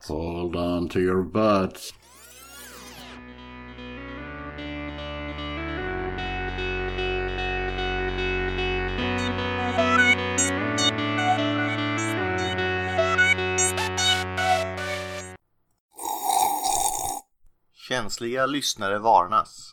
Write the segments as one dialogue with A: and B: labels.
A: butts. Hold on to your butts.
B: Känsliga lyssnare varnas.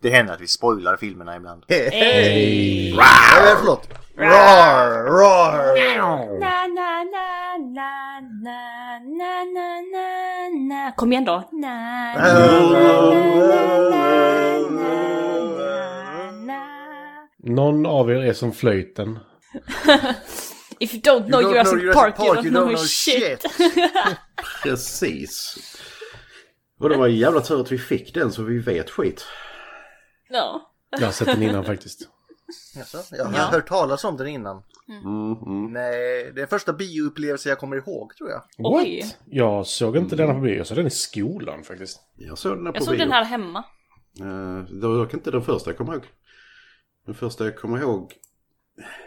B: Det händer att vi spoilar filmerna ibland.
C: Hej!
A: Hey.
C: Nej, men förlåt. Rar, rar.
D: Na, na, na, na, na, na, na, na, na. Kom igen då. Na, na, na, na, na, na, na.
E: Någon av er är som flöjten.
D: If you don't know Jurassic, Park, you don't, know, shit.
A: Precis. Och det var en jävla tur att vi fick den så vi vet skit.
D: Ja.
E: Jag har sett den innan faktiskt.
C: Jaså, Jag har
B: Jag har
C: hört
B: hört talas om den innan.
A: Mm, mm.
C: Nej, det är första bioupplevelsen jag kommer ihåg tror jag.
D: Oj.
E: What? Jag såg inte denna på bio. Jag såg den i skolan faktiskt.
A: Jag såg den här på
D: Jag såg
A: bio.
D: den här hemma.
A: Eh, Det var dock inte den första jag kommer ihåg. Den första jag kommer ihåg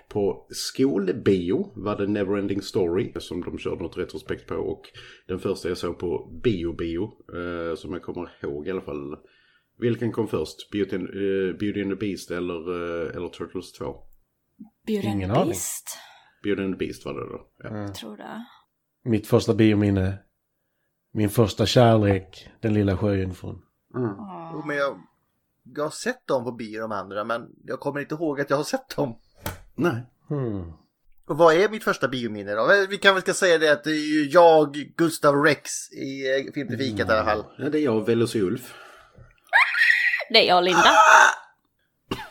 A: på skolbio var det Neverending Story som de körde något retrospekt på och den första jag såg på bio-bio eh, som jag kommer ihåg i alla fall. Vilken kom först? Beauty and, eh, Beauty and the Beast eller, eh, eller Turtles 2?
D: Beauty and
E: Ingen
D: the
E: aning.
D: Beast,
A: Beauty and the Beast var det då. Ja.
E: Mm.
D: tror det.
E: Mitt första biominne. Min första kärlek. Den lilla sjöjungfrun.
C: Jo, Men jag, jag har sett dem på bio de andra men jag kommer inte ihåg att jag har sett dem.
A: Nej.
E: Hmm.
C: Och vad är mitt första biominne då? Vi kan väl ska säga det att det är ju jag, Gustav Rex i eh, filmtrafiket i alla fall.
A: Ja, det är jag och Velus Ulf.
D: Det är jag och Linda.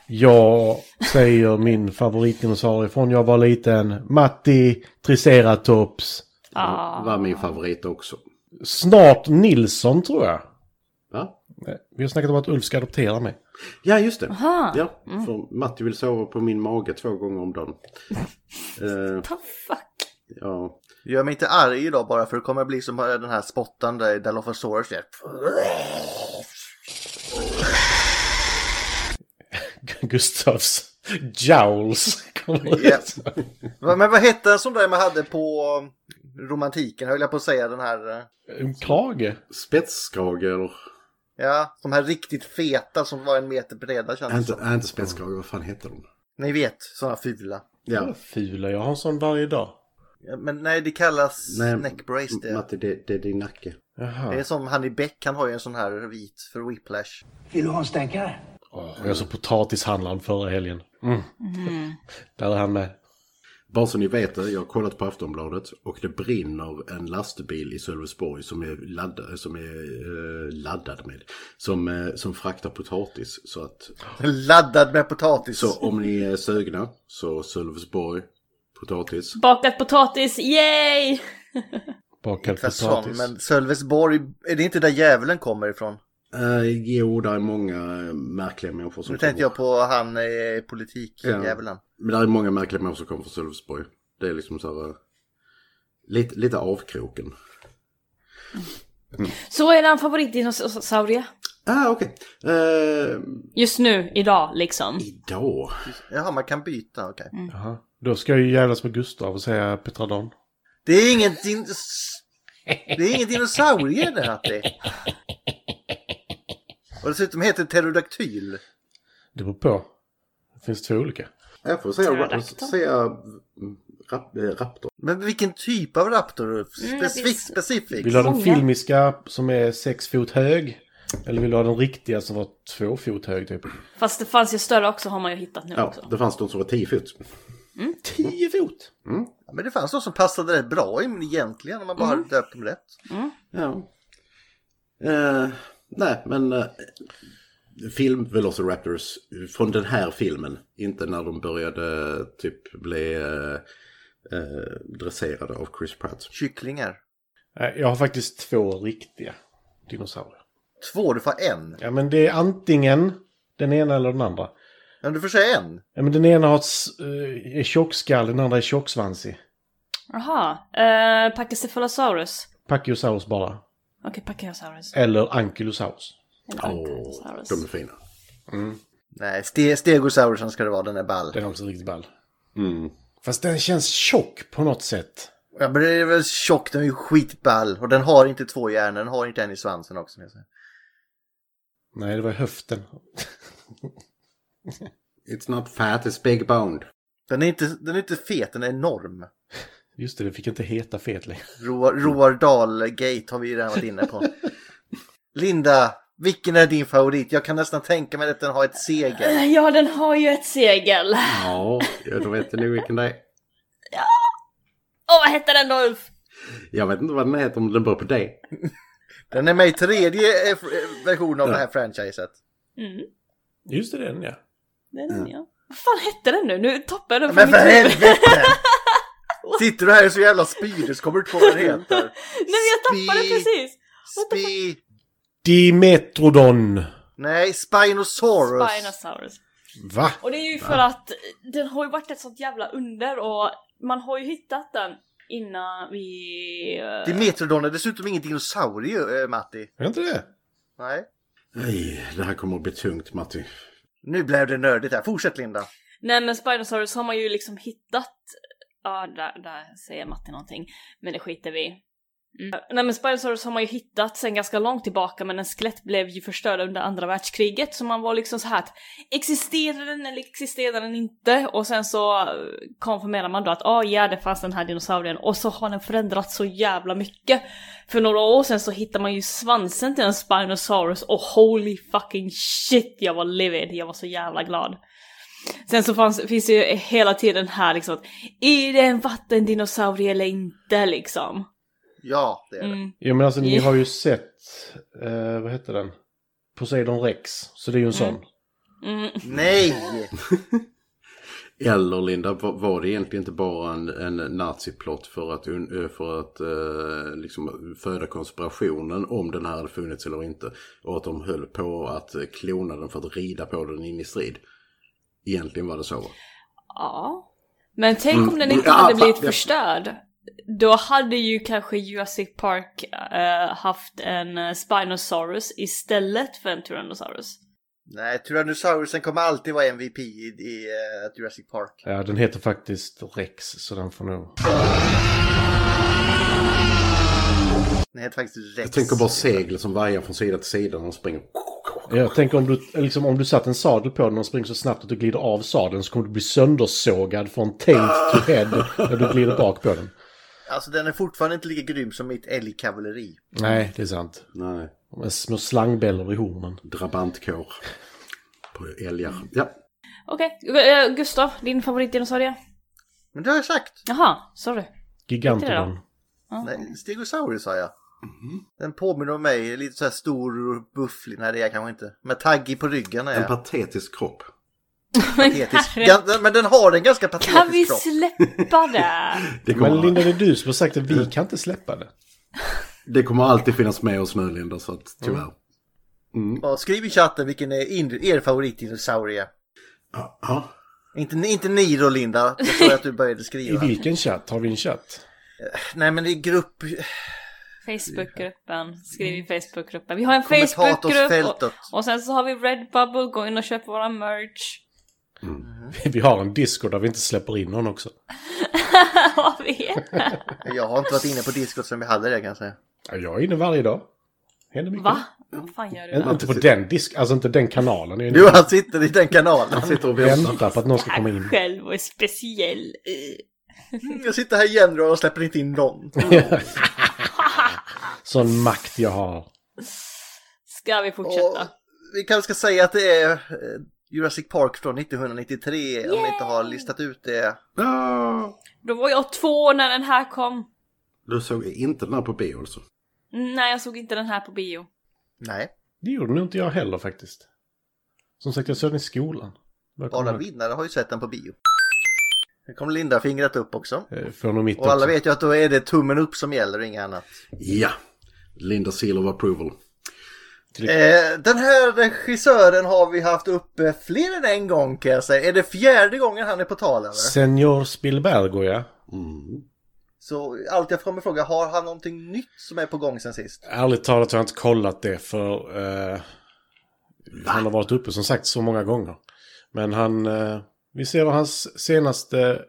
E: Jag säger min favoritdinosaurie från jag var liten. Matti Triceratops.
D: Ah.
A: Var min favorit också.
E: Snart Nilsson tror jag.
A: Va?
E: Nej, Vi har snackat om att Ulf ska adoptera mig.
A: Ja, just det.
D: Aha.
A: Ja, för Matti vill sova på min mage två gånger om dagen. Eh,
D: The fuck?
A: ja.
C: Gör mig inte arg idag bara för det kommer bli som den här spottande i Dilophosaurus. där.
E: Gustavs jowls kommer
C: Ja.
E: ut.
C: Va- Men vad hette den som där man hade på romantiken höll jag på att säga den här. eh,
E: En krage.
A: Spetskrage eller?
C: Ja, de här riktigt feta som var en meter breda
A: Äh,
C: kändes
A: inte,
C: som.
A: äh, inte spetskrage, vad fan heter de?
C: Ni vet, sådana fula.
A: Ja.
E: Vad Fula, jag har en sån varje dag.
C: Ja, Men nej, det kallas
A: Nej,
C: neckbrace det.
A: Matti, det, det är din nacke.
E: Jaha.
C: Det är som han i Beck, han har ju en sån här vit för whiplash.
F: Vill du ha en stänkare?
E: Och Jag såg potatishandlaren förra helgen. Mm. Där är han med.
A: Bara så ni vet det, jag har kollat på Aftonbladet och det brinner en lastbil i Sölvesborg som är, laddad, som är eh, laddad med. Som, eh, som fraktar potatis. Så, att,
C: Laddad med potatis.
A: så om ni är sugna, så Sölvesborg, potatis.
D: Bakat potatis, yay!
E: Bakad
C: Inte sån,
E: potatis.
C: men Sölvesborg, är det inte där djävulen kommer ifrån?
A: Eh, jo, det är många eh, märkliga människor som
C: Nu tänkte jag på han eh, politik,
A: Ja.
C: djävulen.
A: Men det är många märkliga människor som kommer från Sölvesborg. Det är liksom så här... eh, Lite, lite avkroken.
D: Så är det en favoritdinosaurie.
A: Ah, okej. Eh,
D: Just nu, idag liksom.
A: idag.
C: Jaha, man kan byta, okej.
E: Jaha. Då ska jag ju jävlas med Gustav och säga Petradon.
C: Det är ingen din... Det är ingen dinosaurie det, Hatti. Och dessutom heter det pterodaktyl.
E: Det beror på. Det finns två olika.
A: Jag får säga, ra-
D: Pterodactyl.
A: säga mm, rap, eh, raptor.
C: Men vilken typ av raptor? Ulf?
D: Mm,
C: Specifikt,
D: precis.
C: specifikt.
E: Vill du ha den
D: Många.
E: filmiska som är sex fot hög? Eller vill du ha den riktiga som var två fot hög typ?
D: Fast det fanns ju större också har man ju hittat nu
A: Ja,
D: också.
A: det fanns de som var 10 fot.
E: Tio fot!
C: Ja, Men det fanns något som passade rätt bra in egentligen om man bara hade döpt dem rätt.
A: Ja. Eh, nej, men... eh, film Velociraptors från den här filmen. Inte när de började eh, typ bli eh, eh, dresserade av Chris Pratt.
C: Kycklingar.
E: Nej, Jag har faktiskt två riktiga dinosaurier.
C: Två, du får en.
E: Ja men det är antingen den ena eller den andra.
C: Men du får säga en.
E: Ja, men den ena har ett, s- eh, är tjockskallig, den andra är tjocksvansig.
D: Jaha. Uh, Pachycephalosaurus.
E: Pachyosaurus bara.
D: Okej, okay, Pachycephalosaurus.
E: Eller Ankylosaurus.
D: Eller
A: Åh,
D: Ankylosaurus.
A: de är fina.
C: Nej, ste stegosaurusen ska det vara, den är ball.
E: Den är också riktigt ball.
A: Mm.
E: Fast den känns tjock på något sätt.
C: Ja, men den är väl tjock, den är ju skitball. Och den har inte två hjärnor, den har inte en i svansen också. som jag säger.
E: Nej, det var höften.
A: It's not fat, it's big boned.
C: Den är inte, den är inte fet, den är enorm.
E: Just det, det fick inte heta fet längre.
C: Roar, Roar Dahl-gate har vi ju redan varit inne på. Linda, vilken är din favorit? Jag kan nästan tänka mig att den har ett segel.
D: Eh, Ja, den har ju ett segel.
A: Ja, jag då vet ni vilken det är.
D: Åh, vad hette den då Ulf?
A: Jag vet inte vad den heter om den börjar på D.
C: Den är med i tredje eh, f- eh, versionen av det här franchiset.
D: Mm,
E: Just det, den ja.
D: den är ja. Vad fan hette den nu? Nu tappar jag den från
C: Men för
D: mitt huvud.
C: helvete! Sitter du här och så jävla spydig så kommer du inte på vad den heter.
D: Nej, jag tappade
C: Spi-
D: precis.
C: Spi...
E: Dimetrodon.
C: Nej, Spinosaurus.
D: Spinosaurus.
E: Va?
D: Och det är ju för att den har ju varit ett sånt jävla under och man har ju hittat den innan vi... eh,
C: Dimetrodon är dessutom ingen dinosaurie, eh, Matti.
E: Är inte det?
C: Nej.
A: Nej, det här kommer att bli tungt Matti.
C: Nu blev det nördigt här. Fortsätt Linda.
D: Nej men Spinosaurus har man ju liksom hittat... Ja, där, där säger Matti någonting. Men det skiter vi i. mm. Nej men Spinosaurus har man ju hittat sen ganska långt tillbaka men en skelett blev ju förstörd under andra världskriget så man var liksom så här att existerar den eller existerar den inte? Och sen så eh, konfirmerar man då att ah, ja det fanns den här dinosaurien och så har den förändrats så jävla mycket. För några år sedan så hittar man ju svansen till en Spinosaurus och holy fucking shit jag var livid, jag var så jävla glad. Sen så fanns, finns det ju hela tiden här liksom att är det en vattendinosaurie eller inte liksom?
C: Ja, det är det.
D: Mm.
E: Jo men alltså ni
D: Ja.
E: har ju sett, eh, vad hette den? Poseidon Rex. Så det är ju en sån.
D: Mm.
C: Nej!
A: Eller Linda, var var det egentligen inte bara en, en naziplott för att, un- eh, för att eh, liksom föda konspirationen om den här hade funnits eller inte? Och att de höll på att eh, klona den för att rida på den in i strid. Egentligen var det så va?
D: Ja. Men tänk om den
A: Mm.
D: inte
A: Ja,
D: hade
A: fa-
D: blivit
A: ja.
D: förstörd. Då hade ju kanske Jurassic Park eh, haft en eh, Spinosaurus istället för en Tyrannosaurus.
C: Nej, Tyrannosaurusen kommer alltid vara MVP i, i eh, Jurassic Park.
E: Ja den heter faktiskt Rex så den får nog...
C: Den heter faktiskt Rex.
A: Jag tänker bara segel som vajar från sida till sida när de springer.
E: Jag tänker om du, liksom, om du satt en sadel på den och springer så snabbt att du glider av sadeln så kommer du bli söndersågad från tail to head när du glider bak på den.
C: Alltså den är fortfarande inte lika grym som mitt älgkavalleri.
E: Nej, det är sant.
A: Nej,
E: Med små slangbällor i hornen.
A: drabantkår på älgar. Ja,
D: Okej, eh, Gustav, din favoritdinosaurie?
C: Men det har jag sagt.
D: Jaha, sorry.
E: Gigantodon.
C: Nej, Stegosaurus sa jag.
A: Mhm.
C: Den påminner om mig, lite så här stor och bufflig. Nej det är jag kanske inte. Med taggig på ryggen är
A: en
C: jag.
A: patetisk kropp.
D: Men,
C: Patetisk.
D: herre-
C: Gan- Men den har en ganska
D: kan vi
C: patetisk kropp.
D: släppa det?
A: Det
E: Men Linda,
A: kommer,
E: det är du som har sagt att vi kan inte släppa det.
A: det kommer alltid finnas med oss nu Linda, så att tyvärr.
C: Och skriv i chatten vilken är in- er favoritdinosaurie.
A: Ja,
C: Inte, inte ni då Linda, jag såg att du började
E: I
C: skriva.
E: vilken chatt? Har vi en chatt?
C: Nej men i grupp...
D: Facebookgruppen, skriv i Facebookgruppen. Vi har en Facebookgrupp
C: Kommentatorsfältet.
D: och, och sen så har vi Redbubble, gå in och köp våra merch.
E: Vi har en disco där vi inte släpper in någon också.
D: Vad vet jag?
C: Jag har inte varit inne på Discord sen vi hade det kan jag säga.
E: Ja, Jag är inne varje dag. Händer mycket.
D: Va? Vad fan gör du?
E: Ä-
D: då?
E: Inte på den disk, alltså inte den kanalen. Jag är
C: Du
E: inne
C: han sitter i den kanalen.
A: han sitter och
E: och
A: väntar.
E: väntar på att någon ska komma in.
D: Själv och är speciell. Eh.
C: Mm, Jag sitter här igen och släpper inte in någon.
E: Sån makt jag har.
D: Ska vi
C: Och
D: fortsätta?
C: vi kanske ska säga att det är eh, Jurassic Park från 1993 om vi inte har listat ut det.
A: Ja.
D: Då var jag två år när den här kom.
A: Du såg inte den här på bio alltså?
D: Nej, jag såg inte den här på bio.
C: Nej,
E: Det gjorde nog inte jag heller faktiskt. Som sagt, jag såg den i skolan. Jag kommer
C: bara
A: Mm.
E: ihåg.
C: vinnare har ju sett den på bio. Nu kom Linda fingret upp också.
E: Eh, Från och mitt
C: Och alla
E: också.
C: vet ju att då är det tummen upp som gäller och inget annat.
A: Ja. Linda Seal of Approval.
C: Eh, den här regissören har vi haft uppe fler än en gång kan jag säga. Är det fjärde gången han är på tal eller?
E: Senor Spielbergo, ja.
A: Mm.
C: Så allt jag kommer fråga, har han någonting nytt som är på gång sen sist?
E: Ärligt talat har jag inte kollat det för eh, han har varit uppe som sagt så många gånger. Men han, eh, vi ser vad hans senaste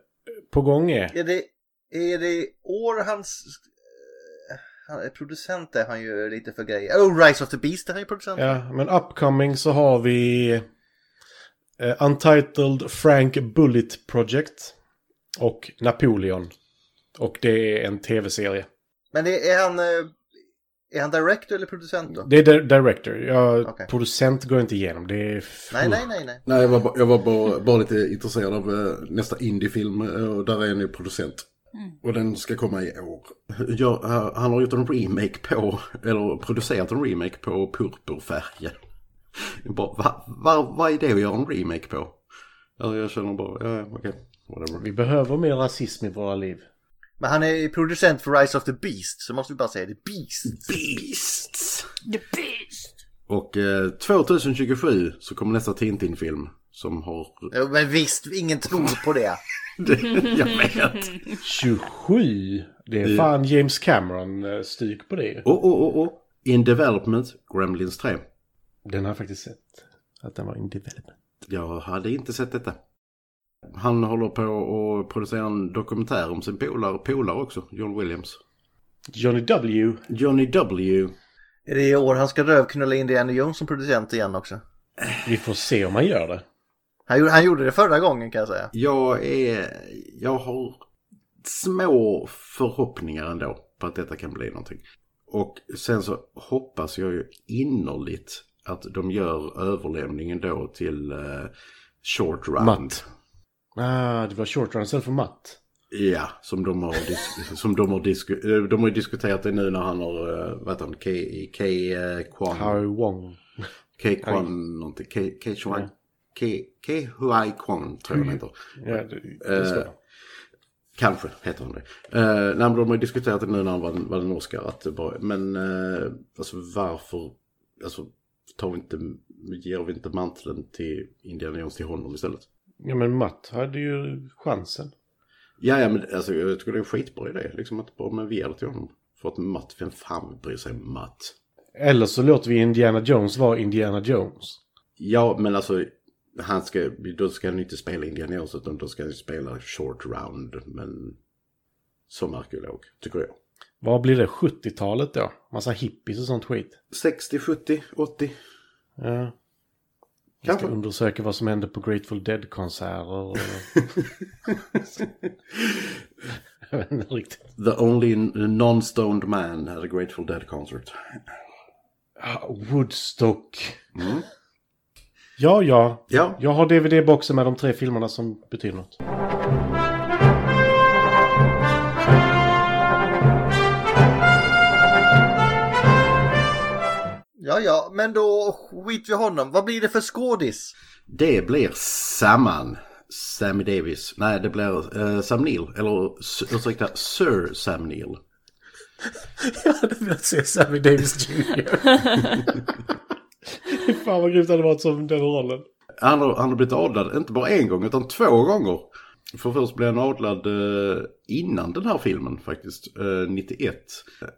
E: på gång är.
C: Är det Är det i år hans... eh, Han är producent är han ju lite för grejer. Oh, Rise of the Beast är han ju producent.
E: Ja, men upcoming så har vi eh, Untitled Frank Bullet Project och Napoleon. Och det är en tv-serie.
C: Men är, är han... eh, Är han director eller producent då?
E: Det är di- director. Ja,
C: Okej.
E: Producent går jag inte igenom. Det är...
C: Nej, nej, nej, nej.
A: Nej, jag var, bara, jag var bara, bara lite intresserad av eh, nästa indiefilm eh, och där är en ny producent. Och den ska komma i år. Ja, eh, han har gjort en remake på, eller producerat en remake på Purpurfärgen. Jag Bara, va, va, vad är det att göra en remake på? Ja, jag känner bara, ja, okej, whatever.
E: Vi behöver mer rasism i våra liv.
C: Men han är ju producent för Rise of the Beast, så måste vi bara säga det. Beast!
A: Beasts!
D: The beast!
A: Och eh, 2027 så kommer nästa Tintin-film som har...
C: Ja, Men visst, ingen tror på det.
A: jag vet!
E: 27! Det är fan James Cameron-styk på det.
A: Oh, oh, oh, oh. In development, Gremlins 3.
E: Den har jag faktiskt sett. Att den var in development.
A: Jag hade inte sett detta. Han håller på att producera en dokumentär om sin polare, polare också, John Williams.
E: Johnny W.
A: Johnny W.
C: Är det i år han ska rövknulla Indiana Jones som producent igen också?
E: Vi får se om han gör det.
C: Han gjorde, han gjorde det förra gången kan jag säga.
A: Jag är... Jag har små förhoppningar ändå på att detta kan bli någonting. Och sen så hoppas jag ju innerligt att de gör överlämningen då till eh, Short Round.
E: Matt. Ah, det var short run istället för matt.
A: Ja, som de har, dis- som de har, disku- eh, de har ju diskuterat det nu när han har, eh, vad heter han, K... K... eh, Kwan...
E: Harry Wong.
A: K. Kwan någonting. K. K. Shuai. K. K. Huai Kwan tror jag han heter.
E: Ja, det, det
A: Eh,
E: står det.
A: Kanske heter han det. Uh, nej, men de har ju diskuterat det nu när han vann, vann en Oscar. Att det bara, men eh, alltså varför alltså, tar vi inte, ger vi inte manteln till Indiana Jones till honom istället?
E: ja, men matt hade ju chansen.
A: Ja, ja, men alltså, jag tycker det är en skitbra idé. Liksom att bara, men vi ger det till honom. För att Matt, vem fan bryr sig om Matt?
E: Eller så låter vi Indiana Jones vara Indiana Jones.
A: Ja, men alltså, han ska, då ska han inte spela Indiana Jones utan då ska han spela short round, men som arkeolog, tycker jag.
E: Vad blir det? 70-talet då? Massa hippies och sånt skit.
A: 60, 70, 80,
E: Ja. Vi ska
A: kanske.
E: undersöka vad som hände på Grateful Dead-konserter. och- Jag vet inte riktigt.
A: The only non-stoned man at a Grateful Dead concert.
E: Ah, Woodstock. Ja, ja.
A: Ja,
E: Jag har DVD-boxen med de tre filmerna som betyder något.
C: Ja, ja, men då skit vi honom. Vad blir det för skådis?
A: det blir Samman. Sammy Davis. Nej, det blir eh, Sam Neill. Eller s- ursäkta, Sir Sam Neill.
E: Jag hade velat se Sammy Davis Jr. Fan vad grymt det hade varit som den rollen.
A: Han har, han har blivit adlad, inte bara en gång, utan två gånger. För först blev han adlad eh, innan den här filmen faktiskt, eh, 91.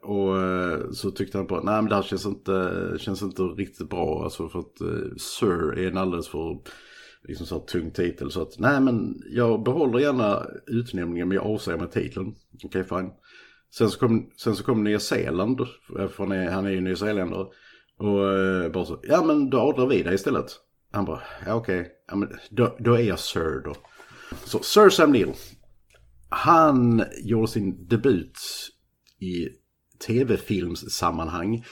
A: Och eh, så tyckte han bara, nej men det här känns inte, känns inte riktigt bra. Alltså för att eh, Sir är en alldeles för liksom så här, tung titel. Så att, nej men jag behåller gärna utnämningen men jag avsäger mig titeln. Okej, fine. Sen så kom, sen så kom Nya Zeeland, eh, för han är, han är ju nyzeeländare. Och eh, bara så, ja men då adlar vi dig istället. Han bara, ja okej, ja, men då, då är jag Sir då. Så Sir Sam Neill. Han gjorde sin debut i tv-filmssammanhang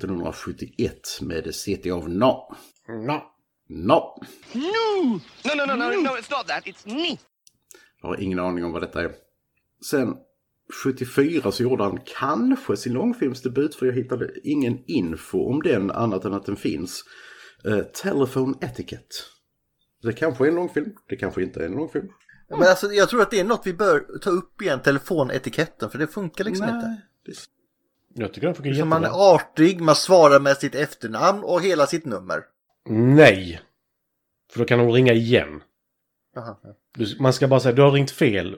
A: 1971 med The City of No.
E: No.
A: No!
F: No! No, no, no, no, no, it's not that. It's me.
A: Jag har ingen aning om vad detta är. Sen 74 så gjorde han kanske sin långfilmsdebut för jag hittade ingen info om den annat än att den finns. Eh, Telephone Etiquette. Det kanske är en långfilm, det kanske inte är en långfilm.
C: Men alltså, jag tror att det är något vi bör ta upp igen, telefonetiketten, för det funkar liksom inte.
E: Jag tycker den funkar
C: Så
E: jättebra.
C: man är artig, man svarar med sitt efternamn och hela sitt nummer.
E: Nej. För då kan de ringa igen.
C: Jaha.
E: Du- Man ska bara säga du har ringt fel.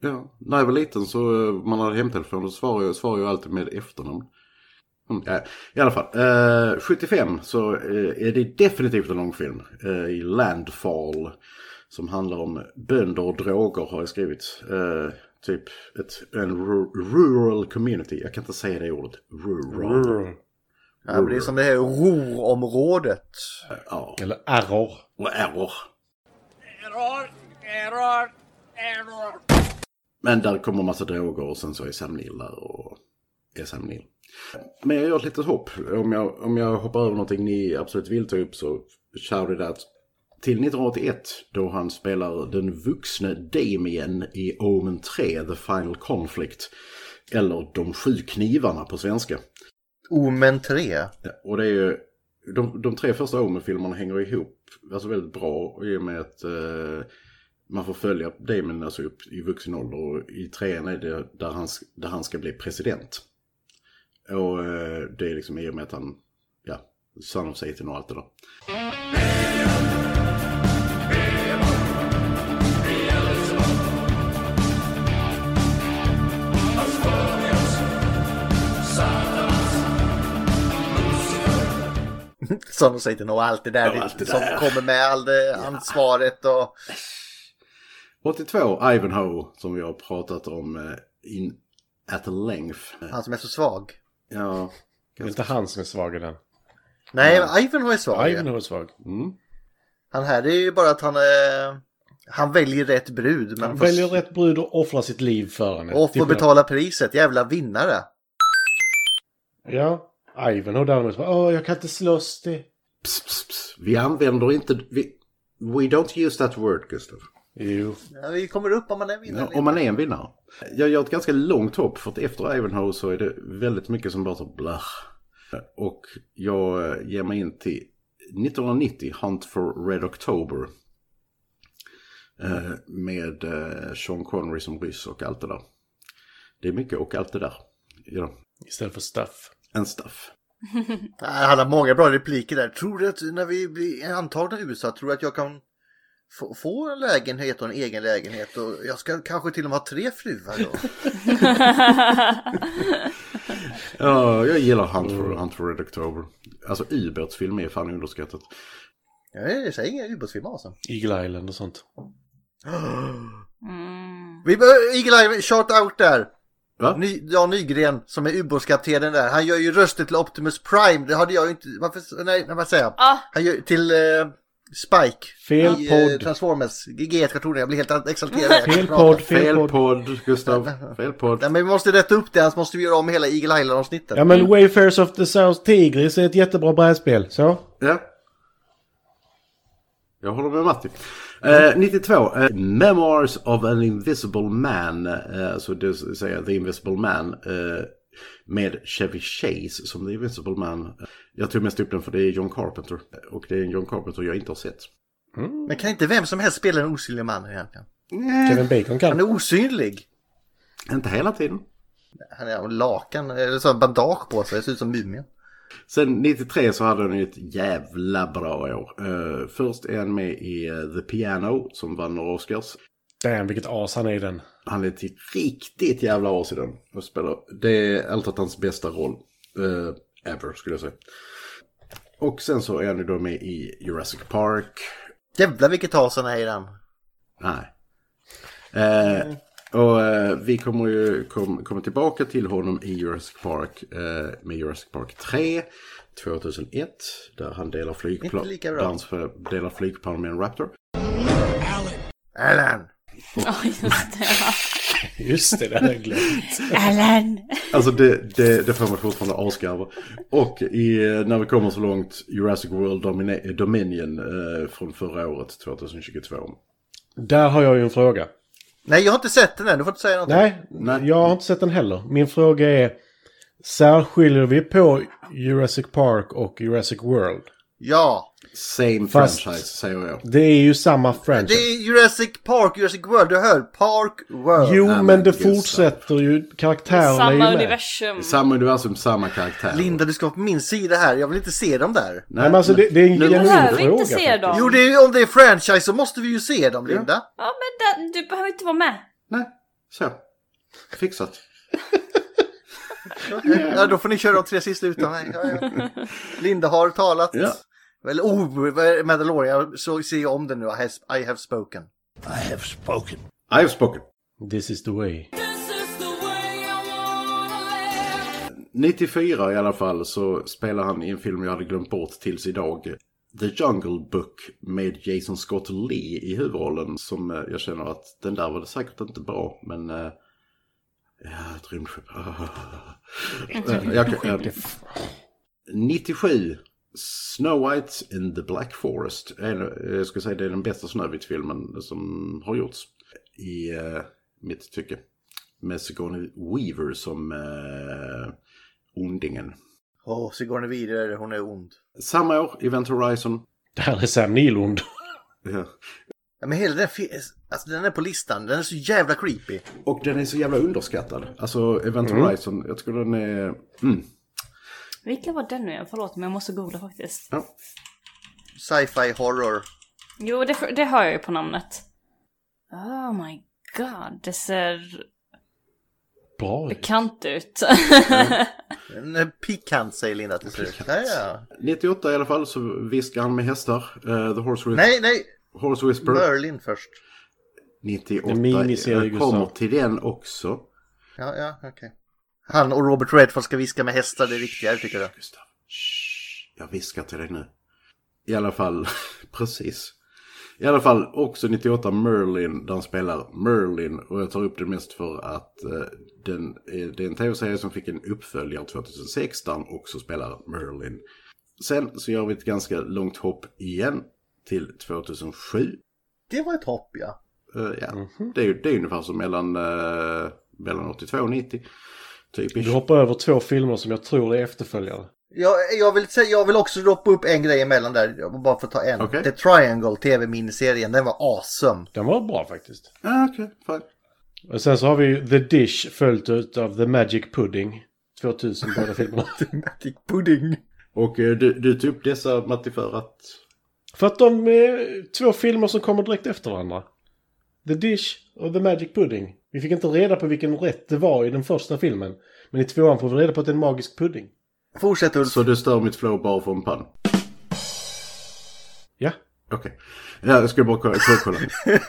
A: Ja, när jag var liten så eh, man hade hemtelefon då svarade jag, svarade jag alltid med efternamn. Mm, ja, I alla fall, eh, 75 så eh, är det definitivt en långfilm eh, i Landfall. Som handlar om bönder och droger har jag skrivit. Eh, Typ ett, en ru- rural community. Jag kan inte säga det ordet. Rural.
E: Rrr.
C: Ja, men det är som det här rorområdet.
A: Ja.
E: Eller error.
A: Och error.
F: Error, error, error.
A: Men där kommer massa droger och sen så är Sam Neill där och är Sam Neill. Men jag gör ett litet hopp. Om jag, om jag hoppar över någonting ni absolut vill ta upp så shout it out. Till 1981 då han spelar den vuxne Damien i Omen 3, The Final Conflict. Eller De sju knivarna på svenska.
C: Omen 3.
A: Ja, och det är ju, de, de tre första Omen-filmerna hänger ihop alltså väldigt bra i och med att eh, man får följa Damon alltså upp i vuxen ålder och i trean är det där han, s- där han ska bli president. Och eh, det är liksom i och med att han, ja, son of Satan och allt det där.
C: Som de säger till och allt det där,
A: Ja, allt det
C: som
A: där.
C: kommer med all det ansvaret och...
A: 82, Ivanhoe, som vi har pratat om eh, in at length.
C: Han som är så svag.
A: Ja,
E: Det är inte han som är svag i den.
C: Nej, men Ivanhoe är svag. ju.
E: Ivanhoe är svag.
A: mm.
C: Han här det är ju bara att han... Eh, han väljer rätt brud. Men
E: Han
C: får-
E: väljer rätt brud och offrar sitt liv för henne. Typ
C: Och
E: Till
C: får
E: skillnad-
C: betala priset. Jävla vinnare.
E: Ja. Ivanhoe däremot bara, åh, jag kan inte slåss det.
A: Pss, pss, pss. Vi använder inte, vi, we don't use that word, Gustav.
E: Jo.
C: Ja, vi kommer upp om man är vinnare.
A: Ja, om man är en vinnare. Jag gör ett ganska långt hopp för att efter Ivanhoe så är det väldigt mycket som bara så blah. Och jag eh, ger mig in till 1990, Hunt for Red October. Eh, Med eh, Sean Connery som ryss och allt det där. Det är mycket och allt det där. Ja,
E: Istället för stuff.
A: en staff.
C: Nej, Han har många bra repliker där. Tror du att när vi blir antagna i USA, tror du att jag kan få, få en lägenhet och en egen lägenhet? Och jag ska kanske till och med ha tre fruar då.
A: Ja, jag gillar Hunt for, Hunt for Red October. Alltså ubåtsfilm är fan underskattat.
C: Jag säger inga ubåtsfilmer alltså.
E: Eagle Island och sånt.
D: Mm.
C: Vi behöver, Eagle Eye, shout out där!
A: Va?
C: Ny, Dan Nygren som är ubåtskaptenen där, han gör ju rösten till Optimus Prime, det hade jag ju inte, varför, nej, nej vad säger jag?
D: Ah,
C: Han gör till eh, Spike
E: Fel
C: i eh,
E: podd.
C: Transformers, G1-kartonen, jag blir helt exalterad.
E: Fel podd,
A: Fel
E: fel podd.
A: podd, Gustav. Fel podd.
C: Nej men vi måste rätta upp det, annars måste vi göra om hela Eagle Island-avsnittet.
E: Ja men Wayfarers of the South Tigris är ett jättebra brädspel. Så.
A: Ja. Jag håller med Matti. Eh, 92. Eh, Memoirs of an Invisible Man. Eh, så det vill säga The Invisible Man. Eh, med Chevy Chase som The Invisible Man. Jag tog mest upp den för det är John Carpenter. Och det är en John Carpenter jag inte har sett.
C: Men kan inte vem som helst spela en osynlig man egentligen?
E: Kevin Bacon
C: Han
E: kan.
C: är osynlig!
A: Eh, Inte hela tiden.
C: Han har lakan, eller så har han bandage på sig, det ser ut som mumien.
A: Sen 93 så hade han ju ett jävla bra år. Eh, först är han med i eh, The Piano som vann några Oscars.
E: Damn vilket as han är i den.
A: Han är till riktigt jävla as i den. Och spelar. Det är alltid hans bästa roll. eh, ever, skulle jag säga. Och sen så är han ju då med i Jurassic Park.
C: Jävlar vilket as han är i den!
A: Nej. Eh, och eh, vi kommer ju kom, komma tillbaka till honom i Jurassic Park eh, med Jurassic Park 3 2001. Där han delar flygplan,
C: Inte lika bra.
A: där han för- delar flygplan med en Raptor.
C: Alan!
D: ja, just det.
E: Just det, det hade jag glömt.
D: Alan!
A: Alltså det, det, det får man fortfarande asgarva. Och i, när vi kommer så långt, Jurassic World Domini- Dominion eh, från förra året, 2022.
E: Där har jag ju en fråga.
C: Nej jag har inte sett den än, du får inte säga någonting.
E: Nej,
A: Nej.
E: jag har inte sett den heller. Min fråga är, särskiljer vi på Jurassic Park och Jurassic World?
C: Ja!
A: Same
E: Fast-
A: franchise, säger jag.
E: Det är ju samma
C: Det
E: franchise.
C: är Jurassic Park, Jurassic World, du hör! Park World!
E: Jo,
A: Nej, men
E: men det
A: Gustav.
E: fortsätter ju. Karaktärerna är ju
D: Samma
E: med.
D: universum.
A: Samma universum, samma karaktär.
C: Linda du ska vara på min sida här, jag vill inte se dem där.
E: Nej, men alltså det, det är en
A: Nu-
E: genuin
D: Behöver
E: fråga.
D: vi inte se
E: faktiskt.
D: dem?
C: Jo det är, om det är franchise så måste vi ju se dem Linda!
D: Ja, men där, du behöver inte vara med.
A: Nej, så. Fixat.
C: Ja, då får ni köra de tre sista utan mig. Ja, ja. Linda har talat.
A: Ja.
C: Väl, oh, vad är det, Mandalorian, jag så ser jag om den nu, I have, I have spoken.
A: I have spoken.
E: This is the way.
A: 94 i alla fall så spelar han i en film jag hade glömt bort tills idag. The Jungle Book med Jason Scott Lee i huvudrollen som eh, jag känner att den där var det säkert inte bra men... eh, Ja, ett rymdskepp. Ah. Eh, jag kan- eh, 97 Snow White in the Black Forest. En- eh, Jag skulle säga det är den bästa Snövit-filmen som har gjorts. I eh, mitt tycke. Med Sigourney Weaver som eh, ondingen.
C: Åh, Sigourney Weaver, hon är ond.
A: Samma år, Event Horizon.
E: Det här är Sam Nilund.
A: Ja.
C: Ja, men hela den, fi- alltså, den är på listan, den är så jävla creepy.
A: Och den är så jävla underskattad. Alltså Event Horizon, jag tror den är... Mm.
D: Vilken var den nu igen? Förlåt men jag måste googla faktiskt.
A: Ja.
C: Sci-fi horror.
D: Jo, det, det hör jag ju på namnet. Oh my god, det ser
E: Bra.
D: bekant ut.
C: Den är pikant säger Linda till slut. Ja, ja.
A: 98 i alla fall så viskar han med hästar. Eh, The Horse, Whis-
C: Nej, nej!
A: Horse Whisperer.
C: Berlin först.
A: 98.
E: En miniserie,
A: jag kommer
E: Gustav.
A: till den också.
C: Ja, ja, okej. Han och Robert Redford ska viska med hästar, det är viktigare tycker jag.
A: Gustav, shh, jag viskar till dig nu. I alla fall, precis. I alla fall också 98 Merlin, där han spelar Merlin. Och jag tar upp den mest för att eh, den, eh, det är en tv-serie som fick en uppföljare 2006 där han också spelar Merlin. Sen så gör vi ett ganska långt hopp igen till 2007.
C: Det var ett hopp ja.
A: Eh, ja, det, är, ju- det är ungefär som mellan, eh, mellan 82 och 90. Typiskt.
E: Du hoppar över två filmer som jag tror är efterföljare.
C: Jag, jag, vill, säga, jag vill också droppa upp en grej emellan där, jag bara för att ta en.
A: Okej.
C: The Triangle TV-miniserien, den var awesome.
E: Den var bra faktiskt.
A: Ah, Okej, fine.
E: Och sen så har vi ju The Dish följt ut av The Magic Pudding. 2000 båda filmerna.
C: Magic pudding.
A: Och eh, du, du tog upp dessa Matti för att...
E: För att de är två filmer som kommer direkt efter varandra. The Dish och The Magic Pudding. Vi fick inte reda på vilken rätt det var i den första filmen. Men i tvåan får vi reda på att det är en magisk pudding.
C: Fortsätt Ulf.
A: Så du stör mitt flow bara för en pann?
E: Ja.
A: Okej. Ja, jag skulle bara kolla. kolla.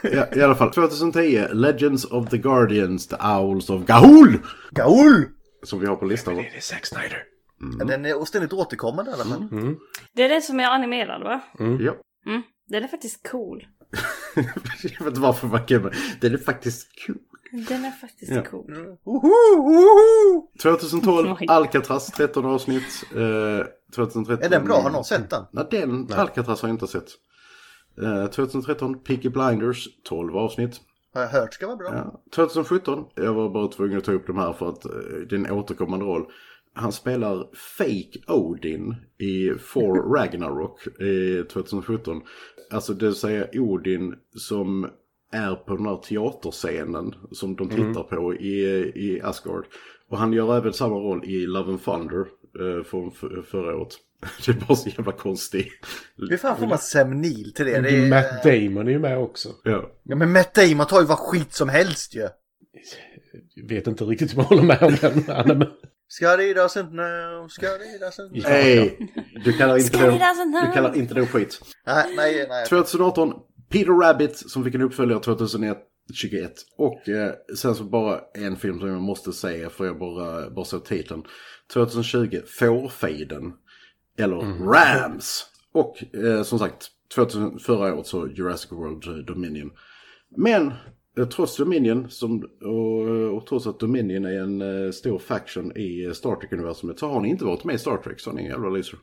A: ja, I alla fall. 2010, Legends of the Guardians, The Owls of Gahul! Mm.
C: Gaul!
A: Som vi har på listan. va?
E: är Zack Snyder.
C: Ja, Den är ständigt återkommande i alla fall.
A: Mm.
D: det är den som är animerad va?
A: Ja.
D: Mm. Den är faktiskt cool.
A: jag vet inte varför man kan... Den är faktiskt kul.
D: Den är faktiskt cool.
C: Woho, woho!
A: 2012,
D: Oj.
A: Alcatraz, 13 avsnitt. Eh, 2013...
C: Är den bra?
A: Mm.
C: Har någon sett den?
A: Nej, den Alcatraz har jag inte sett. Eh, 2013, Peaky Blinders, 12 avsnitt.
C: Har jag hört ska vara bra.
A: Ja, 2017, jag var bara tvungen att ta upp de här för att eh, det är en återkommande roll. Han spelar fake Odin i For Ragnarok i 2017. Alltså det vill säga Odin som är på den här teaterscenen som de tittar på i, i Asgard. Och han gör även samma roll i Love and Thunder eh, från f- förra året. Det är bara så jävla konstigt.
C: Hur fan får man semnil till det? det är...
E: Matt Damon är ju med också.
A: Ja.
C: Ja men Matt Damon tar ju vad skit som helst ju.
E: Jag vet inte riktigt om jag håller med om den. Han är med.
C: Scotty doesn't know, Scotty doesn't know.
A: Nej, du kallar inte
D: Scary
A: det,
D: doesn't know.
A: du kallar inte det skit.
C: Nej, nej, nej.
A: 2018, Peter Rabbit som fick en uppföljare 2021. 21. Och eh, sen så bara en film som jag måste säga för jag bara, bara såg titeln. 2020, Fårfejden. Eller Rams. Och eh, som sagt, 2000, förra året så Jurassic World Dominion. Men eh, trots Dominion, som, och, och trots att Dominion är en eh, stor faction i eh, Star Trek-universumet så har ni inte varit med i Star Trek, så ni är en jävla loser.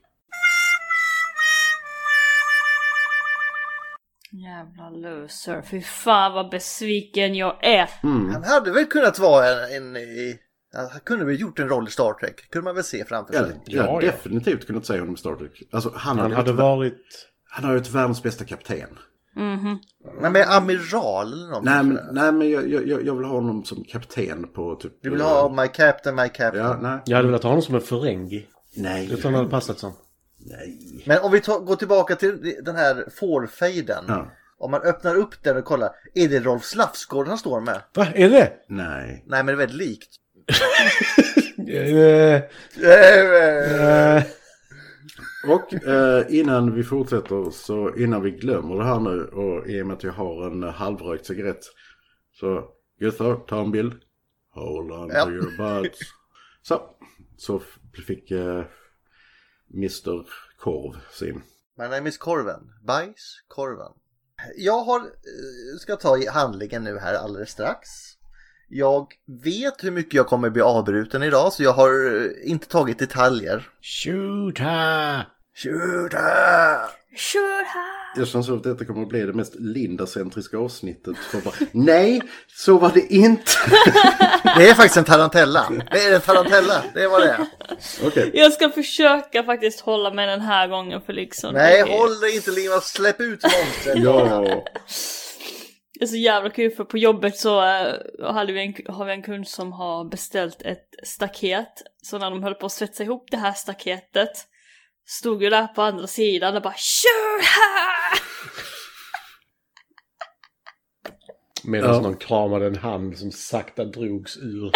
D: Jävla loser. Fy fan vad besviken jag är.
A: Mm.
C: Han hade väl kunnat vara en... en i- ja, han kunde väl gjort en roll i Star Trek. Kunde man väl se framför
A: Ja,
C: sig.
A: jag
E: Ja,
A: hade
E: ja.
A: definitivt kunnat säga honom i Star Trek. Alltså, han,
E: Han
A: hade
E: hade
A: varit-
E: varit...
A: han har ju ett världens bästa kapten.
D: Mhm.
C: Men med amiral eller något.
A: Nej, men, nej, men jag, jag, jag jag vill ha honom som kapten på typ...
C: Du vill ha My Captain, My Captain.
A: Ja, nej.
E: Jag hade velat ha honom som en ferengi.
A: Nej.
E: Jag tror han hade passat som.
A: nej.
C: Men om vi ta, går tillbaka till den här fårfejden.
A: Ja.
C: Om man öppnar upp den och kollar. Är det Rolf Slafsgård han står med?
E: Va, är det
A: Nej.
C: Nej, men det är väldigt likt.
E: det? Eh, eh,
A: Och eh, innan vi fortsätter, så innan vi glömmer det här nu och i och med att jag har en eh, halvrökt cigarett så Guther, ta en bild. Hold on
C: Ja.
A: to your butts. Så, så f- fick eh, Mr Korv sin.
C: My name is Korven. Bajs Korven. Jag har, eh, ska ta i handlingen nu här alldeles strax. Jag vet hur mycket jag kommer bli avbruten idag så jag har eh, inte tagit detaljer.
E: Shooter!
C: Tjuta!
D: Sure ha.
A: Jag känner så att detta kommer att bli det mest Linda-centriska avsnittet. För bara, Nej, så var det inte!
C: Det är faktiskt en tarantella. Det är en tarantella, det var det.
A: Okej,
D: Jag ska försöka faktiskt hålla mig den här gången för liksom.
C: Nej,
D: det är-
C: håll dig inte Lima, släpp ut monstret.
A: ja.
D: Det är så jävla kul för på jobbet så eh, hade vi en, har vi en kund som har beställt ett staket. Så när de höll på att svetsa ihop det här staketet stod ju där på andra sidan och bara Sure ha!
E: Medan
A: Ja.
E: någon kramade en hand som sakta drogs ur.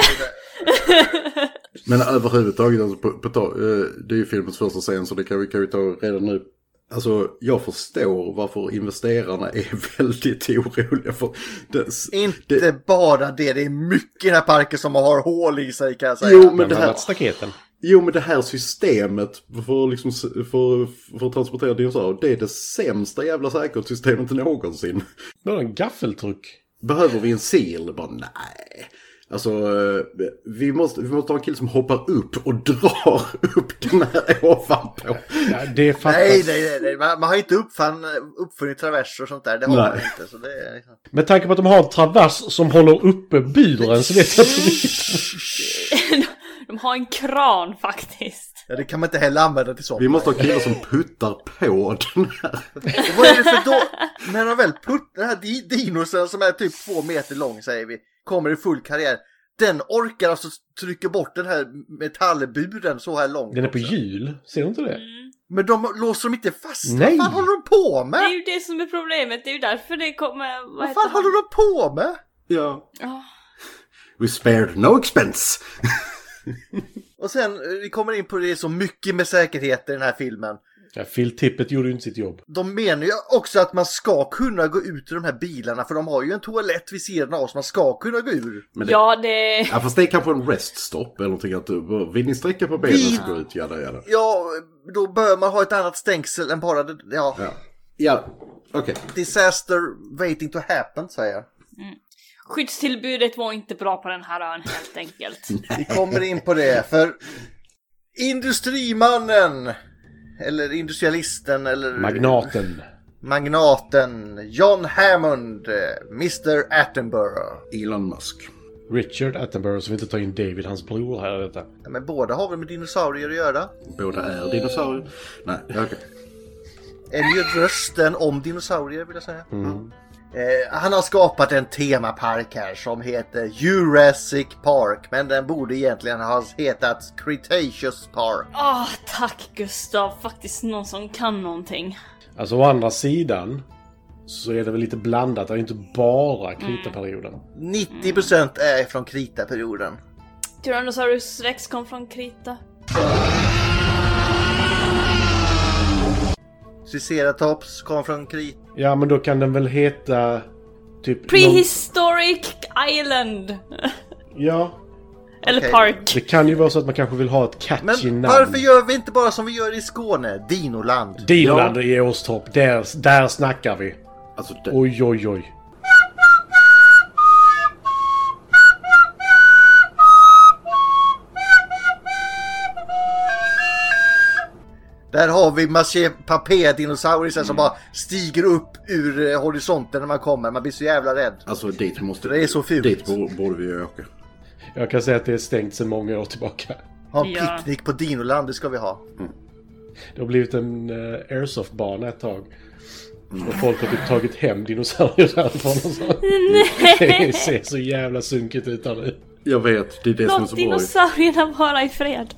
A: Men överhuvudtaget, alltså, på, på, ta- eh, det är ju filmens första scen så det kan vi, kan vi ta redan nu. Alltså jag förstår varför investerarna är väldigt oroliga för det.
C: Inte
A: det
C: bara det, det är mycket i den här parken som har hål i sig kan jag säga.
A: jo, men
E: Men
A: det här,
E: staketen.
A: jo men det här systemet för, liksom, s- för, för att transportera dinosaurier, det är det sämsta jävla säkerhetssystemet någonsin.
E: Det var en gaffeltruck.
A: Behöver vi en sil? Bara nej. Alltså, eh, vi måste, vi måste ha en kille som hoppar upp och drar upp den här ovanpå.
E: Ja, det fattas.
C: Nej, nej, nej, nej. Man, man har inte uppfann, uppfunnit traverser och sånt där. Det har man
A: Nej.
C: inte. Så det är liksom...
E: Med tanke på att de har en travers som håller uppe buren så vet jag inte vilket.
D: De har en kran faktiskt.
C: ja, det kan man inte heller använda till sånt.
A: Vi måste ha killar som puttar på den här.
C: Och Vad är det för då? När de väl puttar den här di- dinosen som är typ två meter lång säger vi, kommer i full karriär. Den orkar alltså trycka bort den här metallburen så här långt.
E: Den är på
C: också.
E: hjul. Ser du inte det?
C: Men de låser dem inte fast.
E: Nej.
C: Vad fan håller de på
D: Det är
C: med?
D: ju det som är problemet, det är ju därför det kommer...
C: Ah.
D: Vad,
C: Vad
D: heter
C: fan
D: han?
C: håller de på med?
A: Ja.
D: Ja.
A: We spared no expense.
C: Och sen, eh, vi kommer in på det är så mycket med säkerhet i den här filmen.
E: Ja, filtippet gjorde ju inte sitt jobb.
C: De menar ju också att man ska kunna gå ut ur de här bilarna för de har ju en toalett vid sidan av så man ska kunna gå ur.
A: Men det, ja.
D: Ja, det...
A: fast det är kanske en reststop eller någonting. Att du, bara, vill ni sträcka på benen så gå ut, jada jada.
C: Ja, då bör man ha ett annat stängsel än bara det, ja,
A: Ja, ja. okej.
C: disaster waiting to happen säger jag.
D: Skyddstillbudet var inte bra på den här ön helt enkelt.
C: Vi kommer in på det för industrimannen eller industrialisten eller
E: Magnaten.
C: magnaten John Hammond, eh, Mr Attenborough.
A: Elon Musk.
E: Richard Attenborough, som inte tar in David, hans bror här. i Detta.
C: Ja, Men båda har väl med dinosaurier att göra?
A: Båda är dinosaurier. Nej, okej.
C: En ju rösten om dinosaurier vill jag säga. Eh, han har skapat en temapark här som heter Jurassic Park. Men den borde egentligen ha hetat Cretaceous Park.
D: Ah, tack Gustav. Faktiskt någon som kan någonting.
E: Alltså å andra sidan så är det väl lite blandat. Det är ju inte bara
C: Mm.
E: kritaperioden.
C: 90% är från kritaperioden.
D: Tyrannosaurus rex kom från Krita.
C: Triceratops kom från krit...
E: Ja, men då kan den väl heta... Typ...
D: Prehistoric Island!
E: någon- Ja.
D: Eller
C: Okej.
D: park.
E: Det kan ju vara så att man kanske vill ha ett catchy
C: Men
E: namn.
C: varför gör vi inte bara som vi gör i Skåne? Dinoland.
E: Diland i Åstorp. Där, där snackar vi.
A: Alltså, det,
E: Oj, oj, oj.
C: Där har vi maché papé dinosaurier som bara stiger upp ur eh, horisonten när man kommer. Man blir så jävla rädd.
A: alltså dit måste...
C: Det är så fult.
A: Dit bo- borde vi ju åka.
E: Jag kan säga att det är stängt sedan många år tillbaka.
C: Ha en
D: Ja.
C: picknick på Dinoland, det ska vi ha.
E: Det har blivit en eh, airsoftbana ett tag. Och folk har typ tagit hem dinosaurier därifrån och så. Det ser så jävla sunkigt ut där nu.
A: Jag vet, det är det som är
D: Låt
A: så bra.
D: dinosaurierna vara i fred.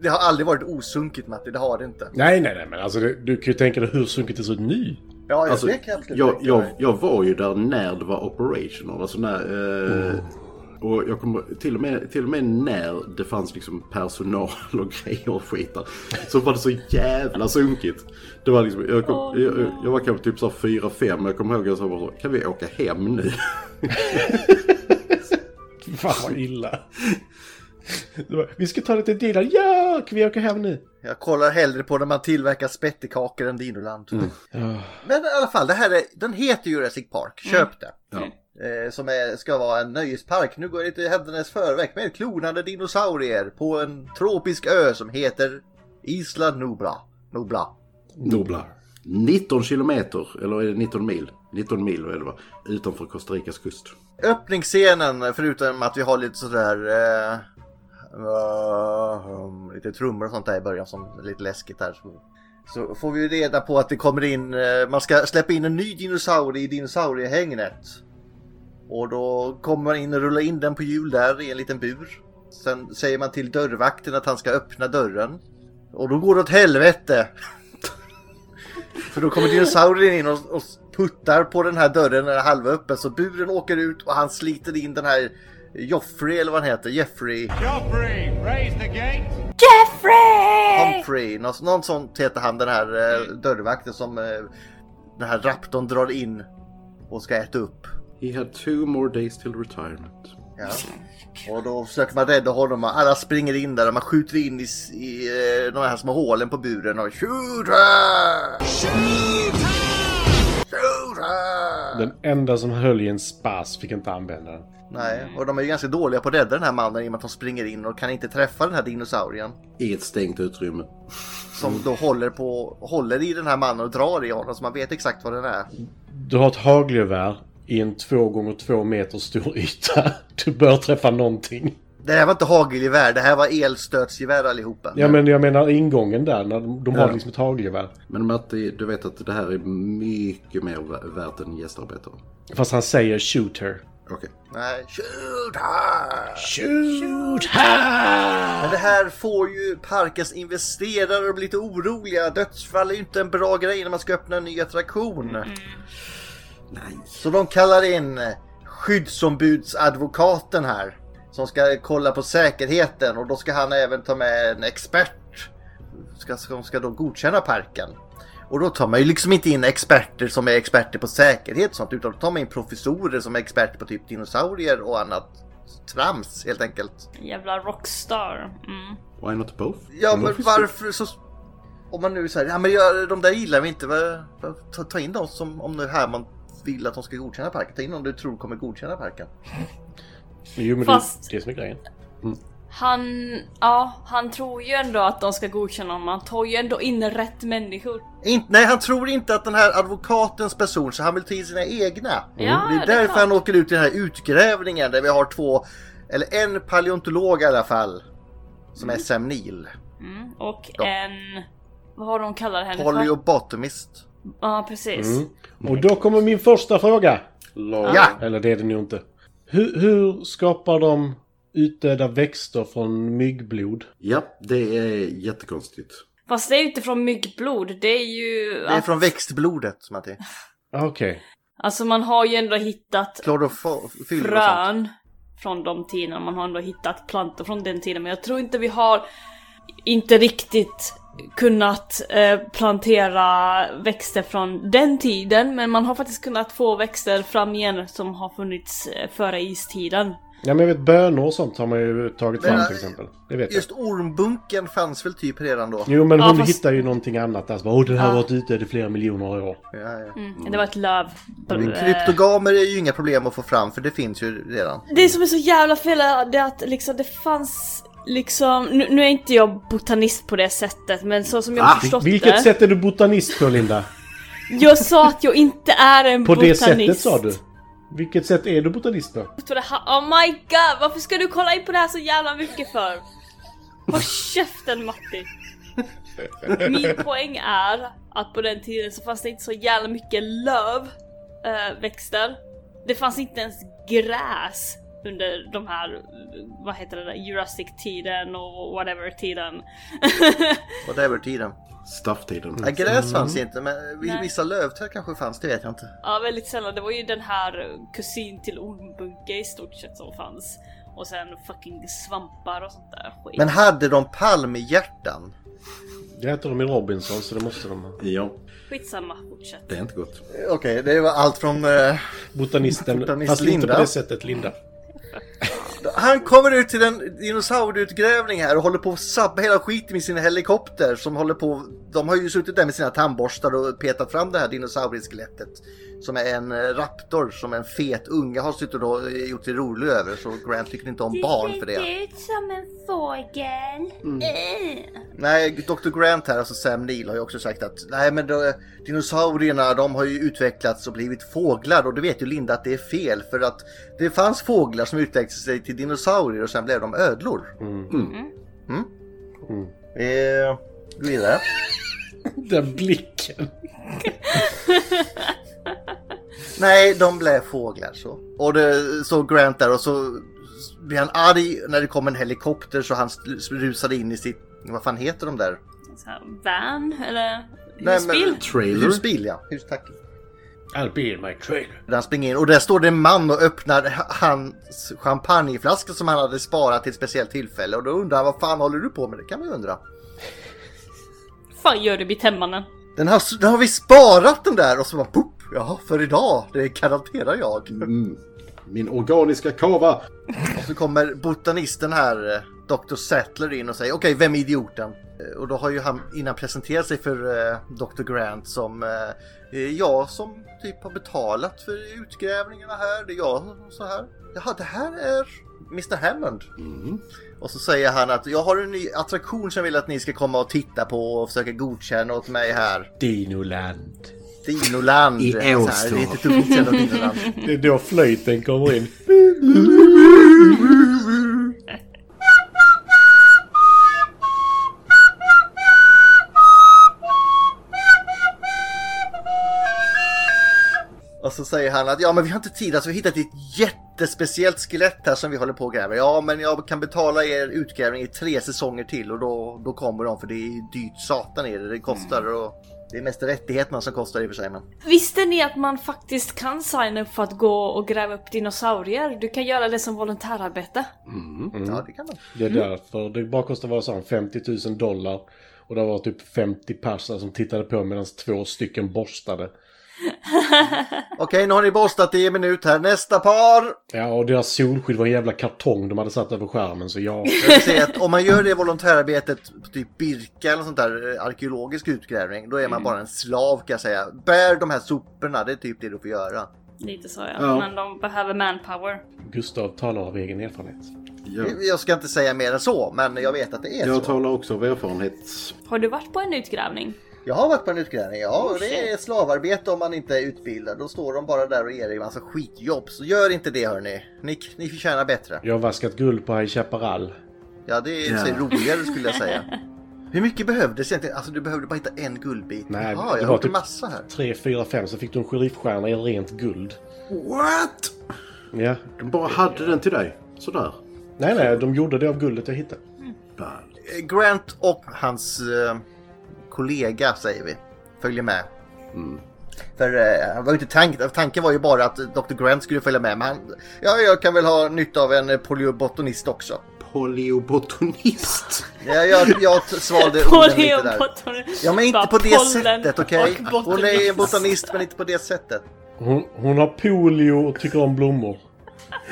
C: Det har aldrig varit osunkigt Matti, det har det inte.
E: Nej, nej, nej, men alltså det, du kan ju tänka dig hur sunkigt det ser ut nu.
C: Ja,
A: Alltså,
C: det kan jag absolut
A: jag,
C: tänka
A: jag,
C: mig.
A: jag var ju där när det var operational. Alltså när, eh,
C: Mm.
A: Och jag kommer till och, med, till och med när det fanns liksom personal och grejer och skit där, Så var det så jävla sunkigt. Det var liksom, jag, kom,
D: Åh,
A: jag,
D: nej.
A: jag var kanske typ så här fyra, fem. Jag kommer ihåg att jag sa bara så, kan vi åka hem nu?
E: Fan vad illa. Det var, Vi ska ta lite delar. Ja, kan vi åka hem nu?
C: Jag kollar hellre på när man tillverkar spettekakor än Dinoland.
A: Mm.
E: Ja.
C: Men i alla fall, det här är, den heter Jurassic Park. Köp det.
A: Ja.
C: Eh, som är, ska vara en nöjespark. Nu går jag lite händelsernas förväg med klonande dinosaurier på en tropisk ö som heter Isla Nubra. Nubla.
A: Dubbla. 19 kilometer, eller är det 19 mil? 19 mil är det va? Utanför Costa Ricas kust.
C: Öppningsscenen, förutom att vi har lite sådär... Eh, eh, lite trummor och sånt där i början som är lite läskigt där. Så, så får vi ju reda på att det kommer in... Eh, man ska släppa in en ny dinosaurie i dinosauriehägnet. Och då kommer man in och rullar in den på hjul där i en liten bur. Sen säger man till dörrvakten att han ska öppna dörren. Och då går det åt helvete! För då kommer dinosaurien in och, och puttar på den här dörren när den är halvöppen så buren åker ut och han sliter in den här Joffrey eller vad han heter, Jeffrey
D: Jeffrey!
C: Humphrey, någon, någon sånt heter han den här eh, dörrvakten som eh, den här raptorn drar in och ska äta upp.
A: He had two more days till retirement.
C: Ja. Och då försöker man rädda honom och alla springer in där och man skjuter in i, s- i eh, de här små hålen på buren och shooter! Shooter!
E: Den enda som höll i en spas fick inte använda den.
C: Nej, och de är ju ganska dåliga på att rädda den här mannen i och med att de springer in och kan inte träffa den här dinosaurien.
A: I ett stängt utrymme.
C: Som då håller, på, håller i den här mannen och drar i honom så man vet exakt vad den är.
E: Du har ett hagelgevär i en 2 gånger 2 meter stor yta. Du bör träffa någonting.
C: Det här var inte hagelgevär, det här var elstötsgevär allihopa.
E: Ja, men jag menar ingången där, när de, de har
C: Ja.
E: liksom ett hagelgevär.
A: Men Matti, du vet att det här är mycket mer vä- värt än gästarbetare.
E: Fast han säger shoot her.
A: Okej.
C: Nej, shoot ah! her!
E: Shoot her!
C: Men det här får ju parkens investerare att bli lite oroliga. Dödsfall är ju inte en bra grej när man ska öppna en ny attraktion.
A: Nej.
C: Så de kallar in skyddsombudsadvokaten här. Som ska kolla på säkerheten och då ska han även ta med en expert. Ska, som ska då godkänna parken. Och då tar man ju liksom inte in experter som är experter på säkerhet och sånt utan då tar man in professorer som är experter på typ dinosaurier och annat trams helt enkelt.
D: Jävla rockstar. Mm.
A: Why not both?
C: Ja men
A: Varför ska-
C: varför så... Om man nu säger ja men jag, de där gillar vi inte. va- va- Ta, ta in dem som om nu här man vill att de ska godkänna parken. Ta in dem du tror kommer godkänna parken.
E: Jo, men
D: Fast-
E: det är det som är grejen.
D: Han, ja, han tror ju ändå att de ska godkänna honom. Han tar ju ändå in rätt människor.
C: Inte, nej, han tror inte att den här advokatens person, så han vill ta in sina egna.
D: Ja,
C: det är
D: det är
C: därför
D: klart.
C: han åker ut i den här utgrävningen där vi har två, eller en paleontolog i alla fall, som är Sam Neill.
D: Mm. Och
C: Ja.
D: en... Vad har de kallat henne för?
C: Polyobotomist.
D: Ja, precis.
C: Mm.
E: Och då kommer min första fråga.
A: Lag-
C: Ja.
E: Eller det är det nog inte. Hur, hur skapar de utdöda växter från myggblod?
A: ja, det är jättekonstigt.
D: Fast det är ju inte från myggblod. Det är ju...
C: Det är från växtblodet, Matti.
E: Ah, Okej.
D: Alltså man har ju ändå hittat
C: Klorofyll och sånt.
D: frön från de tiderna. Man har ändå hittat plantor från den tiden. Men jag tror inte vi har inte riktigt kunnat eh, plantera växter från den tiden. Men man har faktiskt kunnat få växter fram igen som har funnits eh, före istiden.
E: Ja, men jag vet bönor och sånt har man ju tagit
C: Men,
E: fram
C: äh,
E: till exempel. Det vet jag.
C: Just ormbunken fanns väl typ redan då?
E: Jo, men
D: Ja,
E: hon
D: fast-
E: hittar ju någonting annat där. Så bara, Åh, den här har
D: Ja.
E: varit utdöd i flera miljoner år.
C: Ja, ja.
D: Mm. Det var ett löv.
C: Men
D: Eh.
C: kryptogamer är ju inga problem att få fram för det finns ju redan.
D: Det som är så jävla fel är det att liksom det fanns liksom, nu, nu är inte jag botanist på det sättet men så som jag
A: Ah,
D: förstått
E: Vilket
D: det.
E: sätt är du botanist på, Linda?
D: Jag sa att jag inte är en
E: På det
D: botanist.
E: sättet sa du. Vilket sätt är du botanist på?
D: På det här- Oh my god, varför ska du kolla in på det här så jävla mycket för? Håll käften Matti! Min poäng är att på den tiden så fanns det inte så jävla mycket lövväxter. det fanns inte ens gräs under de här, eh, vad heter det, där, Jurassic-tiden och whatever-tiden.
C: Och det är över tiden.
A: Stafftiden.
C: Ja, gräs fanns inte men vi-
D: Nej.
C: vissa lövträd kanske fanns, det vet jag inte.
D: Ja, väldigt sällan. Det var ju den här kusin till ormbunke i stort sett som fanns. Och sen fucking svampar och sånt där skit.
C: Men hade de palmhjärtan?
E: Det äter de i Robinson, så det måste de ha.
A: Ja,
D: Skitsamma, fortsätt.
A: det är inte gott.
C: Okej, det var allt från... eh,
E: Botanisten,
C: Botanist
E: fast inte
C: Linda.
E: på det sättet, Linda.
C: Han kommer ut till en dinosaurieutgrävning här och håller på att sabba hela skiten med sin helikopter som håller på. De har ju suttit där med sina tandborstar och petat fram det här dinosaurieskelettet. Som är en eh, raptor som en fet unge har suttit och eh, gjort sig rolig över så Grant tycker inte om
D: Du
C: barn för det.
D: ser ut som en fågel. Eh.
C: Nej, Dr. Grant här, alltså Sam Neill, har ju också sagt att nej men då, dinosaurierna de har ju utvecklats och blivit fåglar och det vet ju Linda att det är fel för att det fanns fåglar som utvecklade sig till dinosaurier och sen blev de ödlor. Mm.
E: Mm.
C: Eh, gå vidare.
E: Den blicken.
C: Nej, de blev fåglar så. Och det, så Grant där och så blir han arg när det kom en helikopter så han sl- rusade in i sitt, vad fan heter de där?
D: Så här, van eller
C: men-
D: husbil.
A: Trailer.
C: Husbil ja, hus tack.
E: I'll be in my trailer.
C: Där han springer in och där står det en man och öppnar h- hans champagneflaska som han hade sparat till ett speciellt tillfälle och då undrar han vad fan håller du på med? Det kan man ju undra.
D: fan gör du vid tändmannen?
C: Den har, den har vi sparat den där och så bara pop, jaha för idag, det garanterar jag.
A: Mm. Min organiska kava.
C: Och så kommer botanisten här, eh, Dr. Sattler in och säger okej, vem är idioten? Eh, Och då har ju han innan presenterat sig för eh, Dr. Grant som eh, eh, jag som typ har betalat för utgrävningarna här, det är jag och så här. Jaha, det här är Mr. Hammond.
A: Mm.
C: Och så säger han att jag har en ny attraktion som jag vill att ni ska komma och titta på och försöka godkänna åt mig här.
E: Dinoland.
C: Dinoland.
A: I
C: Så här,
A: Elstorp.
C: Det är inte tufft att säga Dinoland.
E: Det är då flöjten kommer in.
C: Och så säger han att ja men vi har inte tid, alltså vi har hittat ett jättespeciellt skelett här som vi håller på och gräver. Ja men jag kan betala er utgrävning i tre säsonger till och då, då kommer de för det är dyrt satan är det, det kostar
A: Mm.
C: och det är mest rättigheterna som kostar i och för sig men.
D: Visste ni att man faktiskt kan signa upp för att gå och gräva upp dinosaurier? Du kan göra det som volontärarbete.
A: Mm.
C: Ja det kan man.
E: Det är därför. Det bara kostar vad sa han, 50 000 dollar. Och det var typ 50 persar som tittade på medan två stycken borstade.
C: Okej nu har ni borstat i en minut här, nästa par!
E: Ja, och deras solskydd var en jävla kartong de hade satt över skärmen, så ja.
C: Jag vill säga att om man gör det volontärarbetet på typ Birka eller sånt där eh, arkeologisk utgrävning då är
A: Mm.
C: man bara en slav kan jag säga. Bär de här soporna, det är typ det du får göra.
D: Lite så ja.
A: Ja.
D: Men de behöver manpower.
E: Gustav talar av egen erfarenhet.
A: Ja.
C: Jag ska inte säga mer än så men jag vet att det är så.
A: Jag talar också av erfarenhet.
D: Har du varit på en utgrävning?
C: Jag har varit på en utgrävning, ja.
E: Oh,
C: Och det är slavarbete om man inte är utbildad. Då står de bara där och ger dig en massa skitjobb. Så gör inte det hörni. Ni, ni förtjänar bättre.
E: Jag har vaskat guld på High Chaparral.
C: Ja, det är i och för sig
A: Ja.
C: roligare skulle jag säga. Hur mycket behövdes egentligen? Alltså du behövde bara hitta en guldbit.
E: Nej,
C: Jaha,
E: det
C: jag
E: var
C: har gjort en
E: typ-
C: massa här.
E: 3, 4, 5 så fick du en sheriffstjärna i rent guld.
A: What?
E: Ja.
A: De bara hade den till dig. Sådär.
E: Nej, nej, de gjorde det av guldet jag hittade.
A: Ball.
C: Eh, Grant och hans eh, kollega, säger vi, följer med.
E: Mm.
C: För eh, han var ju inte tank, tanken var ju bara att Dr. Grant skulle följa med. Men han, ja, jag kan väl ha nytta av en eh, poliobotanist också.
A: Poliobotanist.
C: Jag, jag, jag t- svalde orden lite där.
D: Pollenbotan-
C: Ja men inte
D: Bara
C: på det
D: pollen
C: sättet okej?
D: och
C: Hon är en
D: botanist.
C: botanist men inte på det sättet.
E: Hon, hon har polio och tycker om blommor.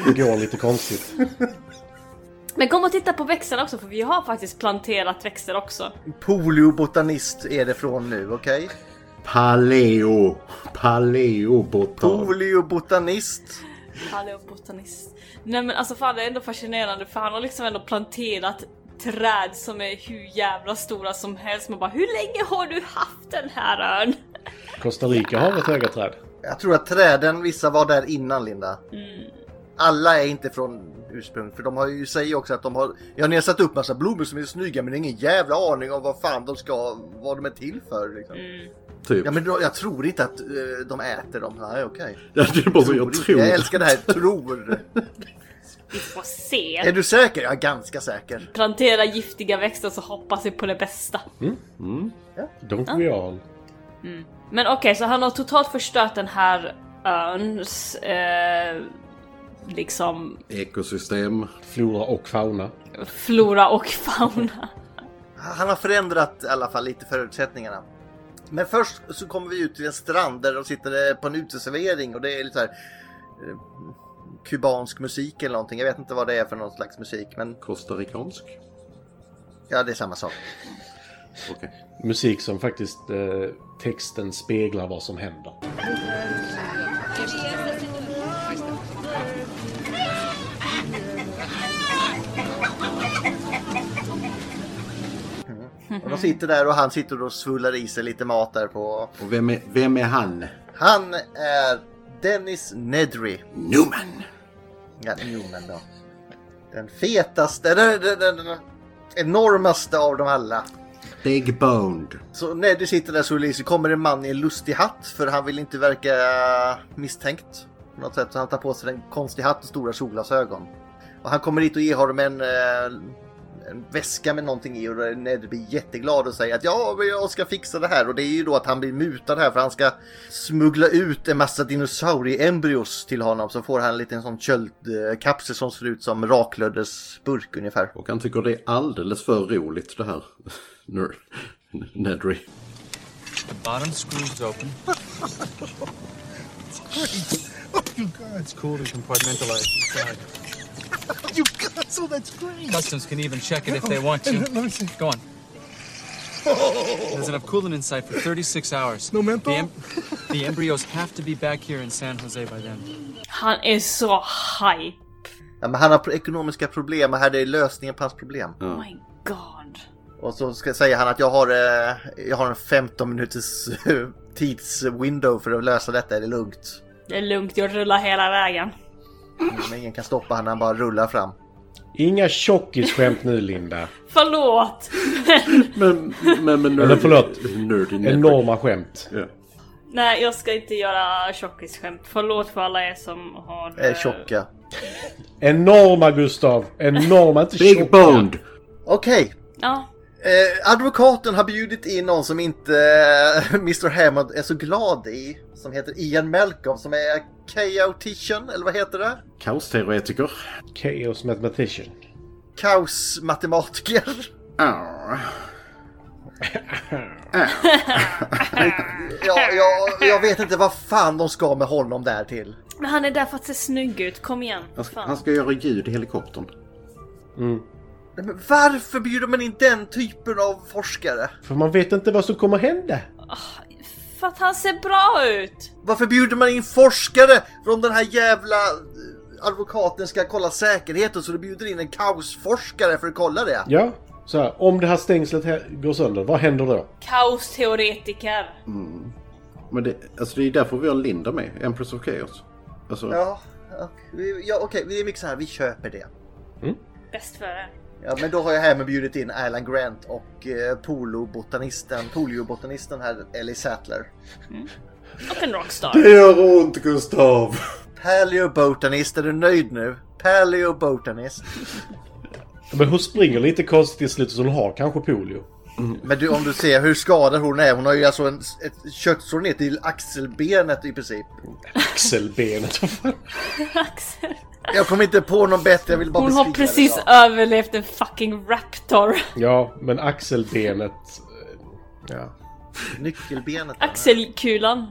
E: Det går lite konstigt.
D: Men kom och titta på växterna också för vi har faktiskt planterat växter också.
C: Poliobotanist är det från nu okej?
A: Paleo. Paleobotan.
C: Oh. Poliobotanist.
D: Han är botanist. Nej men alltså fan det är ändå fascinerande för han har liksom ändå planterat träd som är hur jävla stora som helst. Man bara hur länge har du haft den här ön?
E: Costa Rica har ett höga träd.
C: Jag tror att träden, vissa var där innan Linda.
D: Mm.
C: Alla är inte från ursprung för de har ju säger också att de har, ja ni har satt upp massa blommor som är snygga men ingen jävla aning om vad fan de ska, vad de är till för liksom.
D: Mm.
A: Typ.
C: Ja men då, jag tror inte att eh, de äter dem. Nej okej.
A: Ja, det är bara så jag
C: inte.
A: tror.
C: jag älskar det här, tror.
D: Vi får se.
C: är du säker? Jag är ganska säker.
D: Plantera giftiga växter så hoppas vi på det bästa.
E: Don't we all?
D: Men okej, så han har totalt förstört den här öns eh, liksom
A: Ekosystem.
E: Flora och fauna.
D: flora och fauna.
C: Han har förändrat i alla fall lite förutsättningarna. Men först så kommer vi ut till en strand där de sitter eh, på en uteservering och det är lite så här eh, kubansk musik eller någonting. Jag vet inte vad det är för någon slags musik, men
A: Kostarikansk?
C: ja, det är samma sak.
A: Okej.
E: Musik som faktiskt eh, texten speglar vad som händer.
C: Och de sitter där och han sitter och svullar i sig lite mat där på.
A: Och vem är, vem är han?
C: Han är Dennis Nedry.
A: Newman!
C: Ja, Newman då. Den fetaste, den, den, den, den enormaste av dem alla.
A: Big boned.
C: Så Nedry sitter där och svullar i sig. kommer en man i en lustig hatt för han vill inte verka misstänkt. På något sätt. Så han tar på sig en konstig hatt och stora solglasögon. Och han kommer dit och ger honom en, eh, en väska med någonting i och då är Nedry blir jätteglad och säger att ja, men jag ska fixa det här. Och det är ju då att han blir mutad här för han ska smuggla ut en massa dinosaurieembryos till honom. Så får han en liten sån köldkapsel som ser ut som raklöddersburk ungefär.
A: Och han tycker det är alldeles för roligt det här. Ner- Nedry.
G: The bottom screws open. it's great. Oh, you guys. cool to compartmentalize inside.
H: You cancel, that's great. Oh,
G: Customs can even check it if they want to.
H: Let me see. Oh.
G: Go on. There's enough coolant inside for 36 hours.
H: No menthol?
G: The, the embryos have to be back here in San Jose by then.
D: Han är så hype.
C: Ja, men han har pro- ekonomiska problem och här är lösningen på hans problem.
D: Oh my god.
C: Och så ska säga han att jag har, eh, jag har en 15 minuters eh, tidswindow för att lösa detta, är det lugnt?
D: Det är lugnt, jag rullar hela vägen.
C: Men ingen kan stoppa han, han bara rullar fram.
E: Inga tjockisskämt nu Linda.
D: Förlåt! Men,
A: Men, men, men
E: Eller förlåt.
A: Nerdy Nedry.
E: Enorma skämt.
A: Ja.
D: nej, jag ska inte göra tjockisskämt. Förlåt för alla er som har...
C: Är
D: eh,
C: tjocka.
E: Enorma Gustav! Enorma, inte
A: Big boned!
C: Okej,
D: Ja,
C: eh, advokaten har bjudit in någon som inte eh, Mr Hammond är så glad i. Som heter Ian Malcolm som är chaotician, eller vad heter det?
A: Kaosteoretiker.
E: Chaos Mathematician.
C: Kaosmatematiker.
A: Ah.
C: Ja, jag, jag vet inte vad fan de ska med honom där till.
D: men han är där för att se snygg ut. Kom igen.
A: Han ska,
D: Fan.
A: han ska göra ljud i helikoptern.
C: Men varför bjuder man in den typen av forskare?
E: För man vet inte vad som kommer hända.
D: För att han ser bra ut!
C: Varför bjuder man in forskare? För om den här jävla eh, advokaten ska kolla säkerheten så du bjuder in en kaosforskare för att kolla det.
E: Ja, så här, om det här stängslet här går sönder, vad händer då?
D: Kaosteoretiker.
A: Men det, alltså det är därför vi har Linda med. Empress of Chaos. Alltså,
C: Ja, ja, vi- ja okej, det är mycket så här, vi köper det.
D: Bäst före.
C: Ja, men då har jag härmed bjudit in Alan Grant och eh, polobotanisten, poliobotanisten här, Ellie Sattler.
D: Och en rockstar.
A: Det gör ont Gustav!
C: Paleobotanist, är du nöjd nu? Paleobotanist.
E: Men hon springer lite konstigt till slut så hon har kanske polio.
C: Men du, om du ser hur skadad hon är, hon har ju alltså en, ett köttsår ner till axelbenet i princip.
E: Axelbenet, vad fan.
D: Axel.
C: Jag kom inte på någon bättre, jag liksom. vill bara
D: Hon har
C: beskriva det
D: precis
C: bra.
D: överlevt en fucking raptor.
E: Ja, men axelbenet... eh, Ja.
C: Nyckelbenet. där.
D: Axelkulan.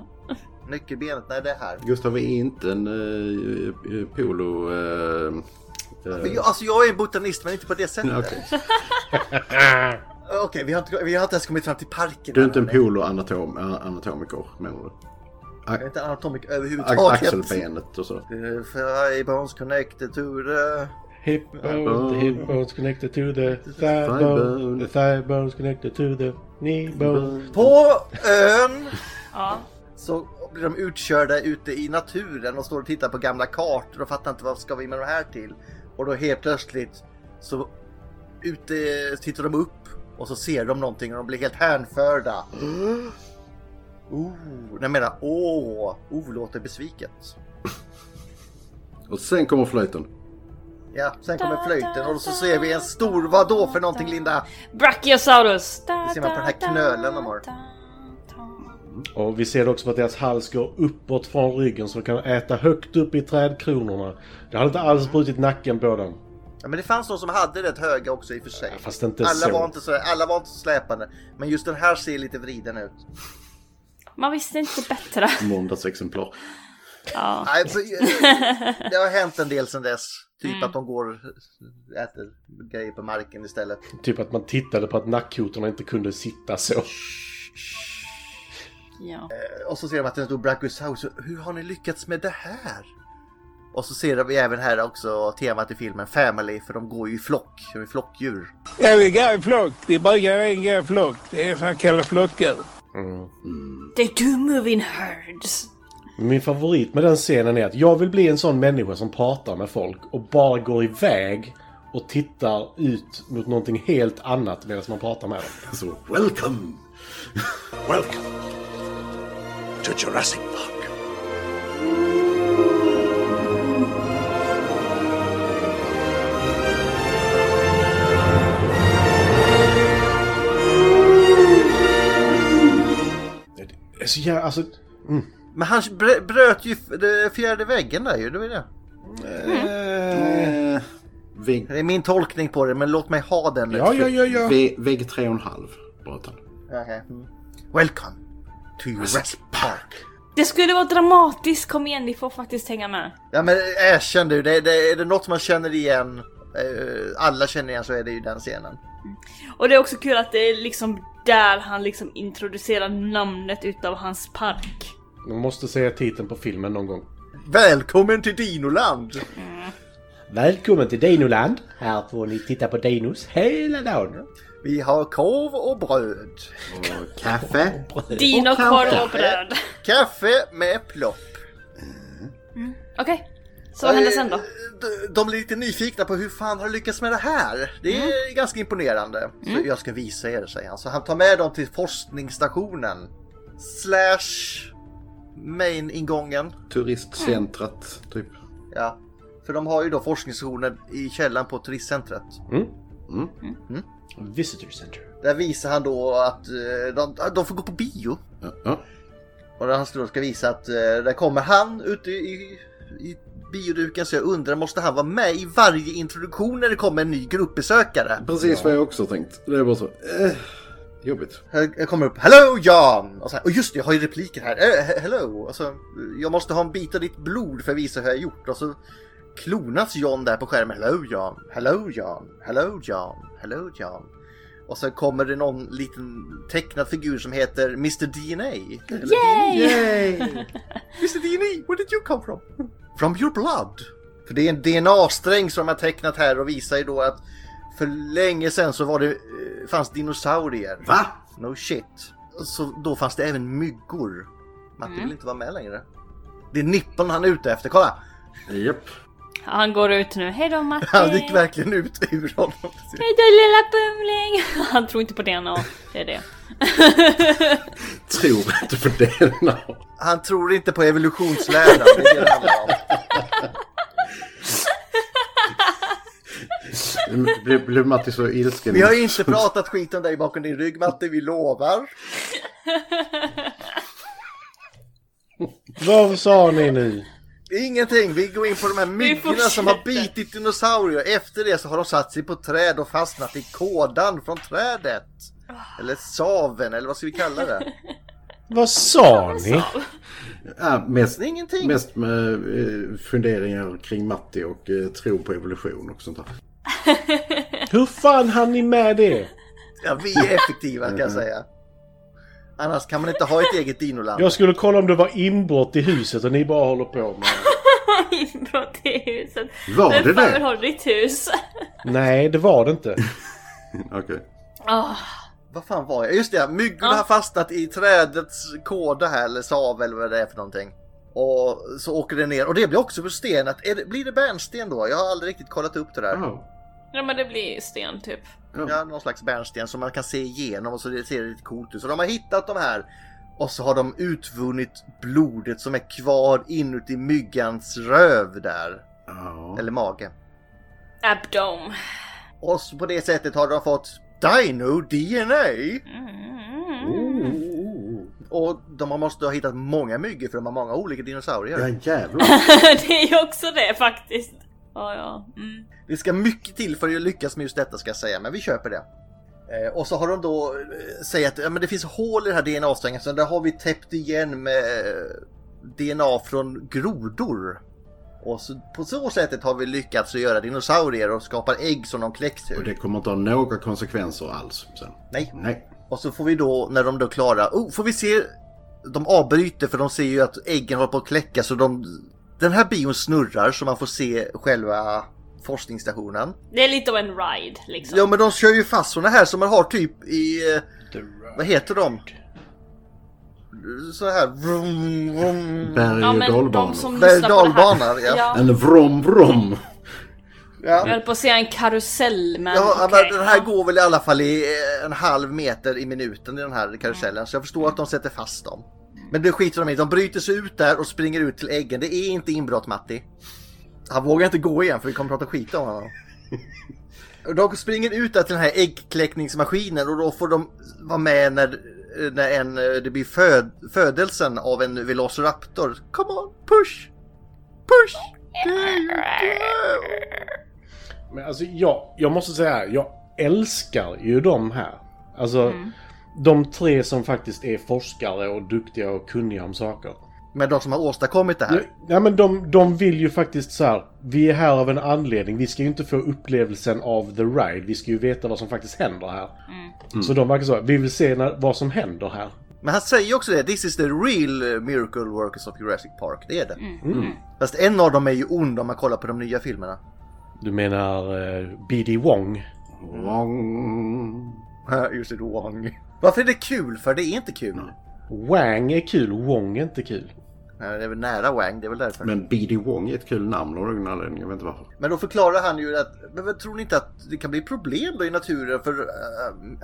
C: Nyckelbenet, nej det är här.
A: Gustav är inte en uh, polo... eh, eh,
C: Men jag, alltså jag är en botanist men inte på det sättet.
A: nej,
C: Okej,
A: okej.
C: vi, har inte, vi har inte ens kommit fram till parken.
A: Du är inte en
C: än.
A: polo-anatomiker menar du?
C: Jag är inte anatomik
A: A-
C: överhuvudtaget.
A: axelbenet och så.
C: Uh, Frybones connected to the...
E: Hip bone, the hip bones connected to the thigh bone. The thigh bones connected to the knee bone.
C: På ön
D: Ja.
C: så blir de utkörda ute i naturen och står och tittar på gamla kartor och fattar inte vad ska vi med de här till. Och då helt plötsligt så ute tittar de upp och så ser de någonting och de blir helt hänförda. Oh, jag menar åh, oh, låter besviket.
A: Och sen kommer flöjten.
C: Ja, sen kommer flöjten och så ser vi en stor, vad då för någonting Linda?
D: Brachiosaurus!
C: Det ser man på den här knölen de har.
E: Och vi ser också på att deras hals går uppåt från ryggen så de kan äta högt upp i trädkronorna. Det hade inte alls brutit nacken på dem.
C: Ja, men det fanns de som hade rätt höga också i och för sig.
E: Fast inte
C: Alla
E: så.
C: var inte, så, alla var inte så släpande. Men just den här ser lite vriden ut.
D: Man visste inte bättre.
A: Måndagsexemplar.
D: Ja.
C: Nej, för, det har hänt en del sedan dess. Typ att de går och äter grejer på marken istället.
E: Typ att man tittade på att nackkotorna inte kunde sitta så.
D: ja.
C: Och så ser de att det står Brachiosaurus. Hur har ni lyckats med det här? Och så ser vi även här också temat i filmen Family, för de går ju i flock. De är flockdjur.
I: Ja, vi går i flock. Det brukar vara en gå i flock. Det är fan kalla flockar.
D: They do move in herds.
E: Min favorit med den scenen är att jag vill bli en sån människa som pratar med folk och bara går iväg och tittar ut mot någonting helt annat medan man pratar med dem.
A: Så, welcome!
H: Welcome to Jurassic Park.
E: Det är Så jag, alltså,
C: Men han br- bröt ju f- det fjärde väggen där ju, det var ju det.
A: Eh, vägg,
C: Det är min tolkning på det, men låt mig ha den.
E: ja, ja, ja, ja.
A: vägg, vägg tre och en halv bröt han.
C: Okej. Mm. Welcome to Jurassic Park.
D: Det skulle vara dramatiskt, kom igen ni får faktiskt hänga med.
C: Ja men erkänn du, det, det, är det något man känner igen, eh, alla känner igen så är det ju den scenen.
D: Och det är också kul att det är liksom där han liksom introducerar namnet utav hans park.
E: Man måste säga titeln på filmen någon gång.
C: Välkommen till Dinoland!
E: Välkommen till Dinoland! Här får ni titta på dinos hela dagen.
C: Vi har korv och bröd.
A: Och kaffe.
D: Dino, korv och bröd.
C: Kaffe med plopp.
D: Okej, så vad händer sen då?
C: Eh, de- De blir lite nyfikna på hur fan har du lyckats med det här? Det är
D: Mm.
C: ganska imponerande. Så jag ska visa er, säger han. Så han tar med dem till forskningsstationen. Slash main-ingången.
A: Turistcentrat, typ.
C: Ja. För de har ju då forskningsstationen i källaren på turistcentret.
E: Visitor Center.
C: Där visar han då att eh, de, de får gå på bio.
A: Ja, ja.
C: Och där han då ska visa att eh, där kommer han ute i, i bioduken så jag undrar måste han vara med i varje introduktion när det kommer en ny gruppbesökare?
A: Precis vad jag också tänkt. Det är bara så. Eh, jobbigt.
C: Här här kommer upp Hello Jan! Och, så här, och just det, jag har ju repliken här. Eh, he- hello! Och så, jag måste ha en bit av ditt blod för att visa hur jag har gjort. Och så klonas John där på skärmen. Hello Jan! Hello Jan! Hello Jan! Hello Jan! Och sen kommer det någon liten tecknad figur som heter Mr DNA.
D: Yay!
C: Mr DNA, where did you come from? From your blood. För det är en DNA-sträng som de har tecknat här och visar ju då att för länge sedan så var det, eh, fanns dinosaurier.
A: Va?
C: No shit. Så då fanns det även myggor. Matti vill inte vara med längre. Det är nippeln han är ute efter, kolla!
A: Japp.
D: Han går ut nu, hejdå Matti!
C: Han gick verkligen ut ur honom.
D: Hejdå lilla Bumling! Han tror inte på DNA, det är det.
A: Tror inte på DNA.
C: Han tror inte på evolutionsläran, det är det det handlar om.
A: Nu Blev, blev Matti så ilsken?
C: Vi har ju inte pratat skit om dig bakom din rygg Matti, vi lovar.
E: Vad sa ni nu?
C: Ingenting, vi går in på de här myggorna som har
D: fortsätter.
C: bitit dinosaurier. Efter det så har de satt sig på träd och fastnat i kådan från trädet. Eller saven, eller vad ska vi kalla det?
E: Vad sa ni?
A: Ja, mest,
C: Ingenting.
A: mest med eh, funderingar kring Matti och eh, tro på evolution och sånt där.
E: Hur fan hann ni med det?
C: Ja, vi är effektiva kan jag säga. Annars kan man inte ha ett eget dinoland.
E: Jag skulle kolla om det var inbrott i huset och ni bara håller på med...
D: Inbrott i huset.
A: Var
D: Vem
A: det
D: fan
A: det?
D: vill ha ditt hus?
E: Nej, det var det inte.
A: Okej.
D: Ah,
C: Vad fan var jag? Just det, myggorna
D: Ja.
C: har fastnat i trädets kåda här, eller sav eller vad det är för någonting. Och så åker det ner, och det blir också förstenat. Är det, blir det bärnsten då? Jag har aldrig riktigt kollat upp det där.
A: Ja.
D: ja men det blir sten typ.
C: Ja, någon slags bärnsten som man kan se igenom och så det ser lite coolt ut. Så de har hittat de här och så har de utvunnit blodet som är kvar inuti myggans röv där.
A: Ja.
C: Eller mage.
D: Abdom.
C: Och så på det sättet har de fått Dino DNA!
D: Mm.
C: Och de måste ha hittat många myggor för de har många olika dinosaurier.
A: Ja jävlar.
D: det är ju också det faktiskt. Ja, ja. Mm.
C: Det ska mycket till för att lyckas med just detta ska jag säga, men vi köper det. Eh, och så har de då eh, säger att ja, men det finns hål i den här DNA-strängen så där har vi täppt igen med eh, DNA från grodor. Och så, på så sättet har vi lyckats att göra dinosaurier och skapar ägg som de kläcks ur.
A: Och det kommer inte ha några konsekvenser alls sen.
C: Nej.
A: Nej.
C: Och så får vi då, när de då klarar, oh, får vi se, de avbryter för de ser ju att äggen håller på att kläcka så de, den här bion snurrar så man får se själva forskningsstationen.
D: Det är lite av en ride liksom.
C: Ja men de kör ju fast såna här som man har typ i, eh, vad heter de? Så här, vroom, vroom.
A: Berg
D: Ja,
A: och
D: men
A: dalbanor. Mm.
D: de som
C: Berg-
D: lyssnar på det här.
C: dalbanan, ja.
D: ja.
A: En vrom vrom.
D: Jag höll på att säga en karusell men
C: Ja,
D: okej.
C: men den här går väl i alla fall i eh, en halv meter i minuten i den här karusellen så jag förstår att de sätter fast dem. Men det skiter de i. De bryter sig ut där och springer ut till äggen. Det är inte inbrott Matti. Han vågar inte gå igen för vi kommer prata skit om honom. Och De springer ut där till den här äggkläckningsmaskinen och då får de vara med när, när en, eh, det blir föd, födelsen av en Velociraptor. Come on, push! Push!
E: Men alltså, jag, jag måste säga, jag älskar ju de här. Alltså, de tre som faktiskt är forskare och duktiga och kunniga om saker.
C: Men de som har åstadkommit det här.
E: Nej, nej men de, de vill ju faktiskt så här. vi är här av en anledning. Vi ska ju inte få upplevelsen av the ride. Vi ska ju veta vad som faktiskt händer här. Så de verkar så, här, vi vill se när, vad som händer här.
C: Men han säger ju också det, this is the real miracle workers of Jurassic Park. Det är det. Fast en av dem är ju ond om man kollar på de nya filmerna.
E: Du menar eh, BD Wong?
A: Vrom.
C: Just it wrong. Varför är det kul? För det är inte kul.
E: Wang är kul, Wong är inte kul.
C: Nej, Det är väl nära Wang, det är väl därför. Men,
A: Men BD Wong är ett kul namn av någon anledning. Jag vet inte varför.
C: då förklarar han ju att, men, men tror ni inte att det kan bli problem då i naturen? För eh,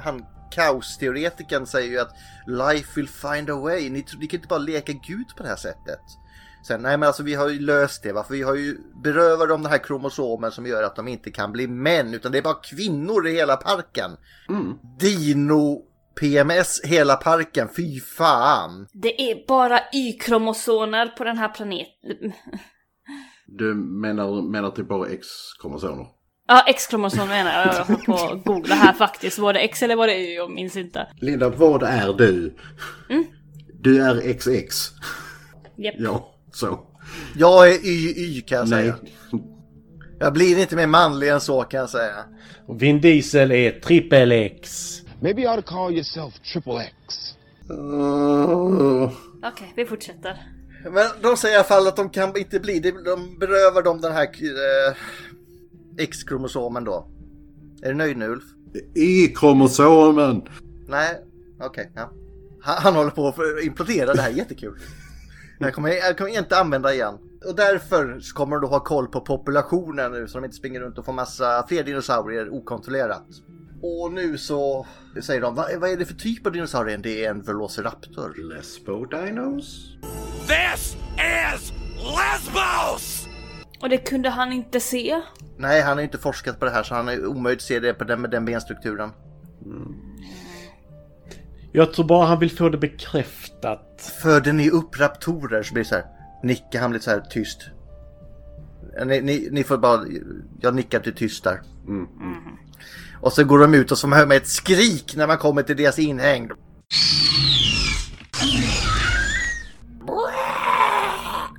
C: han kaosteoretikern säger ju att life will find a way. Ni, tr- ni kan inte bara leka Gud på det här sättet. Sen, nej men alltså vi har ju löst det va, för vi har ju berövat dem den här kromosomen som gör att de inte kan bli män utan det är bara kvinnor i hela parken. Dino PMS hela parken, fy fan!
D: Det är bara Y-kromosoner på den här planeten.
A: Du menar, menar typ bara X-kromosomer?
D: Ja, X-kromosom menar jag. Jag håller på att googla här faktiskt. Var det X eller var det Y? Jag minns inte.
A: Linda, vad är du? Du är XX.
D: Japp.
A: Ja, så.
C: Jag är YY kan jag
A: Nej.
C: säga. Jag blir inte mer manlig än så kan jag säga.
E: Och Vin Diesel är trippel X.
H: Maybe you ought to call yourself Triple X.
A: Uh,
D: Okej, vi fortsätter.
C: Men de säger i alla fall att de kan inte bli det. De berövar dem den här eh, X-kromosomen då. Är du nöjd nu Ulf?
A: Y-kromosomen!
C: Nej, okej. ja. han, han håller på att implodera, det här är jättekul. Det här kommer jag jag kommer inte använda igen. Och därför så kommer de då ha koll på populationen nu så de inte springer runt och får massa fler dinosaurier okontrollerat. Och nu så säger de, vad, vad är det för typ av dinosaurien? Det är en Velociraptor.
A: Lesbo Dinos?
H: This is Lesbos!
D: Och det kunde han inte se.
C: Nej, han har ju inte forskat på det här så han är omöjligt att se det på den, med den benstrukturen.
E: Jag tror bara han vill få det bekräftat.
C: föder ni upp raptorer? Så blir det så här. Nicke han blir så här tyst. Ni, ni, ni får bara, jag nickar till tyst där. mm. Mm-hmm. Och så går de ut och så hör man ett skrik när man kommer till deras inhägn.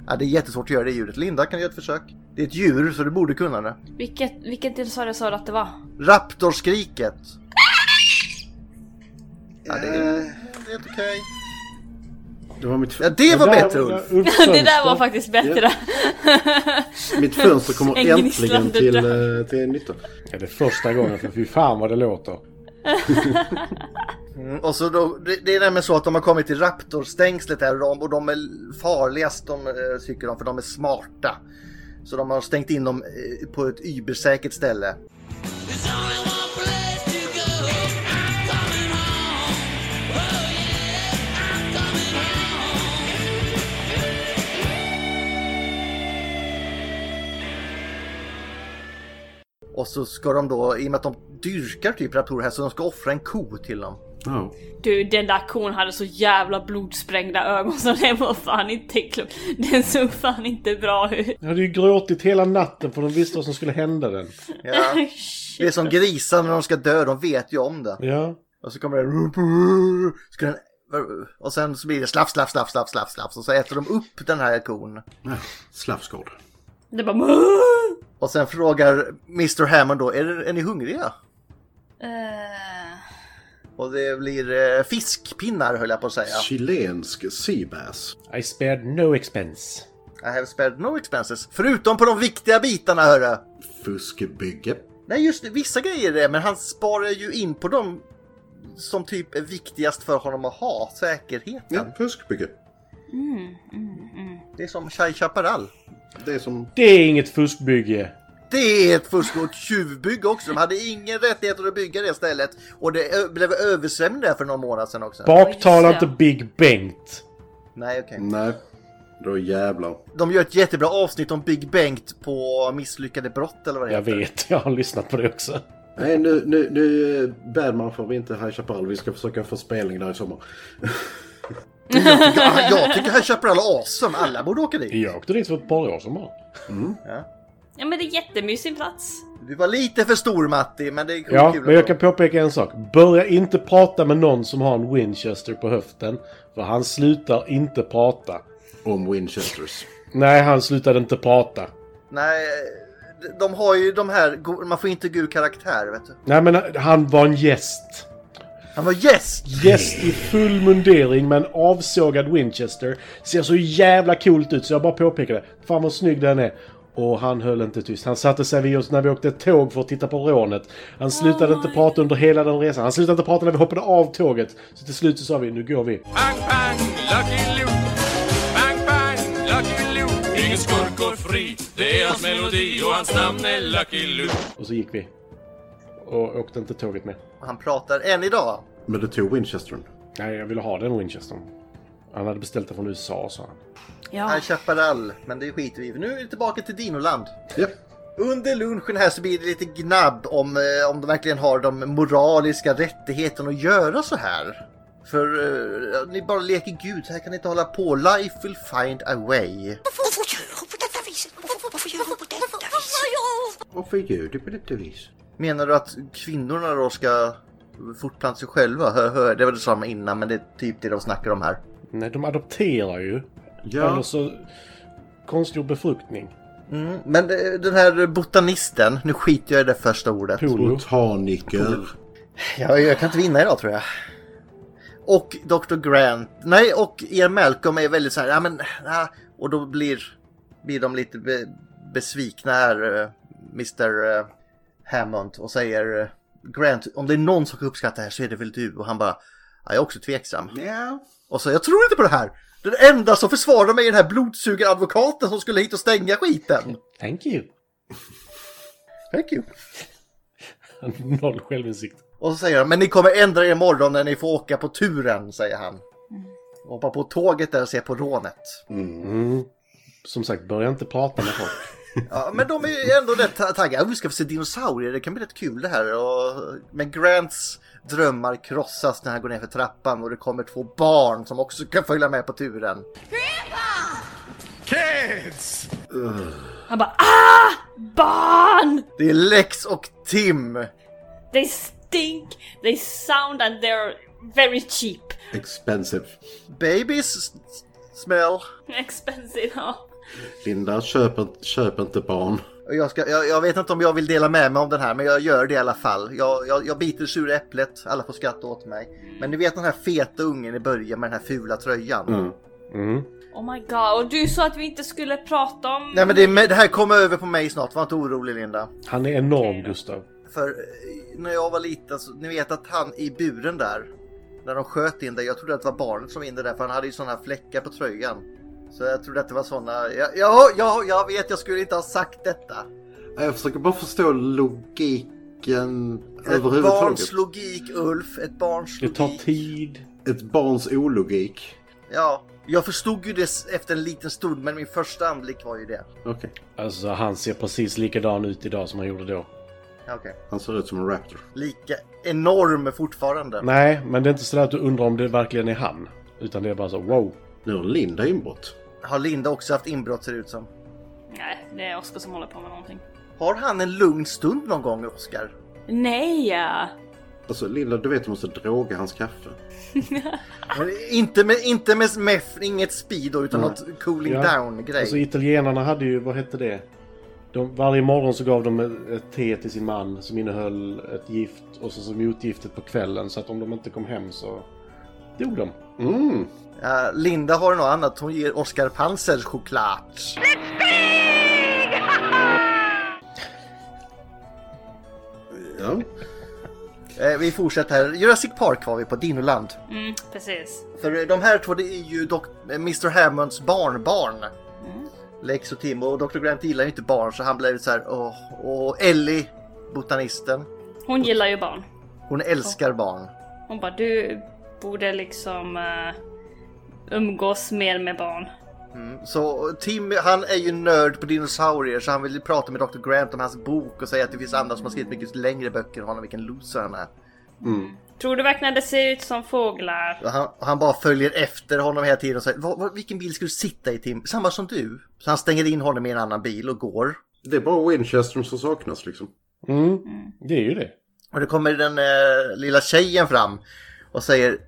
C: Ja, det är jättesvårt att göra det ljudet. Linda kan du göra ett försök. Det är ett djur så du borde kunna det.
D: Vilket, vilket dinosaurie sa du att det var?
C: Raptorskriket. Ja, det är, Eh, det är inte okej.
A: Det var mitt,
C: Ja, det var bättre Ulf.
D: Det där var faktiskt bättre.
A: mitt fönster kommer
D: En gnisslande
A: äntligen till,
D: dörr.
A: eh, till nytta.
E: Ja, det är första gången, för fy fan vad det låter.
C: Mm, Och så då, det, det är nämligen så att de har kommit till raptorstängslet här och de, och de är farligast de, eh, tycker de för de är smarta. Så de har stängt in dem eh, på ett übersäkert ställe. Och så ska de då, i och med att de dyrkar typ raptorer här, så de ska offra en ko till dem.
A: Ja.
D: Du, den där kon hade så jävla blodsprängda ögon så det var fan inte klokt. Den såg fan inte bra ut.
E: Jag hade ju gråtit hela natten för de visste vad som skulle hända den.
C: Ja. Det är som grisar när de ska dö, de vet ju om det.
E: Ja.
C: Och så kommer det... Ska den Och sen så blir det slaff, slaff, slaff, slaff, slaff, slaff. Och så äter de upp den här kon.
A: Nej, Slafsgård.
D: Det bara...
C: Och sen frågar Mr Hammond då, är, är ni hungriga?
D: Eh,
C: Och det blir eh, fiskpinnar höll jag på att säga.
A: Chilensk seabass.
E: I spared no expense.
C: I have spared no expenses. Förutom på de viktiga bitarna hörru.
A: Fuskbygge.
C: Nej just det, vissa grejer är det, men han sparar ju in på dem som typ är viktigast för honom att ha. Säkerheten.
A: Ja, fuskbygge.
C: Det är som Chai Chaparral.
A: Det är som...
E: Det är inget fuskbygge.
C: Det är ett fusk och ett tjuvbygge också. De hade ingen rättigheter att bygga det stället. Och det ö- blev översvämning där för några månader sedan också.
E: Baktala
D: Ja, just
E: inte
D: det.
E: Big Bengt.
C: Nej, okej.
A: Nej. Då jävlar.
C: De gör ett jättebra avsnitt om Big Bengt på misslyckade brott eller vad det
E: Jag vet, jag har lyssnat på det också.
A: Nej, nu, nu, nu eh, Badman får vi inte High Chaparral. Vi ska försöka få spelning där i sommar.
C: Ja, jag tycker High Chaparral är awesome. Alla borde åka dit.
E: Jag åkte dit för ett par år sedan bara.
D: ja men det är jättemysig plats.
C: Du var lite för stor Matti, men det är
E: Ja,
C: kul
E: men jag
C: ändå.
E: kan påpeka en sak. Börja inte prata med någon som har en Winchester på höften. För han slutar inte prata.
A: Om Winchesters.
E: Nej, han slutade inte prata.
C: Nej, de har ju de här... go- Man får inte gå ur karaktär, vet du.
E: Nej, men han var en gäst.
C: Han var gäst!
E: Gäst i full mundering med en avsågad Winchester. Ser så jävla coolt ut så jag bara påpekade. Fan vad snygg den är. Och han höll inte tyst. Han satte sig vid oss när vi åkte tåg för att titta på rånet. Han slutade inte prata under hela den resan. Han slutade inte prata när vi hoppade av tåget. Så till slut så sa vi, nu går vi.
H: Bang, bang, Lucky Luke. Bang, bang, Lucky Luke. Ingen skurk går fri. Det är hans melodi och hans namn är Lucky Luke.
E: Och så gick vi. Och åkte inte tåget med.
C: Han pratar än idag.
A: Men du tog Winchestern.
E: Nej, jag ville ha den Winchestern. Han hade beställt den från USA, sa han.
D: Ja.
C: High Chaparral, men det skiter vi i. för Nu är vi tillbaka till Dinoland.
A: Ja.
C: Under lunchen här så blir det lite gnabb om, eh, om de verkligen har de moraliska rättigheterna att göra så här. För eh, ni bara leker gud, så här kan ni inte hålla på. Life will find a way.
J: Varför gör hon på detta viset? Varför gör hon på detta viset?
A: Varför gör du på detta vis?
C: Menar du att kvinnorna då ska fortplanta sig själva? Hör, hör, det var det samma innan, men det är typ det de snackar om här.
E: Nej, de adopterar ju. Eller
A: Ja.
E: så... Konstgjord befruktning.
C: Mm, men eh, den här botanisten, nu skiter jag i det första ordet.
E: Polio.
A: Botaniker.
C: Ja, jag kan inte vinna idag tror jag. Och Dr. Grant, nej och er Malcolm är väldigt så här, ja men, ja, och då blir, blir de lite be, besvikna här, eh, Mr eh, Hammond, och säger eh, Grant, om det är någon som kan uppskatta det här så är det väl du? Och han bara, ja, jag är också tveksam.
A: Ja.
C: Och så, jag tror inte på det här! Den enda som försvarar mig är den här blodsugaradvokaten som skulle hit och stänga skiten!
E: Thank you.
C: Thank you.
E: Noll självinsikt.
C: Och så säger han, men ni kommer ändra er imorgon när ni får åka på turen, säger han. Hoppa på tåget där och se på rånet.
E: Som sagt, börja inte prata med folk.
C: Ja, men de är ju ändå rätt ta- taggade. "Oh, Vi ska få se dinosaurier, det kan bli rätt kul det här. Och... Men Grants drömmar krossas när han går ner för trappan och det kommer två barn som också kan följa med på turen.
D: Han bara ah! Barn!
C: Det är Lex och Tim.
D: They stink, they sound and they're very cheap.
A: Expensive.
C: Babies s- smell.
D: Expensive, ja.
A: Linda, köp, en- köp inte barn.
C: Och Jag, ska, jag, jag vet inte om jag vill dela med mig om den här, men jag gör det i alla fall. Jag, jag, jag biter det sura äpplet, alla får skratta åt mig. Men ni vet den här feta ungen i början med den här fula tröjan.
E: Mm.
D: Oh my god, och du sa att vi inte skulle prata om...
C: Nej men det, är med- det här kommer över på mig snart, var inte orolig Linda.
E: Han är enorm, Gustav.
C: För eh, när jag var liten, så, ni vet att han i buren där, när de sköt in det, jag trodde att det var barnet som var inne där för han hade ju sådana här fläckar på tröjan. Så jag trodde att det var sådana, ja, ja, ja, jag vet jag skulle inte ha sagt detta.
A: Jag försöker bara förstå logiken
C: Ett
A: överhuvudtaget.
C: barns logik Ulf, ett barns
E: Det
C: logik.
E: tar tid.
A: Ett barns ologik.
C: Ja, jag förstod ju det s- efter en liten stund, men min första anblick var ju det.
A: Okej.
E: Alltså, han ser precis likadan ut idag som han gjorde då.
C: Okej.
A: Han ser ut som en raptor.
C: Lika enorm fortfarande.
E: Nej, men det är inte sådär att du undrar om det verkligen är han. Utan det är bara så wow.
A: Nu har Linda inbrott.
C: Har Linda också haft inbrott ser det ut som.
D: Nej, det är Oskar som håller på med någonting.
C: Har han en lugn stund någon gång, Oskar?
D: Nej! ja.
A: Alltså Linda, du vet du måste droga hans kaffe.
C: Men Inte med, inte med meth, inget speed då, utan
E: Nej.
C: något cooling
E: Ja.
C: down-grej.
E: Alltså italienarna hade ju, vad hette det? De, varje morgon så gav de ett- ett te till sin man som innehöll ett gift och så, så motgiftet på kvällen så att om de inte kom hem så dog de. Mm.
C: Ja, Linda har något annat. Hon ger Oscar Panzer choklad.
A: Ja.
C: Eh, vi fortsätter här. Jurassic Park var vi på, Dinoland.
D: Mm, precis.
C: För eh, de här två det är ju dok- eh, Mr Hammonds barnbarn. Lex och Tim och Dr Grant gillar ju inte barn så han blev så här åh. Och Ellie, botanisten,
D: Hon gillar ju barn.
C: hon älskar barn.
D: Hon bara, du borde liksom eh, umgås mer med barn.
C: Mm. Så Tim han är ju nörd på dinosaurier så han vill ju prata med Dr Grant om hans bok och säga att det finns andra som har skrivit mycket längre böcker än honom, vilken loser han är.
D: Tror du verkligen det ser ut som fåglar?
C: Och Han, han bara följer efter honom hela tiden och säger "Vad- vad- vilken bil ska du sitta i Tim? Samma som du. Så han stänger in honom i en annan bil och går.
A: Det är bara Winchester som saknas liksom.
E: Mm. Det är ju det.
C: Och då kommer den eh, lilla tjejen fram och säger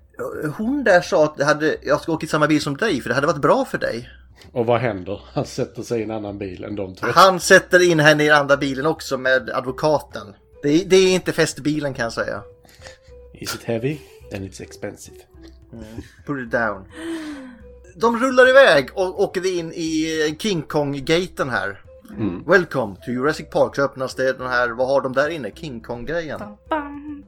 C: Hon där sa att det hade, jag ska åka i samma bil som dig för det hade varit bra för dig.
E: Och vad händer? Han sätter sig i en annan bil än de två.
C: Han sätter in henne i den andra bilen också med advokaten. Det, är- det är inte festbilen kan jag säga.
E: Is it heavy? Then it's expensive.
C: Put it down. De rullar iväg och åker in i King Kong-gaten här. Welcome to Jurassic Park så öppnas det den här, vad har de där inne? King Kong-grejen.
D: Bam,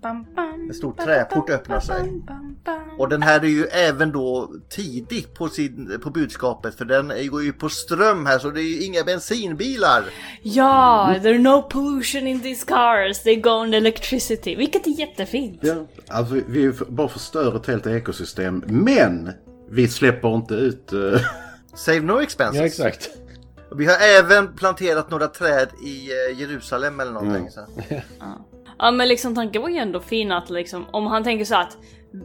D: bam, bam,
C: En stor
D: bam,
C: träport
D: bam,
C: öppnar sig.
D: bam, bam, bam.
C: Och den här är ju även då tidigt på, sin, på budskapet för den är- går ju på ström här så det är ju inga bensinbilar.
D: Ja, there are no pollution in these cars, they go on electricity. Vilket är jättefint.
A: Ja. Alltså, vi- vi bara förstör ett helt ekosystem. Men vi släpper inte ut... eh,
C: Save no expenses.
E: Ja, exakt.
C: Och Vi har även planterat några träd i eh, Jerusalem eller
E: Mm.
C: någonting. Så.
D: Ja men liksom tanken var ju ändå fin att liksom, om han tänker så att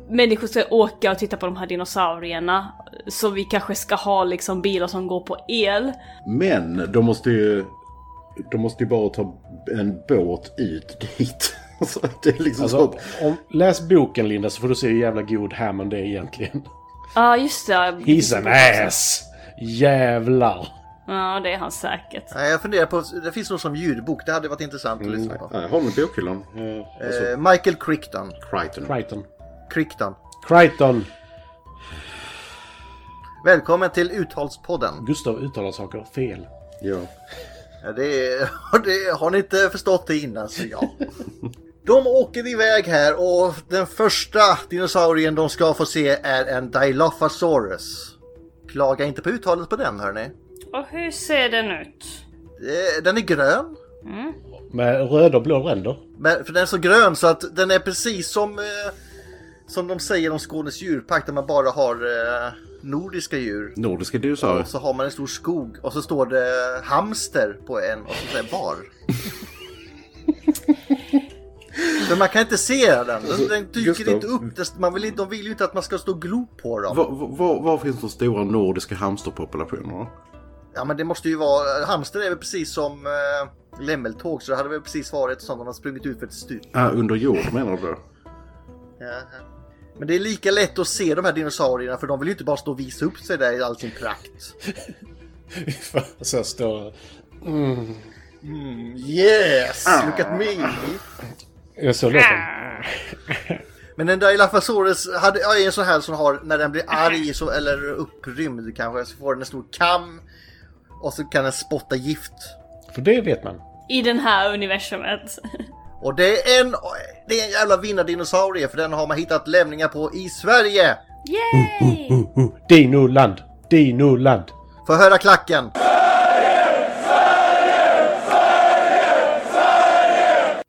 D: människor ska åka och titta på de här dinosaurierna så vi kanske ska ha liksom bilar som går på el.
A: Men de måste ju... De måste ju bara ta en båt ut dit. Så att det är liksom så
E: Alltså,
A: att...
E: om, läs boken Linda så får du se hur jävla god Hammond är egentligen.
D: Ja just det.
E: He's an ass! Jävlar!
D: Ja det är han säkert.
C: Nej, jag funderar på, det finns något som ljudbok, det hade varit intressant
E: Mm,
C: att lyssna på.
A: Ja, jag har den i bokhyllan. Eh, Alltså,
C: Eh, Michael Crichton.
A: Crichton.
E: Crichton.
C: Crichton.
E: Crichton!
C: Välkommen till Uttalspodden.
E: Gustav uttalar saker fel.
A: Ja.
C: Ja, Det, är, det har ni inte förstått det innan så ja. De åker iväg här och den första dinosaurien de ska få se är en Dilophosaurus. Klaga inte på uttalet på den hörni.
D: Och hur ser den ut?
C: Eh, Den är grön.
E: Med röda och blå ränder.
C: Men, för den är så grön så att den är precis som eh, som de säger om Skånes djurpark där man bara har eh, nordiska djur.
A: Nordiska dinosaurier.
C: Och så har man en stor skog och så står det hamster på en och så säger bar. Men man kan inte se den. Den, den dyker
A: Gustav.
C: inte upp. Det- Man vill, inte- de vill ju inte att man ska stå och glo på dem.
A: Var, var, var finns de stora nordiska hamsterpopulationerna?
C: Ja men det måste ju vara... Hamster är väl precis som eh, lämmeltåg så det hade väl precis varit som om man sprungit ut för ett stup.
A: Ah, under jord menar du då?
C: Ja. Men det är lika lätt att se de här dinosaurierna för de vill ju inte bara stå och visa upp sig där i all sin prakt.
E: så står
C: Yes! Look at me!
E: Jag såg låten.
C: Men en Dilophosaurus hade, ja, är en sån här som har, när den blir arg så, eller upprymd kanske, så får den en stor kam. Och så kan den spotta gift.
E: För det vet man.
D: I den här universumet.
C: Och det är en, det är en jävla vinnardinosaurie för den har man hittat lämningar på i Sverige! Mm,
D: Yay!
E: Dinoland! Dinoland!
C: Få höra klacken!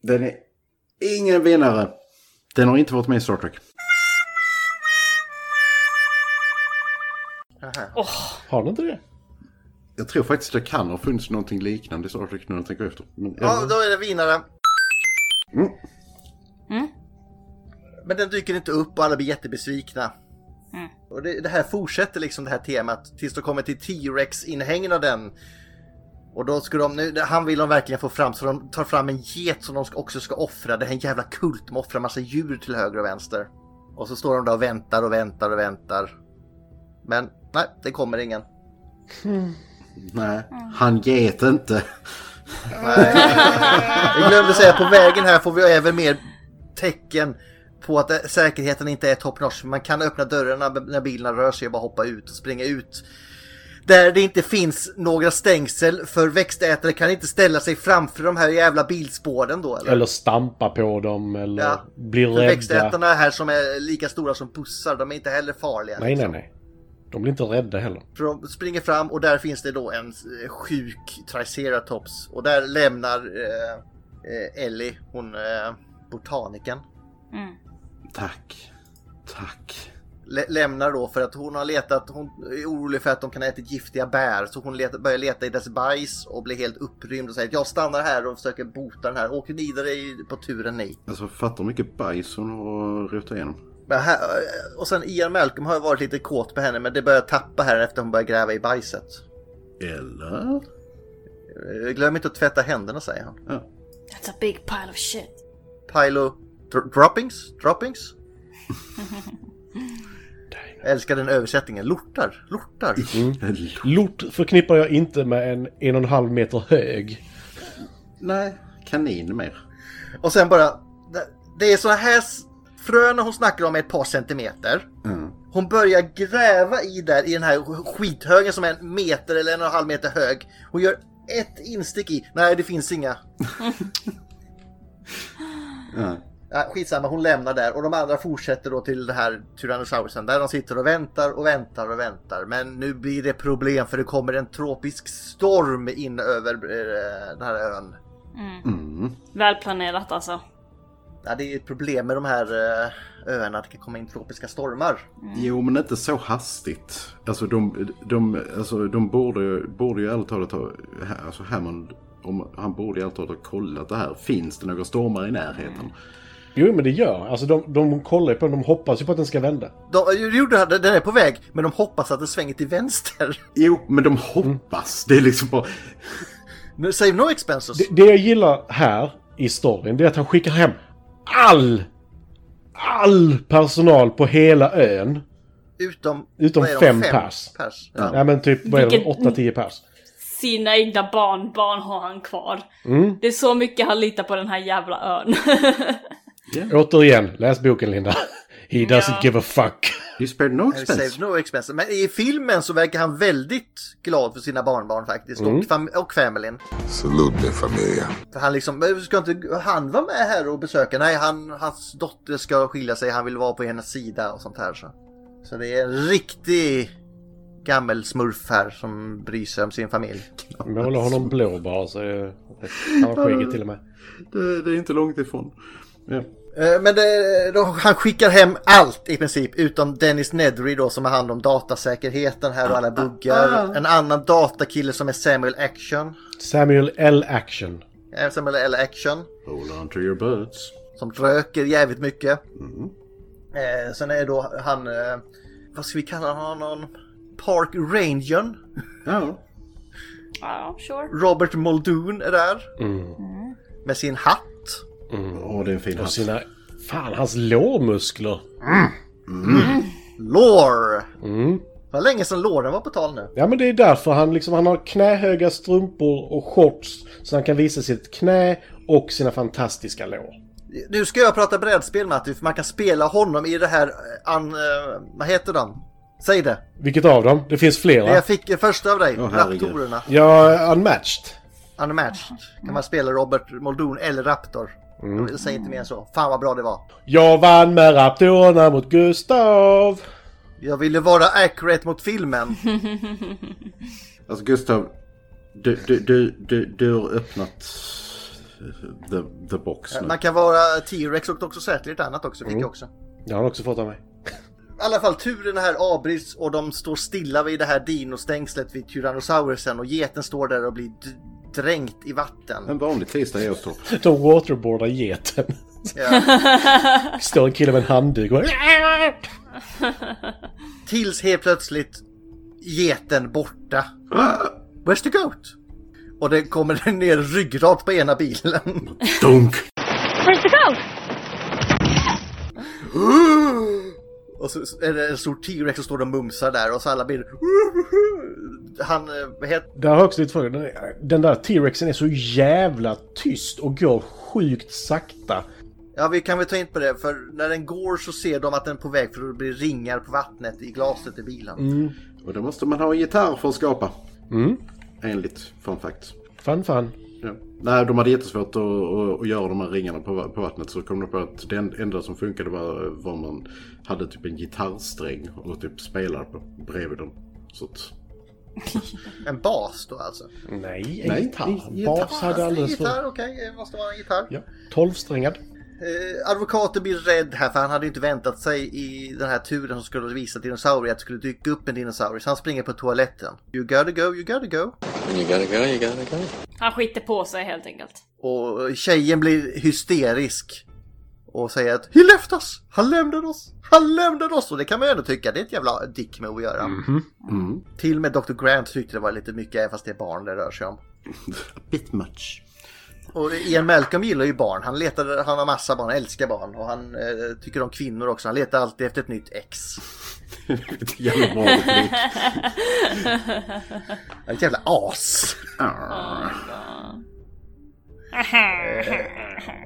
A: Den är ingen vinnare. Den har inte varit med i Star Trek.
E: Har ni inte det?
A: Jag tror faktiskt det kan ha funnits någonting liknande i Star Trek nu när jag tänker efter. Men,
C: Ja, då är det vinnaren. Men den dyker inte upp och alla blir jättebesvikna. Och det, det här fortsätter liksom det här temat tills de kommer till T-Rex-inhägnaden. Och då skulle de, nu, han vill de verkligen få fram så de tar fram en get som de ska- också ska offra. Det här är en jävla kult med offra massa djur till höger och vänster. Och så står de där och väntar och väntar och väntar. Men nej, det kommer ingen.
A: Nej, han get inte.
C: Jag glömde säga på vägen här får vi även mer tecken på att eh, säkerheten inte är top notch. Man kan öppna dörrarna b- när bilarna rör sig och bara hoppa ut och springa ut. Där det inte finns några stängsel för växtätare kan inte ställa sig framför de här jävla bilspåren då eller?
E: Eller stampa på dem eller
C: Ja,
E: bli
C: För
E: rädda.
C: växtätarna här som är lika stora som bussar, de är inte heller farliga.
E: Nej, nej, nej. De blir inte rädda heller.
C: För de springer fram och där finns det då en eh, sjuk triceratops. Och där lämnar eh, eh, Ellie, hon eh, botaniken.
D: Mm.
A: Tack. Tack.
C: lä- lämnar då för att hon har letat, hon är orolig för att de kan ha ätit giftiga bär. Så hon leta, börjar leta i dess bajs och blir helt upprymd och säger att jag stannar här och försöker bota den här. Åker vidare i- på turen ni.
A: Alltså fattar hur mycket bajs hon har rotat igenom.
C: Men här, och sen Ian Malcolm har ju varit lite kåt på henne men det börjar tappa här efter hon börjar gräva i bajset.
A: Eller?
C: Eh, Glöm inte att tvätta händerna säger han.
D: That's a big pile of shit.
C: Pilo dr- droppings? Droppings? Jag älskar den översättningen. Lortar, lortar.
E: Lort förknippar jag inte med en en och en halv meter hög.
A: Nej, kanin mer.
C: Och sen bara, det- det är såna här s- fröna hon snackar om är ett par centimeter.
A: Mm.
C: Hon börjar gräva i där i den här skithögen som är en meter eller en och en halv meter hög. Hon gör ett instick i. Nej, det finns inga.
A: Ja.
C: Ja, skitsamma, hon lämnar där och de andra fortsätter då till den här Tyrannosaurusen där de sitter och väntar och väntar och väntar. Men nu blir det problem för det kommer en tropisk storm in över eh, den här ön.
A: Mm.
D: Välplanerat alltså.
C: Ja, det är ett problem med de här eh, öarna att det kan komma in tropiska stormar.
A: Jo, men inte så hastigt. Alltså de, de, alltså, de borde, borde ju ärligt talat ha... Alltså Hammond, om, han borde ju ärligt talat ha kollat det här. Finns det några stormar i närheten?
E: Jo, men det gör. Alltså de, de kollar ju på den, de hoppas ju på att den ska vända.
C: De, eh, jo, jo, den den är på väg, men de hoppas att det svänger till vänster.
A: Jo, men de hoppas. Det är liksom bara...
C: Nu, Save no expenses.
E: Det, det jag gillar här i storyn, det är att han skickar hem all, all personal på hela ön.
C: utom
E: Utom
C: vad är de,
E: fem pers.
C: pers.
A: Ja.
E: Ja, men typ, vad är det,
D: Vilken-
E: 8-10 pers.
D: Sina egna barnbarn har han kvar. Det är så mycket han litar på den här jävla ön.
E: Återigen, läs boken Linda. He doesn't
D: Ja.
E: give a fuck.
A: You spared no
C: Save
A: expense.
C: no expenses. Men i filmen så verkar han väldigt glad för sina barnbarn faktiskt. Och, fam- och familjen.
K: Salute mi familia.
C: För han liksom, "Men ska inte han vara med här och besöka? Nej, han, hans dotter ska skilja sig. Han vill vara på hennes sida och sånt här. Så, så det är en riktig gammelsmurf här som bryr sig om sin familj.
E: Måla honom blå bara så är han skägget till och med.
A: Det, det är inte långt ifrån. Ja.
C: Eh, Men det, de, han skickar hem allt i princip utom Dennis Nedry då som har hand om datasäkerheten här och alla buggar. En annan datakille som är Samuel Action.
E: Samuel L. Action.
C: eh, Samuel L. Action.
A: Hold on to your butts.
C: Som röker jävligt mycket.
A: Mm.
C: Eh, sen är då han, eh, vad ska vi kalla honom? Park Rangern.
A: Ja.
D: Ja, sure.
C: Robert Muldoon är där.
A: Mm.
C: Med sin hatt.
A: Åh, det är en fin
E: Och
A: hatt.
E: sina... Fan, hans lårmuskler.
C: Lore!
A: Mm.
C: Vad länge sedan låren var på tal nu.
E: Ja, men det är därför han liksom... Han har knähöga strumpor och shorts. Så han kan visa sitt knä och sina fantastiska lår.
C: Nu ska jag prata brädspel Matti, för man kan spela honom i det här... eh, An, eh, vad heter den? Säg det!
E: Vilket av dem? Det finns
C: Det
E: flera.
C: jag fick eh, första av dig,
A: Åh, herregud.
C: Raptorerna.
E: Ja, unmatched.
C: Unmatched. Kan man spela Robert Muldoon eller Raptor.
A: Mm.
C: Jag säger inte mer än så. Fan vad bra det var.
E: Jag vann med raptorerna mot Gustav.
C: Jag ville vara accurate mot filmen.
A: Alltså Gustav, du, du, du, du, du har öppnat the, the box nu.
C: Man kan vara T-Rex och Dr. Sätler ett annat också, fick jag också.
E: Det har han också fått av mig.
C: I alla fall turen här avbryts och de står stilla vid det här dinostängslet vid Tyrannosaurusen och geten står där och blir d- dränkt i vatten.
A: En vanlig tisdag i Åstorp.
E: De waterboardar geten.
C: Ja.
E: Står en kille med en handduk och...
C: Tills helt plötsligt geten borta. Where's the goat? Och det kommer ner ryggrad på ena bilen.
A: Dunk!
J: Where's the goat?
C: Och så är det en stor T-Rex som står och mumsar där och så alla blir... Han, eh, vad heter
E: Där har jag också lite fråga. Den- Den där T-rexen är så jävla tyst och går sjukt sakta.
C: Ja, vi kan väl ta in på det, för när den går så ser de att den är på väg för att bli ringar på vattnet i glaset i bilen.
A: Och då måste man ha en gitarr för att skapa.
E: Mm.
A: Enligt fun fact.
E: Fan, fan.
A: Ja. Nej, de hade jättesvårt att, att, att göra de här ringarna på, va- på vattnet. Så kom de på att det en- enda som funkade var, var man hade typ en gitarrsträng och typ spelade på bredvid den. Så att,
C: En bas då alltså?
E: Nej,
A: Nej,
E: en gitarr.
A: en gitarr.
E: Bas hade alldeles
C: för... Gitarr,
E: för...
C: okej, det måste vara en gitarr.
E: Ja, tolvsträngad.
C: Eh, advokaten blir rädd här för han hade inte väntat sig i den här turen som skulle visa dinosaurier att det skulle dyka upp en dinosaurie. Så han springer på toaletten. You gotta go, you gotta go.
L: You gotta go, you gotta go.
D: Han skiter på sig helt enkelt.
C: Och tjejen blir hysterisk. Och säger att He left us! Han lämnade oss! Han lämnade oss! Och det kan man ju ändå tycka, det är ett jävla dick move att göra.
A: mm.
C: Till och med Dr. Grant tyckte det var lite mycket, även fast det är barn det rör sig om.
A: A bit much.
C: Och Ian Malcolm gillar ju barn. Han, letar, han har massa barn, älskar barn. Och han eh, tycker om kvinnor också. Han letar alltid efter ett nytt ex.
A: Vilket jävla bra replik.
C: Han är ett jävla as!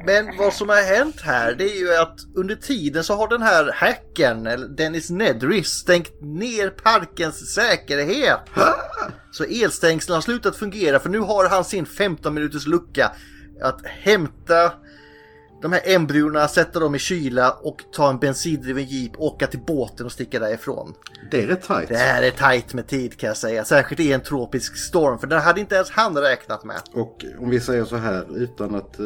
C: Men vad som har hänt här det är ju att under tiden så har den här hacken, eller Dennis Nedry, stängt ner parkens säkerhet. Så elstängslen har slutat fungera för nu har han sin 15 minuters lucka att hämta de här embryona, sätta dem i kyla och ta en bensindriven jeep, åka till båten och sticka därifrån.
A: Det är rätt tajt.
C: Det här är tajt med tid kan jag säga, särskilt i en tropisk storm för den hade inte ens han räknat med.
A: Och om vi säger så här utan att eh,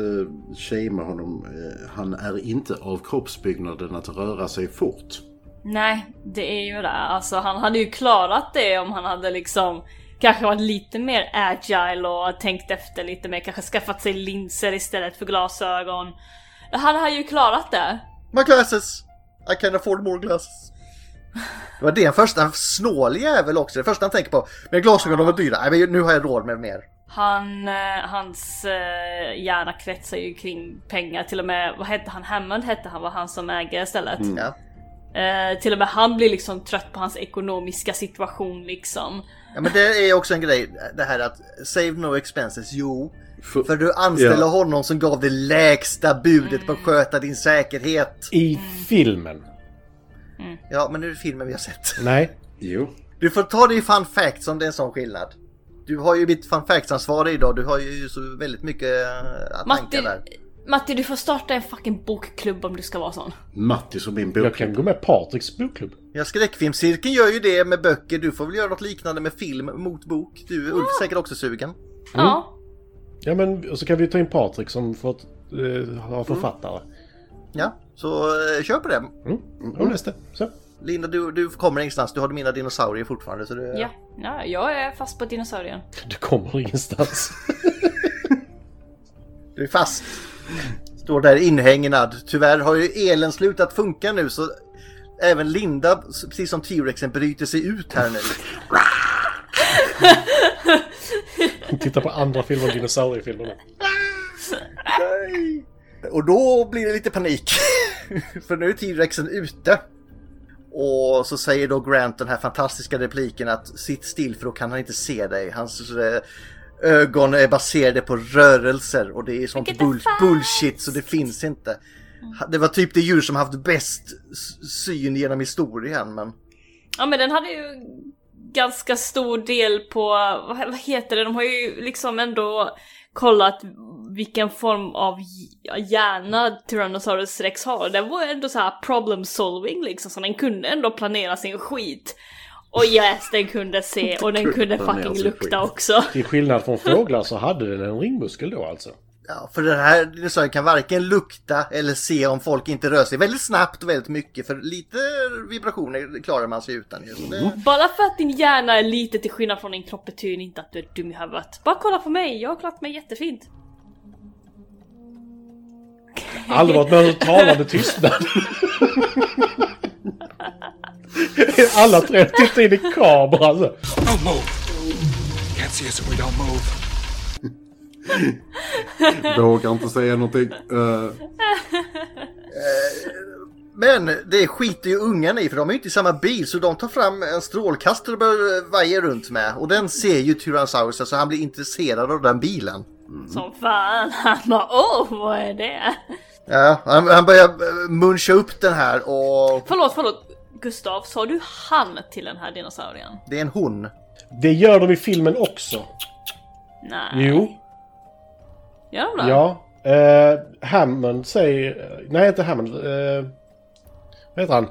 A: shamea honom. Eh, han är inte av kroppsbyggnaden att röra sig fort.
D: Nej, det är ju det. Alltså han hade ju klarat det om han hade liksom kanske varit lite mer agile och tänkt efter lite mer. Kanske skaffat sig linser istället för glasögon. Han hade ju klarat det.
C: My glasses! I can afford more glasses. Det var det första, en snål jävel också. Det första han tänker på. Men glasögon, de var dyra. Nej, men nu har jag råd med mer.
D: Han, eh, hans eh, hjärna kretsar ju kring pengar. Till och med, vad hette han? Hammond hette han, var han som äger stället.
C: Mm. Ja.
D: Eh, till och med han blir liksom trött på hans ekonomiska situation liksom.
C: Ja, men det är också en grej, det här att save no expenses. Jo, för, du anställer
E: Ja.
C: honom som gav det lägsta budet på att sköta din säkerhet.
E: I filmen.
C: Ja, men nu är det filmen vi har sett.
E: Nej.
A: Jo.
C: Du får ta det i fun facts om det är en sån skillnad. Du har ju mitt fun facts-ansvarig idag. Du har ju så väldigt mycket eh, tankar
D: Matti,
C: där.
D: Matti, du får starta en fucking bokklubb om du ska vara sån.
A: Matti som min
E: bokklubb. Jag kan gå med Patriks bokklubb.
C: Ja, skräckfilmscirkeln gör ju det med böcker. Du får väl göra något liknande med film mot bok. Du är Ulf säkert också sugen.
D: Ja.
E: Ja, men och så kan vi ta in Patrik som fått, eh, har författare.
C: Ja, så eh, kör på det.
E: Mm. Jag läste. Så.
C: Linda, du, du kommer ingenstans. Du har mina dinosaurier fortfarande. Så du,
D: Ja. ja, jag är fast på dinosaurien.
E: Du kommer ingenstans.
C: du är fast. Står där inhägnad. Tyvärr har ju elen slutat funka nu så även Linda, precis som T-Rexen, bryter sig ut här nu.
E: Titta på andra filmer än dinosauriefilmerna.
C: Och då blir det lite panik. För nu är T-Rexen ute. Och så säger då Grant den här fantastiska repliken att sitt still för då kan han inte se dig. Hans eh, ögon är baserade på rörelser och det är sånt bull- bullshit så det finns inte. Ha- Det var typ det djur som haft bäst s- syn genom historien men...
D: Ja men den hade ju ganska stor del på, vad, vad heter det, de har ju liksom ändå kollat vilken form av hj- hjärna Tyrannosaurus rex har. Den var ändå så här problem solving liksom, så den kunde ändå planera sin skit. Och yes, den kunde se och den kunde
E: Planera
D: fucking
E: sin
D: lukta
E: skit.
D: också.
E: Till skillnad från fåglar så hade den en ringmuskel då alltså.
C: Ja, för den här dinosaurien kan varken lukta eller se om folk inte rör sig väldigt snabbt och väldigt mycket för lite vibrationer klarar man sig utan ju. Så det-
D: Bara för att din hjärna är lite till skillnad från din kropp betyder inte att du är dum i huvudet. Bara kolla på mig, jag har klarat mig jättefint.
E: Aldrig varit med om en talande tystnad. Alla tre tittar in i kameran. alltså. så.
H: Don't move. Can't see us if we don't move.
A: Vågar inte säga någonting. Eh,
C: Eh, Men det skiter ju ungarna i för de är ju inte i samma bil så de tar fram en strålkastare och börjar eh, vaja runt med. Och den ser ju Tyrannosaurus så han blir intresserad av den bilen.
E: Mm.
D: Som fan. Han bara åh vad är det?
C: Ja, han, han börjar eh, muncha upp den här och
D: Förlåt, förlåt. Gustav, sa du han till den här dinosaurien?
C: det är en hon.
E: Det gör de i filmen också.
D: Nej.
E: Jo,
D: Gör de det?
E: ja. Eh, Hammond säger... Nej, inte Hammond. eh, vad heter han?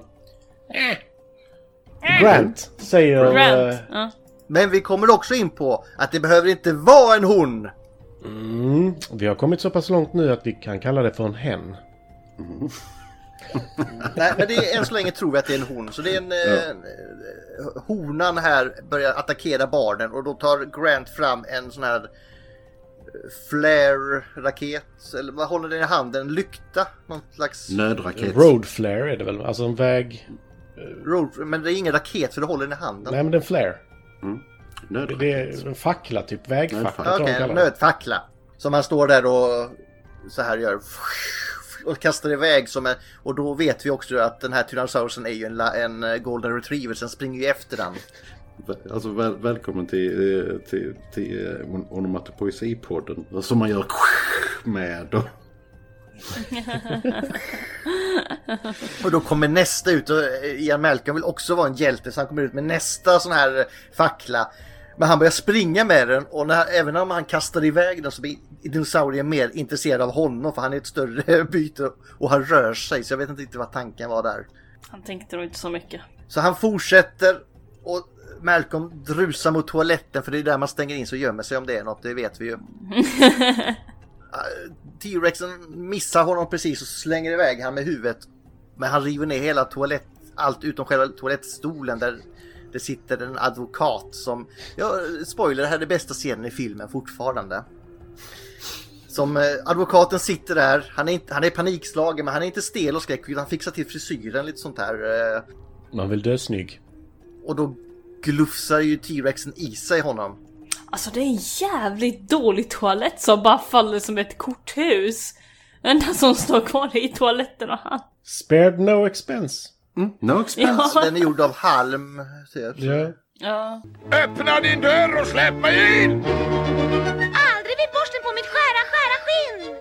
E: Grant säger...
D: Grant.
E: eh,
D: Ja.
C: Men vi kommer också in på att det behöver inte vara en hon.
E: Mm, vi har kommit så pass långt nu att vi kan kalla det för en hen.
C: Nej, men det är, än så länge tror vi att det är en hon. Så det är en... eh, eh, honan här börjar attackera barnen och då tar Grant fram en sån här eh, flare-raket. Eller vad håller den i handen? En lykta? Någon slags...
A: nödraket.
E: Road flare är det väl? Alltså en väg...
C: Road, men det är ingen raket för du håller den i handen.
E: Nej men en flare. Det
A: Nödraket.
E: är en fackla typ. Vägfackla
A: Vägfackla.
E: tror jag
C: Okej,
E: de
C: en
E: kallar det.
C: nödfackla. Som han står där och så här gör. Och kastar iväg som en... Och då vet vi också att den här Tyrannosaurusen är ju en, la- en eh, golden retriever. Sen springer ju efter den.
A: Vä- Alltså väl, välkommen till, eh, till, till eh, on- onomatopoesipodden. Som man gör med. och-
C: Och då kommer nästa ut och eh, Ian Malcolm vill också vara en hjälte så han kommer ut med nästa sån här eh, fackla. Men han börjar springa med den och när, även om han kastar iväg den så blir dinosaurien mer intresserad av honom för han är ett större byte och han rör sig så jag vet inte riktigt vad tanken var där.
D: Han tänkte nog inte så mycket.
C: Så han fortsätter och Malcolm drusar mot toaletten för det är där man stänger in sig och gömmer sig om det är något, det vet vi ju. T-rexen missar honom precis och slänger iväg han med huvudet. Men han river ner hela toalett, allt utom själva toalettstolen där det sitter en advokat som, ja spoiler, det här är den bästa scenen i filmen fortfarande. Som eh, advokaten sitter där, han är, inte, han är panikslagen men han är inte stel och skräckfylld, han fixar till frisyren lite sånt här. Eh,
E: Man vill dö snygg.
C: och då glufsar ju T-rexen i sig honom.
D: Alltså det är en jävligt dålig toalett som bara faller som ett korthus. Den där som står kvar i toaletten och han.
E: Spared no expense.
A: No expense.
E: Alltså.
C: Så den är gjord av halm. Typ.
E: Ja.
D: Ja.
I: Öppna din dörr och släpp mig in!
J: Aldrig vill borsten på mitt skära, skära skinn!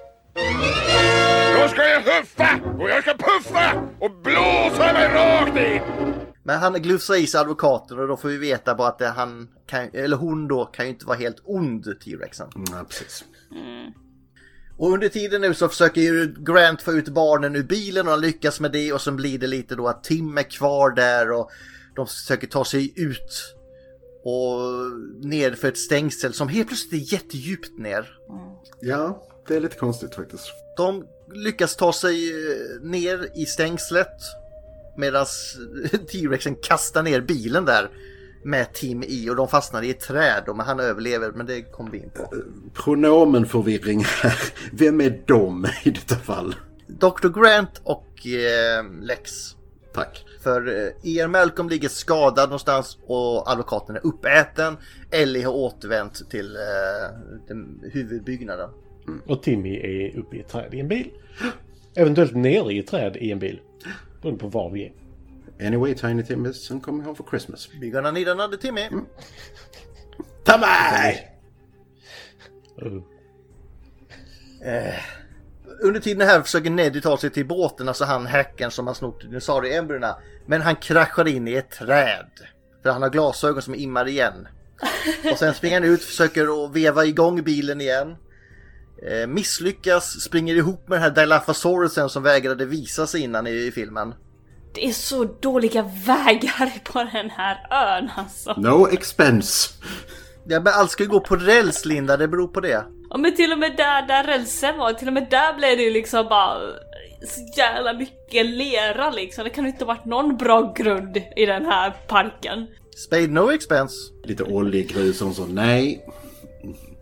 I: Då ska jag huffa och jag ska puffa och blåsa mig rakt in!
C: Men han glufsar i sig advokaten och då får vi veta bara att det, han kan, eller hon då kan ju inte vara helt ond, T-rexen.
A: Mm, Ja, precis.
C: Och under tiden nu så försöker ju Grant få ut barnen ur bilen och han lyckas med det och sen blir det lite då att Tim är kvar där och de försöker ta sig ut och ner för ett stängsel som helt plötsligt är jättedjupt ner.
A: Ja, det är lite konstigt faktiskt.
C: De lyckas ta sig eh, ner i stängslet medan T-rexen kastar ner bilen där med Tim i och de fastnar i ett träd och men han överlever men det kom vi in på.
A: Pronomenförvirring här. Vem är de i detta fall?
C: Dr. Grant och eh, Lex.
A: Tack.
C: För eh, Ian Malcolm ligger skadad någonstans och advokaten är uppäten. Ellie har återvänt till eh, den huvudbyggnaden.
E: Och Timmy är uppe i ett träd i en bil. Eventuellt nere i ett träd i en bil. Beroende på var vi är.
A: Anyway, Tiny Tim is and coming home for Christmas.
C: We're gonna need another Timmy.
A: Ta mig!
E: Uh.
C: Under tiden här försöker Neddy ta sig till båten, alltså han häcken som har snott dinosaurieembryona. Men han kraschar in i ett träd. För han har glasögon som immar igen. Och sen springer han ut, försöker att veva igång bilen igen. Eh, misslyckas, springer ihop med den här Dilaphosaurus'en som vägrade visa sig innan i filmen.
D: Det är så dåliga vägar på den här ön alltså.
A: No expense.
C: Ja, men allt ska ju gå på räls Linda, det beror på det.
D: Ja men till och med där, där rälsen var, till och med där blev det ju liksom bara så jävla mycket lera liksom. Det kan ju inte ha varit någon bra grund i den här parken.
C: Spade no expense.
A: Lite oljegrus och så. Nej.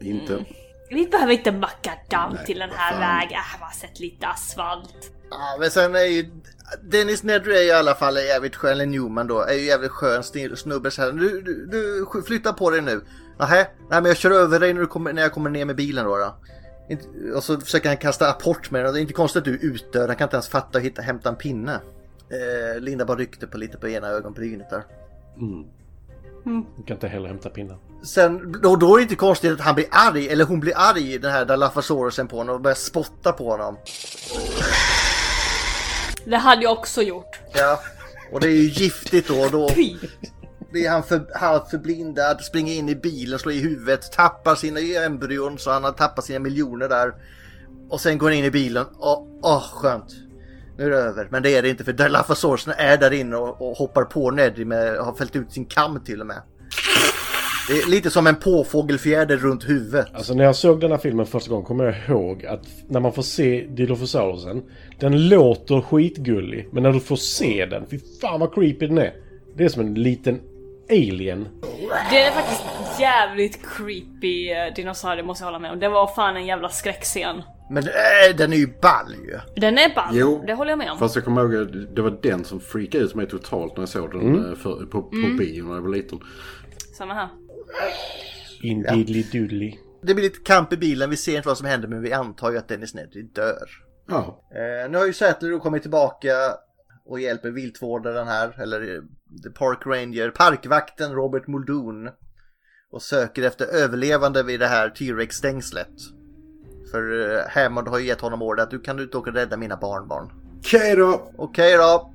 A: Inte.
D: Vi behöver inte macka damm
A: Nej,
D: till den
A: vad
D: här
A: fan.
D: vägen. Äh, bara sätt lite asfalt.
C: Ja, men sen är ju Dennis Nedry är ju i alla fall en jävligt skön, eller Newman då, är ju jävligt skön sn- snubbe så här. Du, du, du sk- flytta på dig nu. Nähä, nej men jag kör över dig när, du kommer, när jag kommer ner med bilen då. då. Inte- Och så försöker han kasta apport med den. Det är inte konstigt att du är utdöd, han kan inte ens fatta och hitta, hämta en pinne. Eh, Linda bara ryckte på lite på ena ögonbrynet där.
E: Mm. Jag kan inte heller hämta pinnar.
C: Sen, då, då är det inte konstigt att han blir arg, eller hon blir arg, den här Dilophosaurus'en på honom och börjar spotta på honom.
D: Det hade jag också gjort.
C: Ja, och det är ju giftigt då. och då blir han för, halvt förblindad, springer in i bilen, slår i huvudet, tappar sina embryon så han har tappat sina miljoner där. Och sen går han in i bilen. Åh, åh skönt. Nu är det över. Men det är det inte för Dilophosaurus'en är där inne och, och hoppar på Nedry med, har fällt ut sin kam till och med. Det är lite som en påfågelfjäder runt huvudet.
E: Alltså när jag såg den här filmen första gången kommer jag ihåg att när man får se Dilophosaurus'en, den låter skitgullig. Men när du får se den, fy fan vad creepy den är. Det är som en liten alien.
D: Det är faktiskt jävligt creepy eh, dinosaurie måste jag hålla med om. Det var fan en jävla skräckscen.
C: Men äh, den är ju ball ju.
D: Den är ball,
A: Jo,
D: det håller jag med om.
A: Fast jag kommer ihåg att det var den som freakade ut mig totalt när jag såg den
D: Mm.
A: eh, för, på, på
D: Mm.
A: bio när jag var liten.
D: Samma här.
E: Indeedly doodly.
C: Det blir lite kamp i bilen, vi ser inte vad som händer men vi antar ju att Dennis Nedry dör.
A: Ja.
C: Eh, nu har ju Sätler då kommit tillbaka och hjälper viltvårdaren här, eller eh, the Park Ranger, parkvakten Robert Muldoon. Och söker efter överlevande vid det här T-Rex-stängslet. För eh, Hammond har ju gett honom order att du kan inte åka och rädda mina barnbarn.
A: Okej då!
C: Okej då!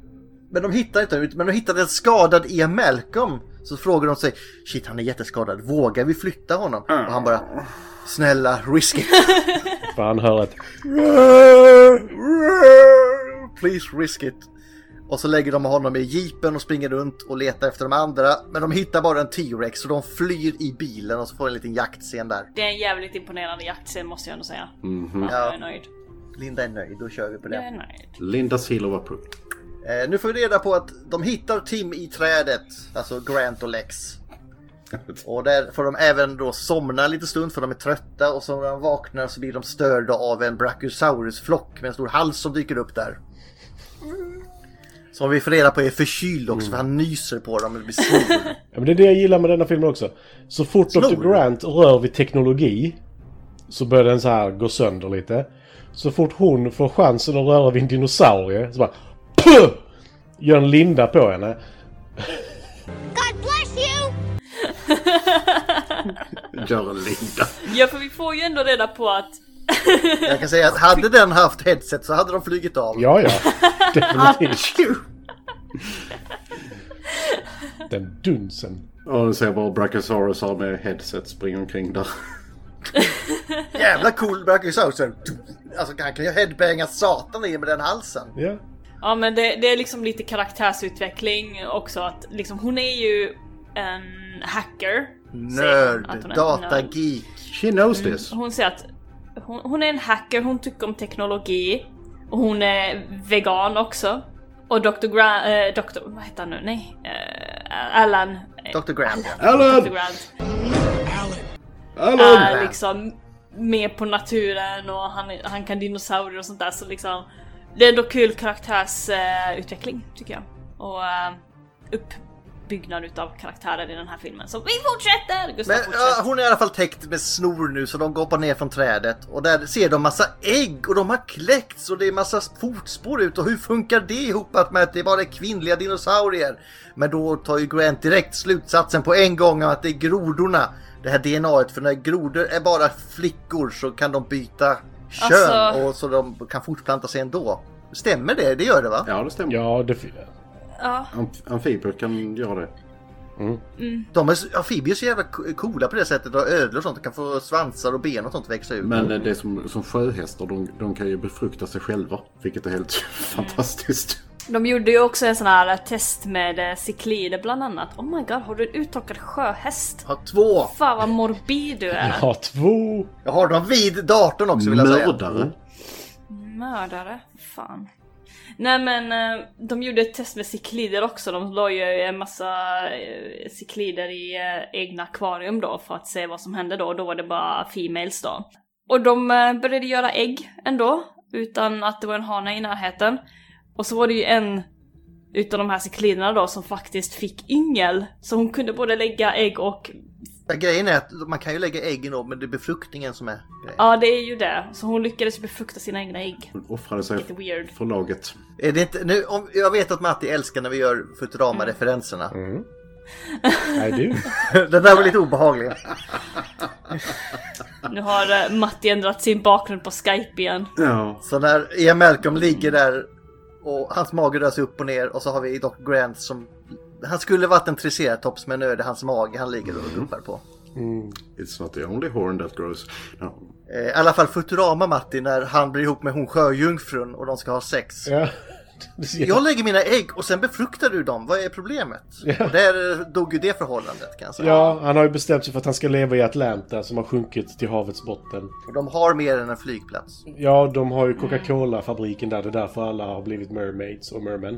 C: Men de hittar inte ut, men de hittade en skadad Ian Malcolm. Så frågar de sig, shit han är jätteskadad, vågar vi flytta honom?
A: Ah.
C: Och han bara, snälla risk it.
E: För han hör ett...
C: Please risk it. Och så lägger de honom i jeepen och springer runt och letar efter de andra. Men de hittar bara en T-Rex så de flyr i bilen och så får en liten jaktscen där.
D: Det är en jävligt imponerande jaktscen måste jag ändå säga.
A: Mhm.
D: Jag är nöjd.
C: Linda är nöjd, då kör vi på det.
D: Jag är nöjd.
A: Linda Silver var på.
C: Eh, nu får vi reda på att de hittar Tim i trädet, alltså Grant och Lex. Och där får de även då somna lite stund för de är trötta och så när de vaknar så blir de störda av en Brachiosaurus-flock med en stor hals som dyker upp där. Som vi får reda på är förkyld också för han nyser på dem och blir stor.
E: Ja, men det är det jag gillar med denna filmen också. Så fort Dr. Grant rör vid teknologi så börjar den så här gå sönder lite. Så fort hon får chansen att röra vid en dinosaurie så bara... Puh! Gör en linda på henne.
J: God bless you!
A: Gör en Linda.
D: Ja för vi får ju ändå reda på att
C: Jag kan säga att hade den haft headset så hade de flugit av.
E: Ja, ja. Definitivt. Den dunsen.
A: Ja, du ser bara Brachiosaurus har med headset springer omkring där.
C: Jävla cool Brachiosaurus. Alltså han kan ju headbanga satan i med den halsen.
E: Ja.
D: Ja men det, det är liksom lite karaktärsutveckling också att liksom hon är ju en hacker. säger hon, att hon
C: Nörd,
D: är nörd.
C: datageek.
A: She knows this.
D: Hon säger att hon, hon är en hacker, hon tycker om teknologi och hon är vegan också. Och Dr. Grant, eh, Dr. vad heter han nu? Nej, eh, Alan. eh,
C: Dr. Grant.
A: Alan!
D: Dr. Grant.
A: Alan!
D: Är liksom med på naturen och han, han kan dinosaurier och sånt där så liksom det är ändå kul karaktärsutveckling tycker jag. Och eh, uppbyggnad utav karaktärer i den här filmen. Så vi fortsätter! Gustav
C: Men ah. ja,
D: fortsätter.
C: hon är i alla fall täckt med snor nu så de hoppar ner från trädet och där ser de massa ägg och de har kläckts och det är massa fotspår ut och hur funkar det ihop med att det bara är kvinnliga dinosaurier? Men då tar ju Grant direkt slutsatsen på en gång om att det är grodorna, det här DNAet, för när grodor är bara flickor så kan de byta kön
D: Alltså-
C: och så de kan fortplanta sig ändå. Stämmer det? Det gör det va?
A: Ja, det stämmer.
E: Ja, det...
D: Ja.
A: Amf- Amfibier kan göra det.
C: De är, så- amfibier är så jävla co- coola på det sättet och ödlor och sånt, de kan få svansar och ben och sånt växa ut.
A: Men eh, det är som, som sjöhästar, de, de kan ju befrukta sig själva. Vilket är helt fantastiskt.
D: De gjorde ju också en sån här test med eh, cyklider bland annat. Oh my god, har du en uttorkad sjöhäst?
C: Har två!
D: Fan vad morbid du är.
E: Ja, två.
C: Jag har dem vid datorn också vill jag säga. Mm.
A: Mördare.
D: Mördare. Fan. Nej men eh, de gjorde ett test med cyklider också. De la ju en massa eh, cyklider i eh, egna akvarium då för att se vad som hände då. Då var det bara females då. Och de eh, började göra ägg ändå utan att det var en hane i närheten. Och så var det ju en utav de här ciklinerna då som faktiskt fick yngel. Så hon kunde både lägga ägg och...
C: Ja, grejen är att man kan ju lägga äggen då, men det är befruktningen som är grejen.
D: Ja, det är ju det. Så hon lyckades ju befrukta sina egna ägg.
A: Hon offrade sig
D: Lite weird.
A: för laget.
C: Är det inte, nu, om, jag vet att Matti älskar när vi gör Futurama-referenserna.
E: I do.
C: Den där var lite obehaglig.
D: Nu har eh, Matti ändrat sin bakgrund på Skype igen.
C: Så när Ian Malcolm ligger där och hans mage rör sig upp och ner och så har vi Doc Grant som... Han skulle varit en triceratops men nu är det hans mage han ligger och ropar på.
A: It's not the only horn that grows. No.
C: Eh, I alla fall Futurama Matti när han blir ihop med hon sjöjungfrun och de ska ha sex.
E: Ja.
C: Jag lägger mina ägg och sen befruktar du dem, vad är problemet? Och där eh, dog ju det förhållandet kan jag säga.
E: Ja, han har ju bestämt sig för att han ska leva i Atlanta som har sjunkit till havets botten.
C: Och de har mer än en flygplats.
E: Ja, de har ju Coca-Cola-fabriken där. Det är därför alla har blivit mermaids och mermen.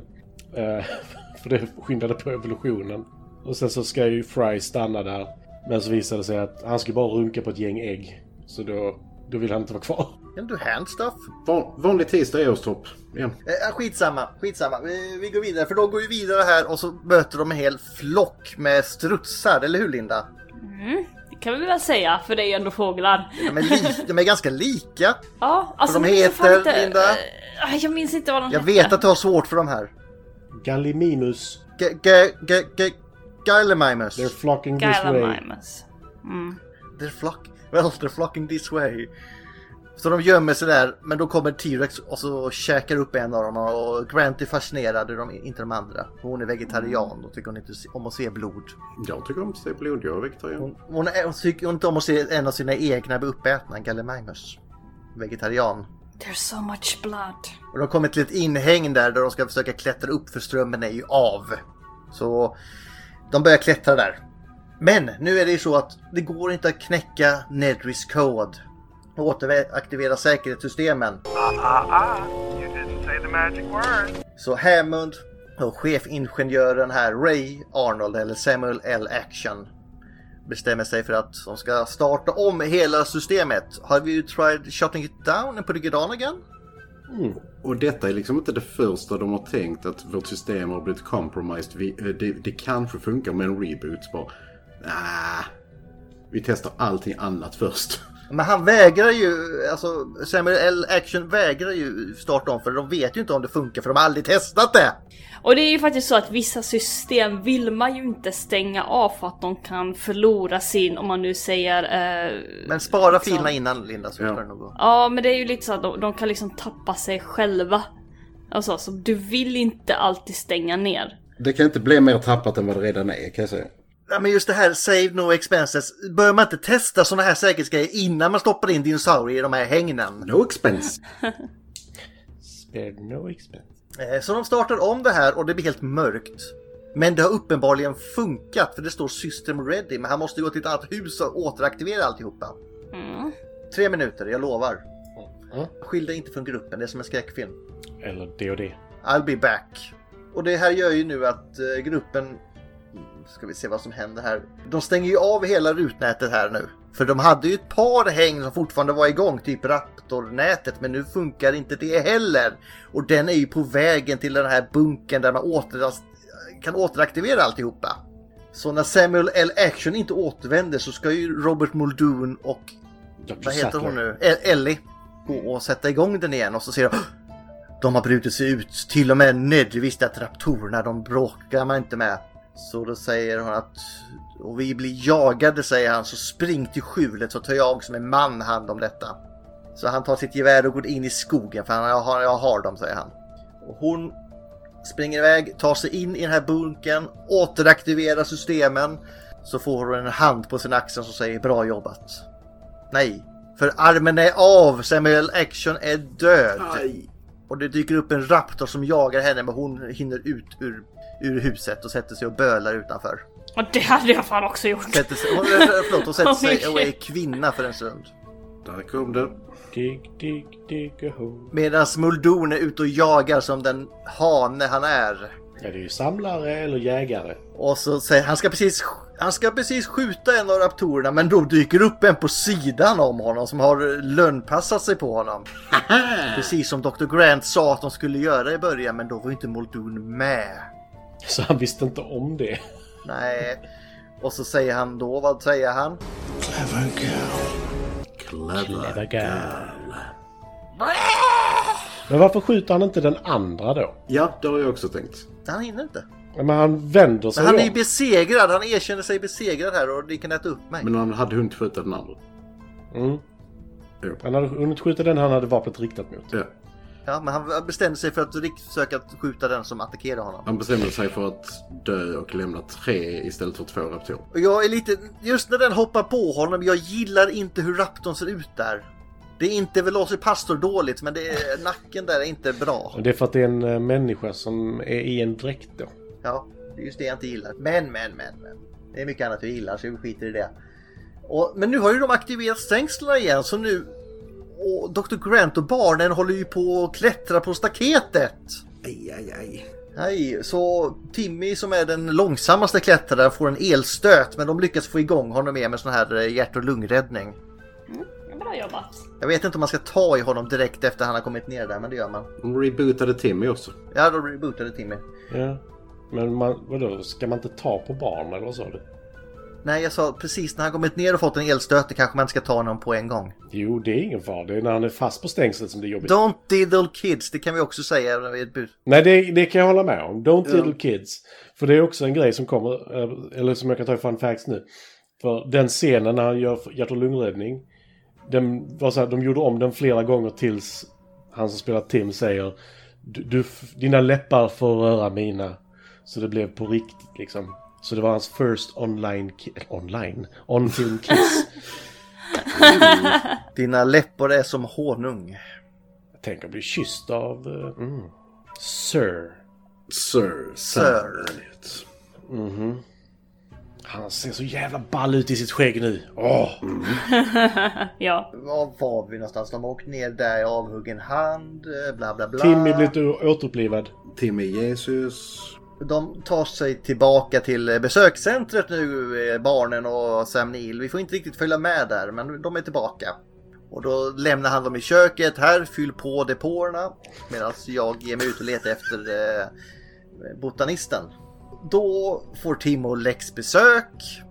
E: Eh, för det skyndade på evolutionen. Och sen så ska ju Fry stanna där. Men så visar det sig att han ska bara runka på ett gäng ägg. Så då, då vill han inte vara kvar.
C: Can do hand stuff?
A: Va- vanlig tisdag är årstopp. Ja.
C: Eh, skitsamma, skitsamma. Vi, vi går vidare, för de går ju vidare här och så möter de en hel flock med strutsar, eller hur Linda?
D: Mm, det kan vi väl säga, för det är ju ändå fåglar.
C: De är, li- de är ganska lika.
D: Ja, alltså...
C: de
D: jag minns fan
C: heter,
D: inte-
C: Linda?
D: Eh, Jag minns inte vad de
C: Jag
D: hette.
C: vet att du har svårt för de här.
E: Gallimimus.
C: G- g- g- g- Gallimimus.
E: They're flocking this way.
D: Gallimimus. Mm.
C: They're flock... Well, they're flocking this way. Så de gömmer sig där, men då kommer T-Rex och så käkar upp en av dem och Grant är fascinerad, de, inte de andra. Hon är vegetarian och tycker hon inte om att se blod.
A: Jag tycker om stekt blod. Jag är vegetarian.
C: Hon, är, hon tycker inte om att se en av sina egna bli uppätna, en Gallimimus. Vegetarian.
D: There's so much blood.
C: Och de kommer till ett inhägn där, där de ska försöka klättra upp för strömmen är ju av. Så de börjar klättra där. Men nu är det ju så att det går inte att knäcka Nedrys kod och återaktivera säkerhetssystemen.
M: Ah, ah, ah. You didn't say the magic word.
C: Så Hammond och chefingenjören här, Ray Arnold eller Samuel L. Action bestämmer sig för att de ska starta om hela systemet. Har vi ju tried shutting it down and putting it on again?
A: Och detta är liksom inte det första de har tänkt att vårt system har blivit compromised. Vi, eh, det, det kanske funkar med en reboot. Bara, nah, vi testar allting annat först.
C: Men han vägrar ju, alltså Samuel L. Action vägrar ju starta om för de vet ju inte om det funkar för de har aldrig testat det.
D: Och det är ju faktiskt så att vissa system vill man ju inte stänga av för att de kan förlora sin, om man nu säger... eh,
C: Men spara
D: liksom-
C: filerna innan Linda så ska det nog gå.
D: Ja, men det är ju lite så att de, de kan liksom tappa sig själva. Alltså, så du vill inte alltid stänga ner.
A: Det kan inte bli mer tappat än vad det redan är kan jag säga.
C: Ja, men just det här save no expenses. Bör man inte testa sådana här säkerhetsgrejer innan man stoppar in dinosaurier i de här hängnen?
A: No expense.
E: Spared no expense.
C: Eh, Så de startar om det här och det blir helt mörkt. Men det har uppenbarligen funkat för det står system ready men han måste gå till ett annat hus och återaktivera alltihopa.
D: Mm.
C: Tre minuter, jag lovar. Skilj dig inte från gruppen, det är som en skräckfilm.
E: Eller D&D.
C: I'll be back. Och det här gör ju nu att eh, gruppen... Ska vi se vad som händer här. De stänger ju av hela rutnätet här nu. För de hade ju ett par häng som fortfarande var igång, typ Raptornätet, men nu funkar inte det heller. Och den är ju på vägen till den här bunkern där man åter, kan återaktivera alltihopa. Så när Samuel L. Action inte återvänder så ska ju Robert Muldoon och vad heter hon nu? E- Ellie. Gå och sätta igång den igen och så ser jag de har brutit sig ut. Till och med Ned visste att raptorerna, de bråkar man inte med. Så då säger hon att och vi blir jagade säger han så spring till skjulet så tar jag som en man hand om detta. Så han tar sitt gevär och går in i skogen för han, jag, har, jag har dem säger han. Och hon springer iväg, tar sig in i den här bunken, återaktiverar systemen. Så får hon en hand på sin axel som säger bra jobbat. Nej, för armen är av! Samuel Action är död! Och det dyker upp en raptor som jagar henne men hon hinner ut ur, ur huset och sätter sig och bölar utanför.
D: Och det hade jag fan också gjort.
C: Sätter sig, hon, eh, förlåt, hon sätter
D: Oh my
C: sig och är
D: God.
C: kvinna för en stund.
A: Där kom det.
E: Dig, dig, dig a hole.
C: Medan Muldoon är ute och jagar som den hane han är.
E: Ja, det är ju samlare eller jägare.
C: Och så säger han ska precis Han ska precis skjuta en av raptorerna men då dyker upp en på sidan om honom som har lönnpassat sig på honom. precis som Dr. Grant sa att de skulle göra i början men då var ju inte Muldoon med.
E: Så han visste inte om det.
C: Nej. Och så säger han då, vad säger han?
A: Clever girl. Clever,
E: Clever girl. Men varför skjuter han inte den andra då?
A: Ja, det har jag också tänkt.
C: Han hinner inte.
E: Men han vänder sig
C: Men han
E: om.
C: är ju besegrad, han erkänner sig besegrad här och ni kan äta upp mig.
A: Men han hade hunnit skjuta den andra.
E: Mm. Han hade hunnit skjuta den han hade vapnet riktat mot.
A: Ja.
C: Ja, men han bestämde sig för att rikt- försöka skjuta den som attackerade honom.
A: Han bestämde sig för att dö och lämna tre istället för två raptorer.
C: Och jag är lite, just när den hoppar på honom, jag gillar inte hur raptorn ser ut där. Det är inte Velocipastor dåligt, men det är, nacken där är inte bra.
E: Och det är för att det är en eh, människa som är i en dräkt då.
C: Ja, det är just det jag inte gillar. Men, men, men, men. Det är mycket annat jag gillar, så vi skiter i det. Och, men nu har ju de aktiverat stängslen igen, så nu... Och Dr. Grant och barnen håller ju på att klättra på staketet!
A: Aj, aj, aj.
C: Nej, så Timmy som är den långsammaste klättraren får en elstöt men de lyckas få igång honom igen med sån här eh, hjärt och lungräddning.
D: Bra jobbat.
C: Jag vet inte om man ska ta i honom direkt efter han har kommit ner där men det gör man.
A: De rebootade Timmy också.
C: Ja, då rebootade Timmy.
E: Ja. Men man, vadå, ska man inte ta på barn eller vad sa du?
C: Nej, jag sa precis när han kommit ner och fått en elstöt det kanske man inte ska ta honom på en gång.
E: Jo, det är ingen fara. Det är när han är fast på stängslet som det är jobbigt.
C: Don't diddle kids, det kan vi också säga när vi är ett bud.
E: Nej, det, det kan jag hålla med om. Don't
C: Ja.
E: diddle kids. För det är också en grej som kommer, eh, eller som jag kan ta i fun facts nu. För den scenen när han gör hjärt och lungräddning, den var så här, de gjorde om den flera gånger tills han som spelar Tim säger du, du, f- Dina läppar får röra mina. Så det blev på riktigt liksom. Så det var hans first online, ki- online, on-film kiss.
C: Dina läppar är som honung.
E: Jag tänker bli kysst av eh, mm, Sir.
A: Sir.
E: Sir. Mhm. Han ser så jävla ball ut i sitt skägg nu. Åh!
C: Mm.
D: ja.
C: Var var vi någonstans? De har åkt ner där i avhuggen hand, eh, bla bla bla.
E: Timmy blir lite återupplivad.
A: Timmy Jesus.
C: De tar sig tillbaka till eh, besökscentret nu, eh, barnen och Sam Neill. Vi får inte riktigt följa med där, men de är tillbaka. Och då lämnar han dem i köket. Här, fyll på depåerna. Medan jag ger mig ut och letar efter eh, botanisten. Då får Tim och Lex besök.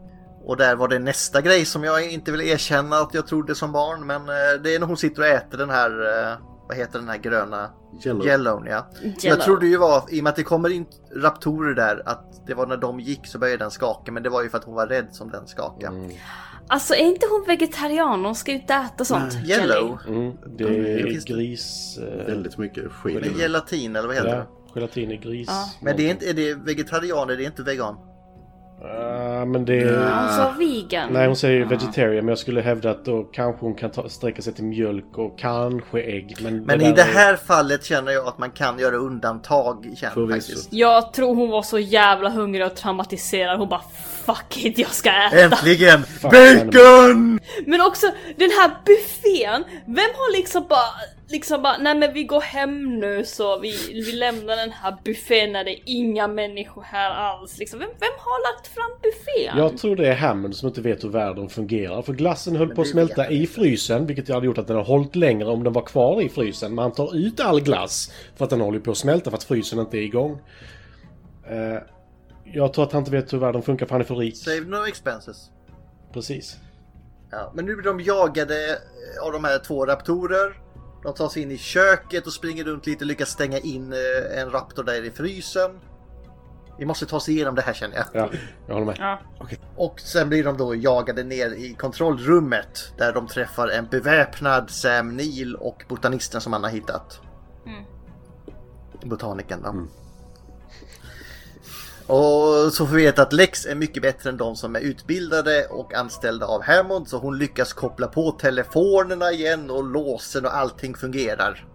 C: Och där var det nästa grej som jag inte vill erkänna att jag trodde som barn. Men eh, det är när hon sitter och äter den här, eh, vad heter den här gröna?
A: Yellow.
C: Yellow, ja.
D: Yellow.
C: Jag trodde ju var, i och med att det kommer in raptorer där, att det var när de gick så började den skaka. Men det var ju för att hon var rädd som den skakade.
E: Mm.
D: Alltså är inte hon vegetarian? Hon ska ju inte äta sånt. Jelly.
C: Yellow?
E: Mm, det
C: Ja,
E: är
C: finns det.
E: gris... eh,
A: Väldigt mycket skit.
C: Eller gelatin eller vad heter
E: Ja,
C: det?
E: gelatin i gris.
D: Ja.
C: Men det är, inte, är det vegetarianer, det är inte vegan?
E: Ah, men det är...
D: Hon sa vegan.
E: Nej, hon säger
C: Ah.
E: vegetarian, men jag skulle hävda att då kanske hon kan ta, sträcka sig till mjölk och kanske ägg. Men,
C: Men
E: där
C: i det
E: är-
C: här fallet känner jag att man kan göra undantag. Känner,
A: Förvisso.
C: faktiskt.
D: Jag tror hon var så jävla hungrig och traumatiserad. Hon bara fuck it, jag ska äta.
C: Äntligen!
E: Fuck,
C: Bacon!
D: Men också den här buffén. Vem har liksom bara, liksom bara, nej men vi går hem nu så vi, vi lämnar den här buffén när det är inga människor här alls. Liksom, vem, vem har lagt fram buffén?
E: Jag tror det är Hammond som inte vet hur världen fungerar. För glassen höll på att smälta i frysen, vilket hade gjort att den har hållit längre om den var kvar i frysen. Men han tar ut all glass för att den håller på att smälta för att frysen inte är igång. Eh, Jag tror att han inte vet hur världen funkar för han är för rik.
C: Save no expenses.
E: Precis.
C: Ja, men nu blir de jagade eh, av de här två raptorer. De tar sig in i köket och springer runt lite och lyckas stänga in eh, en raptor där i frysen. Vi måste ta oss igenom det här känner jag.
E: Ja, jag håller med.
D: Ja.
C: Och sen blir de då jagade ner i kontrollrummet där de träffar en beväpnad Sam Neill och botanisten som han har hittat.
D: Mm.
C: Botaniken då. Och så får vi veta att Lex är mycket bättre än de som är utbildade och anställda av Hammond så hon lyckas koppla på telefonerna igen och låsen och allting fungerar.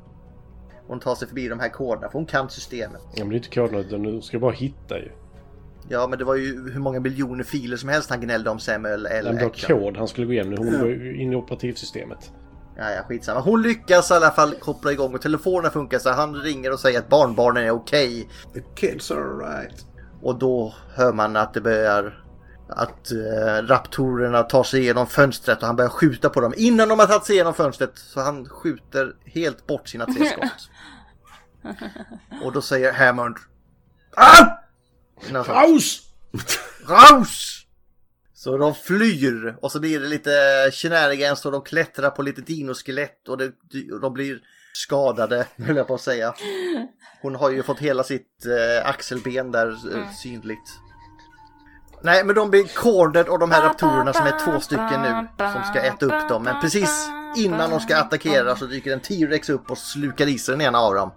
C: Hon tar sig förbi de här koderna för hon kan systemet.
E: Ja, men det är inte koden, utan du ska bara hitta ju.
C: Ja men det var ju hur många miljoner filer som helst han gnällde om Samuel L.
E: Den var
C: Action.
E: kod han skulle gå igenom. Hon var ju in i operativsystemet.
C: Ja, ja, skitsamma. Hon lyckas i alla fall koppla igång och telefonen funkar så han ringer och säger att barnbarnen är okej.
A: The kids are alright.
C: Och då hör man att det börjar att eh, raptorerna tar sig igenom fönstret och han börjar skjuta på dem innan de har tagit sig igenom fönstret. Så han skjuter helt bort sina tre skott. Och då säger Hammond ah! Innan han-
E: Raus!
C: Raus! Så de flyr och så blir det lite shenanigans och de klättrar på lite dinoskelett och, det, och de blir skadade, höll jag på att säga. Hon har ju fått hela sitt eh, axelben där eh,
N: Mm.
C: synligt. Nej, men de blir cornered av de här raptorerna som är två stycken nu som ska äta upp dem. Men precis innan de ska attackera så dyker en T-Rex upp och slukar i sig den ena av dem.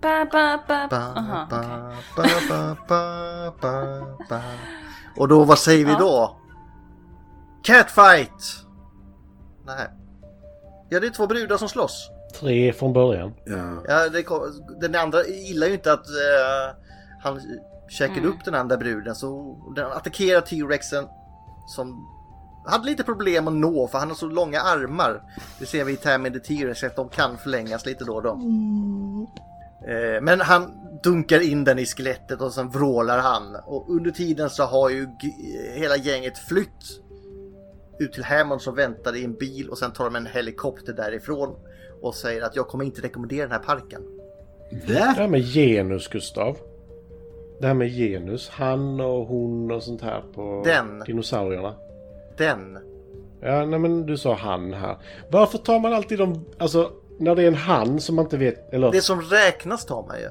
D: Ba, ba, ba.
C: Ba,
D: Aha,
C: ba,
D: okej.
C: ba, ba, ba, ba, ba. Och då, vad säger vi då? Catfight! Nej. Ja, det är två brudar som slåss.
E: Tre från början.
C: Ja, det kom, den andra gillar ju inte att eh, han käkade
E: Mm.
C: upp den andra bruden så den attackerar T-Rexen som hade lite problem att nå för han har så långa armar. Det ser vi i Tammy the T-Rex att de kan förlängas lite då och då. Eh, Men han dunkar in den i skelettet och sen vrålar han. Och under tiden så har ju g- hela gänget flytt ut till Hammond som väntar i en bil och sen tar de en helikopter därifrån och säger att jag kommer inte rekommendera den här parken.
E: Det här med genus, Gustav. Det här med genus. Han och hon och sånt här på
C: Den.
E: dinosaurierna.
C: Den.
E: Ja, nej men du sa han här. Varför tar man alltid de... Alltså, när det är en han som man inte vet... Eller...
C: Det som räknas tar man ju.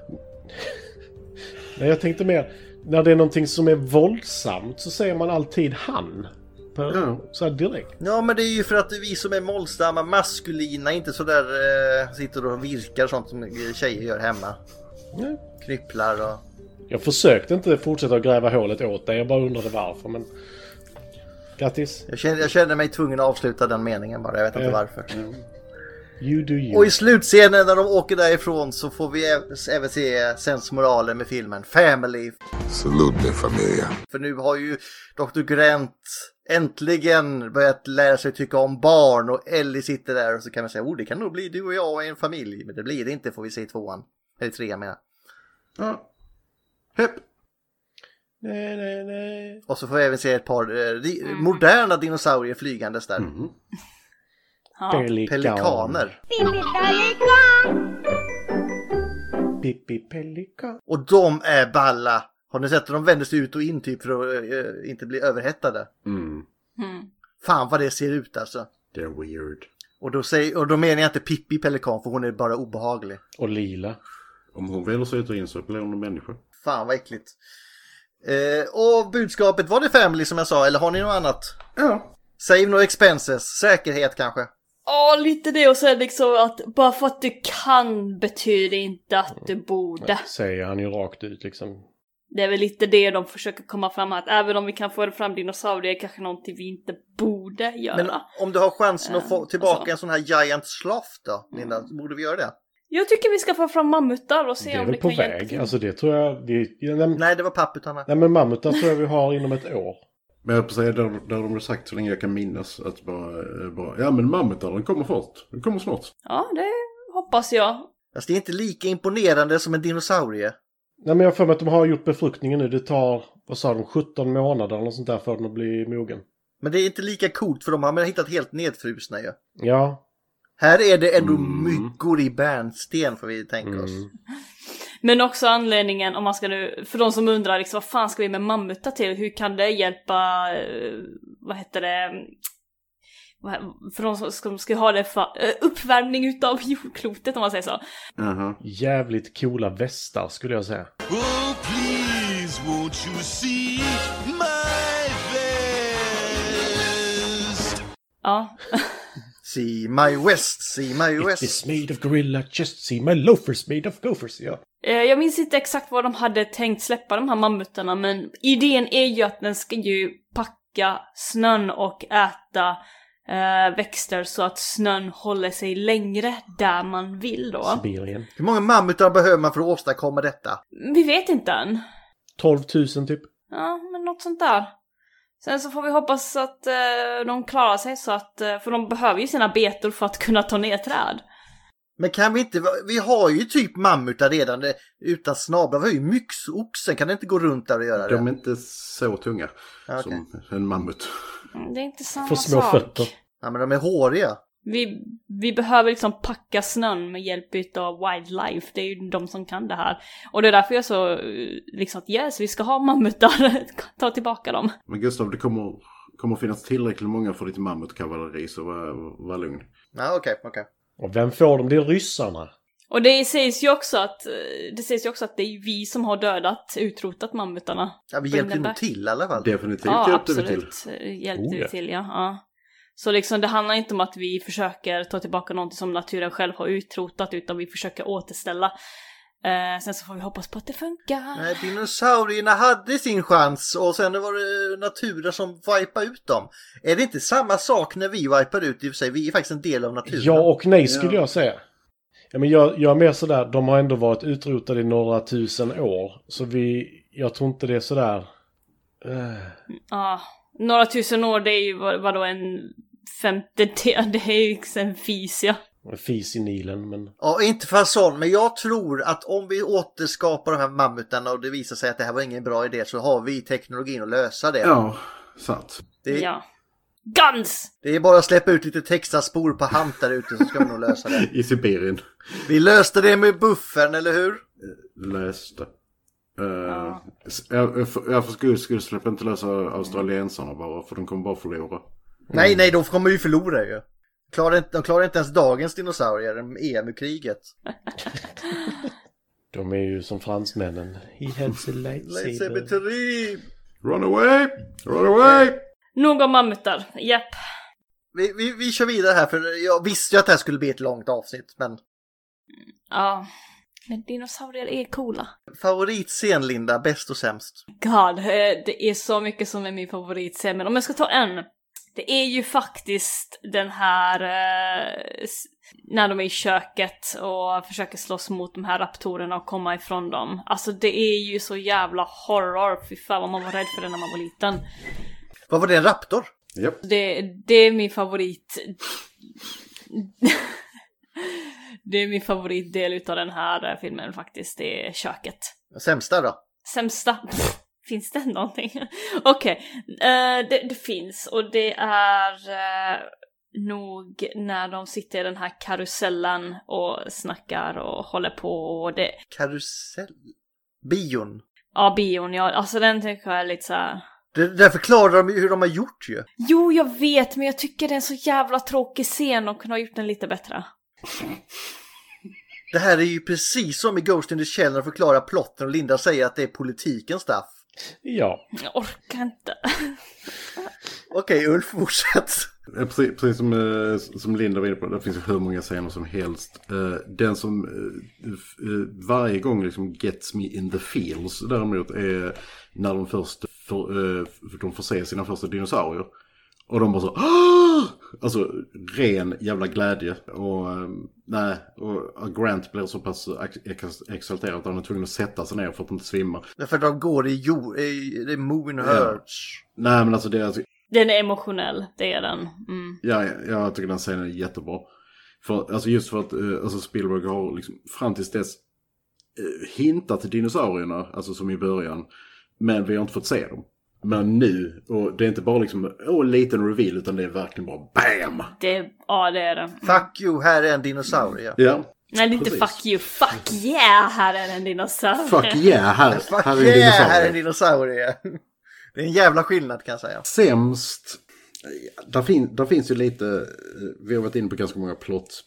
E: Nej, jag tänkte mer... När det är någonting som är våldsamt så säger man alltid han. På, Så här direkt.
C: Ja men det är ju för att vi som är målsamma, maskulina, inte sådär eh, sitter och virkar sånt som tjejer gör hemma.
E: Nej.
C: Knypplar och...
E: Jag försökte inte fortsätta att gräva hålet åt dig. Jag bara undrade varför, men... Grattis.
C: Jag känner, jag känner mig tvungen att avsluta den meningen bara, jag vet inte
E: Ja.
C: varför.
E: You do you.
C: Och i slutscenen när de åker därifrån så får vi ä- även se sensmoralen med filmen Family.
K: Salud de familia.
C: För nu har ju Dr. Grant äntligen börjat lära sig tycka om barn och Ellie sitter där och så kan man säga oh det kan nog bli du och jag och en familj. Men det blir det inte får vi se i tvåan. Eller trean menar jag.
E: Nej, nej, nej.
C: Och så får vi även se ett par eh, ri- moderna dinosaurier flygandes där.
E: Ja. Pelikan.
C: Pelikaner.
E: Pippi Pelikan.
C: Och de är balla! Har ni sett hur de vänder sig ut och in typ för att eh, inte bli överhettade?
A: Mm.
C: Fan vad det ser ut alltså.
A: Det är weird.
C: Och då, säger, och då menar jag inte Pippi Pelikan för hon är bara obehaglig.
E: Och lila.
A: Om hon vänder sig ut och in så blir hon en människa.
C: Fan vad äckligt. Eh, och budskapet, var det family som jag sa eller har ni något annat?
A: Ja.
C: Save no expenses, säkerhet kanske?
D: Ja, lite det och sen liksom att bara för att du kan betyder inte att du borde.
E: Säger han ju rakt ut liksom.
D: Det är väl lite det de försöker komma fram att även om vi kan få fram dinosaurier är kanske någonting vi inte borde göra.
C: Men om du har chansen att få
D: Eh,
C: tillbaka
D: alltså.
C: en sån här Giant Sloth då, Linda, borde vi göra det?
D: Jag tycker vi ska få fram mammutar och se
E: Det är
D: om det
E: väl på
D: kan hjälpa
E: väg.
D: till.
E: Alltså det tror jag... Det, nej,
C: nej, det var papputarna.
E: Nej, men mammutar tror jag vi har inom ett år.
A: Men jag höll på att säga, där, där har de har sagt så länge jag kan minnas att bara, eh, bara ja men mammutar den kommer först. Den kommer snart.
D: Ja, det hoppas jag.
C: Fast Alltså, det är inte lika imponerande som en dinosaurie.
E: Nej, men jag har för mig att de har gjort befruktningen nu. Det tar, vad sa de, 17 månader eller något sånt där för den att bli mogen.
C: Men det är inte lika coolt för de har man hittat helt nedfrusna ju.
E: Ja.
C: Här är det ändå myggor i bärnsten får vi tänka oss.
D: Men också anledningen om man ska nu, för de som undrar liksom vad fan ska vi med mammutar till? Hur kan det hjälpa, eh, vad heter det, vad- för de som som ska ha det för eh, uppvärmning utav jordklotet om man säger så.
E: Jävligt coola västar skulle jag säga.
H: Oh, please, won't you see my vest?
D: Ja.
C: See my west, see my
E: It
C: west.
E: is made of gorilla just see my loafers made of gophers. Ja.
D: Eh, Jag minns inte exakt vad de hade tänkt släppa de här mammutarna men idén är ju att den ska ju packa snön och äta eh, växter så att snön håller sig längre där man vill då.
E: Sibirien.
C: Hur många mammutar behöver man för att åstadkomma detta?
D: Vi vet inte än.
E: 12 000 typ.
D: Ja, men något sånt där. Sen så får vi hoppas att eh, de klarar sig så att, eh, för de behöver ju sina betor för att kunna ta ner träd.
C: Men kan vi inte, vi har ju typ mammutar redan eh, utan snablar. Vi har ju myxoxen, kan den inte gå runt där och göra
A: De
C: det?
A: är inte så tunga
C: Ja,
A: som en mammut.
D: Mm, Det är inte samma sak.
C: Ja, men de är håriga.
D: Vi, vi behöver liksom packa snön med hjälp av wildlife. Det är ju de som kan det här. Och det är därför jag är så eh, liksom att yes, vi ska ha mammutar. Ta tillbaka dem.
A: Men Gustav, det kommer, kommer finnas tillräckligt många för ditt mammutkavalleri, så var, var lugn.
C: Ja, okej, okej.
E: Och vem får dem? Det är ryssarna.
D: Och det sägs ju också att, eh, det sägs ju också att det är vi som har dödat, utrotat mammutarna.
C: Ja, vi
D: På
C: hjälpte nog
D: Hindenburg.
C: till i alla fall.
A: Definitivt
D: Ja,
A: hjälpte vi till.
D: absolut. Eh, Hjälpte
A: Oh,
D: vi
A: ja.
D: till, ja. ja. Så liksom det handlar inte om att vi försöker ta tillbaka någonting som naturen själv har utrotat, utan vi försöker återställa. Eh, sen så får vi hoppas på att det funkar.
C: Nej, dinosaurierna hade sin chans och sen var det naturen som wipade ut dem. Är det inte samma sak när vi wipar ut i och för sig? Vi är faktiskt en del av naturen.
E: Ja och nej skulle jag säga. Ja, men jag, jag är mer sådär, de har ändå varit utrotade i några tusen år. Så vi, jag tror inte det är sådär... eh,
D: Ja, några tusen år det är ju vad- vadå en femtedel, det är ju liksom en fis ja.
E: fis i Nilen, men...
C: Ja, inte för en sån, men jag tror att om vi återskapar de här mammutarna och det visar sig att det här var ingen bra idé så har vi teknologin att lösa det.
A: Ja, sant.
C: Det,
D: Ja. Guns!
C: det är bara att släppa ut lite Texas-spor på hamp där ute så ska vi nog lösa det.
A: I Sibirien.
C: Vi löste det med buffern, eller hur?
A: Läste. Uh, Jag, för, jag för skull skulle släppa inte lösa australiensarna bara, för de kommer bara förlora.
C: Nej, nej, de kommer ju förlora ju. Klarar inte, de klarar inte ens dagens dinosaurier, EMU-kriget.
E: De är ju som fransmännen. He has a lightsaber.
C: Lightsaber
A: Run away! Run away!
D: Nog om mammutar, japp.
C: Vi, vi, vi kör vidare här för jag visste ju att det här skulle bli ett långt avsnitt men
D: Ja. Men dinosaurier är coola.
C: favoritscen Linda, bäst och sämst.
D: God, eh, det är så mycket som är min favoritscen, men om jag ska ta en. Det är ju faktiskt den här eh, s- när de är i köket och försöker slåss mot de här raptorerna och komma ifrån dem. Alltså det är ju så jävla horror, fy fan vad man var rädd för det när man var liten.
C: Vad var det, en raptor?
A: Japp.
D: Det, det är min favorit. det är min favoritdel utav den här eh, filmen faktiskt, det är köket.
C: Sämsta då?
D: Sämsta. Pff, Finns det någonting? Okej, eh, det, det finns och det är eh, nog när de sitter i den här karusellen och snackar och håller på och det...
C: Karusell? Bion?
D: Ja, bion, ja. Alltså den tycker jag är lite så här...
C: Det, där förklarar de ju hur de har gjort ju.
D: Jo, jag vet, men jag tycker det är en så jävla tråkig scen och kunde ha gjort den lite bättre.
C: Det här är ju precis som i Ghost in the Shell när de förklarar plotten och Linda säger att det är politikens staff.
E: Ja.
D: Jag orkar inte.
C: Okej Ulf, fortsätt.
A: Eh, Precis, precis som, eh, som Linda var inne på, det finns ju hur många scener som helst. Eh, Den som eh, f- eh, varje gång liksom gets me in the feels däremot är när de först för, eh, f- de får se sina första dinosaurier. Och de bara så "Ah!" Alltså ren jävla glädje. Och eh, nej, och eh, Grant blir så pass ex- exalterad att han är tvungen att sätta sig ner för att inte svimma.
C: Därför att de går i, jo, i, i Moon Herds.
A: Nej men alltså det är alltså
D: Den är emotionell, det är den. Mm.
A: Ja, ja, jag tycker den scenen är jättebra. För, alltså just för att eh, alltså Spielberg har liksom, fram tills dess eh, hintat till dinosaurierna, alltså som i början. Men vi har inte fått se dem. Men nu, och det är inte bara liksom åh, liten reveal, utan det är verkligen bara BAM!
D: Det, ja, det är den. Mm.
C: Fuck you, här är en dinosaurie.
A: Ja.
D: Nej, det är inte
A: Precis.
D: fuck you, fuck yeah, här är en dinosaurie.
A: Fuck yeah, här,
C: Fuck
A: här är en
C: yeah, här är en
A: dinosaurie.
C: dinosaurie. Det är en jävla skillnad kan jag säga.
A: Sämst, ja, där, fin, där finns ju lite, eh, vi har varit inne på ganska många plott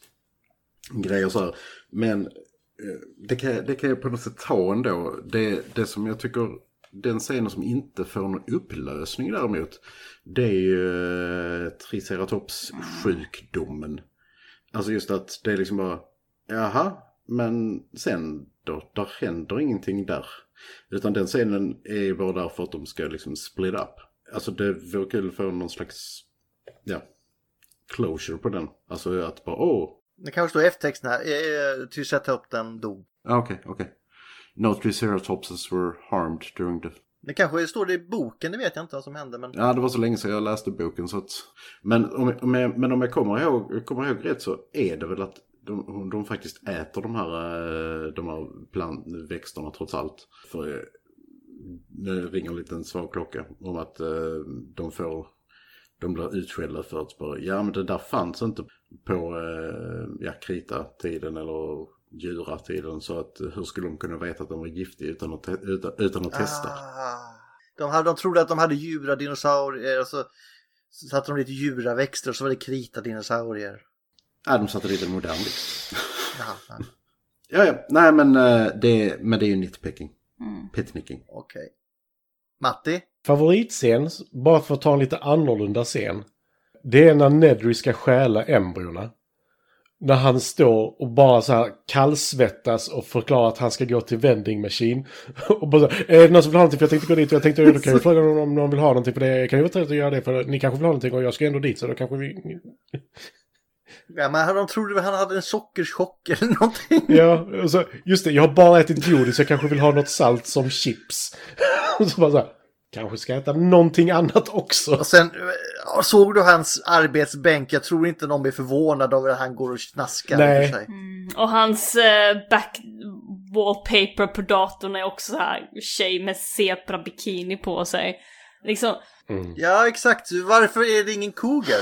A: grejer så här. Men eh, det kan, det kan jag på något sätt ta ändå. Det, det som jag tycker, den scenen som inte får någon upplösning däremot, det är ju eh, Triceratops sjukdomen. Alltså just att det är liksom bara, jaha, men sen då, där händer ingenting där. Utan den scenen är ju bara där för att de ska liksom split up. Alltså det vore kul att få någon slags, ja, closure på den. Alltså att bara, åh,
C: Det kanske står i F-texten här. Eh, Triceratopsen dog.
A: Ah, Okej, okej. No triceratopses were harmed during the...
C: Det kanske står det i boken, det vet jag inte vad som hände. Men...
A: Ja, det var så länge sedan jag läste boken så att... Men om, om jag, men om jag kommer, ihåg, jag kommer ihåg rätt så är det väl att de, de faktiskt äter de här, eh, de här plantväxterna trots allt. För eh, nu ringer en liten svag klocka om att eh, de får, de blir utskällda för att bara, ja men det där fanns inte på eh, ja, krita-tiden eller djuratiden så att hur skulle de kunna veta att den var giftig utan att, te- utan, utan att testa?
C: Ah, de, hade, de trodde att de hade djura dinosaurier och så så satte de lite djuraväxter och så var det krita dinosaurier.
A: Ja, de satte dit en modern liksom.
C: Jaha, ja.
A: Ja, ja, nej men eh, det, men det är ju nitpicking.
C: Mm.
A: Petnicking.
C: Okej. Matti?
E: Favoritscen, bara för att ta en lite annorlunda scen. Det är när Nedry ska stjäla embryona. När han står och bara så här kallsvettas och förklarar att han ska gå till vending machine. Och bara så här, är det någon som vill ha någonting? För jag tänkte gå dit och jag tänkte, då kan jag ju fråga någon om någon vill ha någonting. För det kan ju vara trevligt att göra det. För ni kanske vill ha någonting och jag ska ändå dit. Så då kanske vi...
C: Ja, men han- de trodde väl han hade en sockerchock eller någonting.
E: Ja, och så, just det. Jag har bara ätit godis. Jag kanske vill ha något salt som chips. Och så bara så här, kanske ska jag äta någonting annat också.
C: Och sen eh, såg du hans arbetsbänk. Jag tror inte någon blir förvånad över att han går och snaskar.
E: Nej.
C: för sig.
D: Och hans eh, back wallpaper på datorn är också så här tjej med zebra bikini på sig. Liksom,
C: Ja, exakt. Varför är det ingen cougar?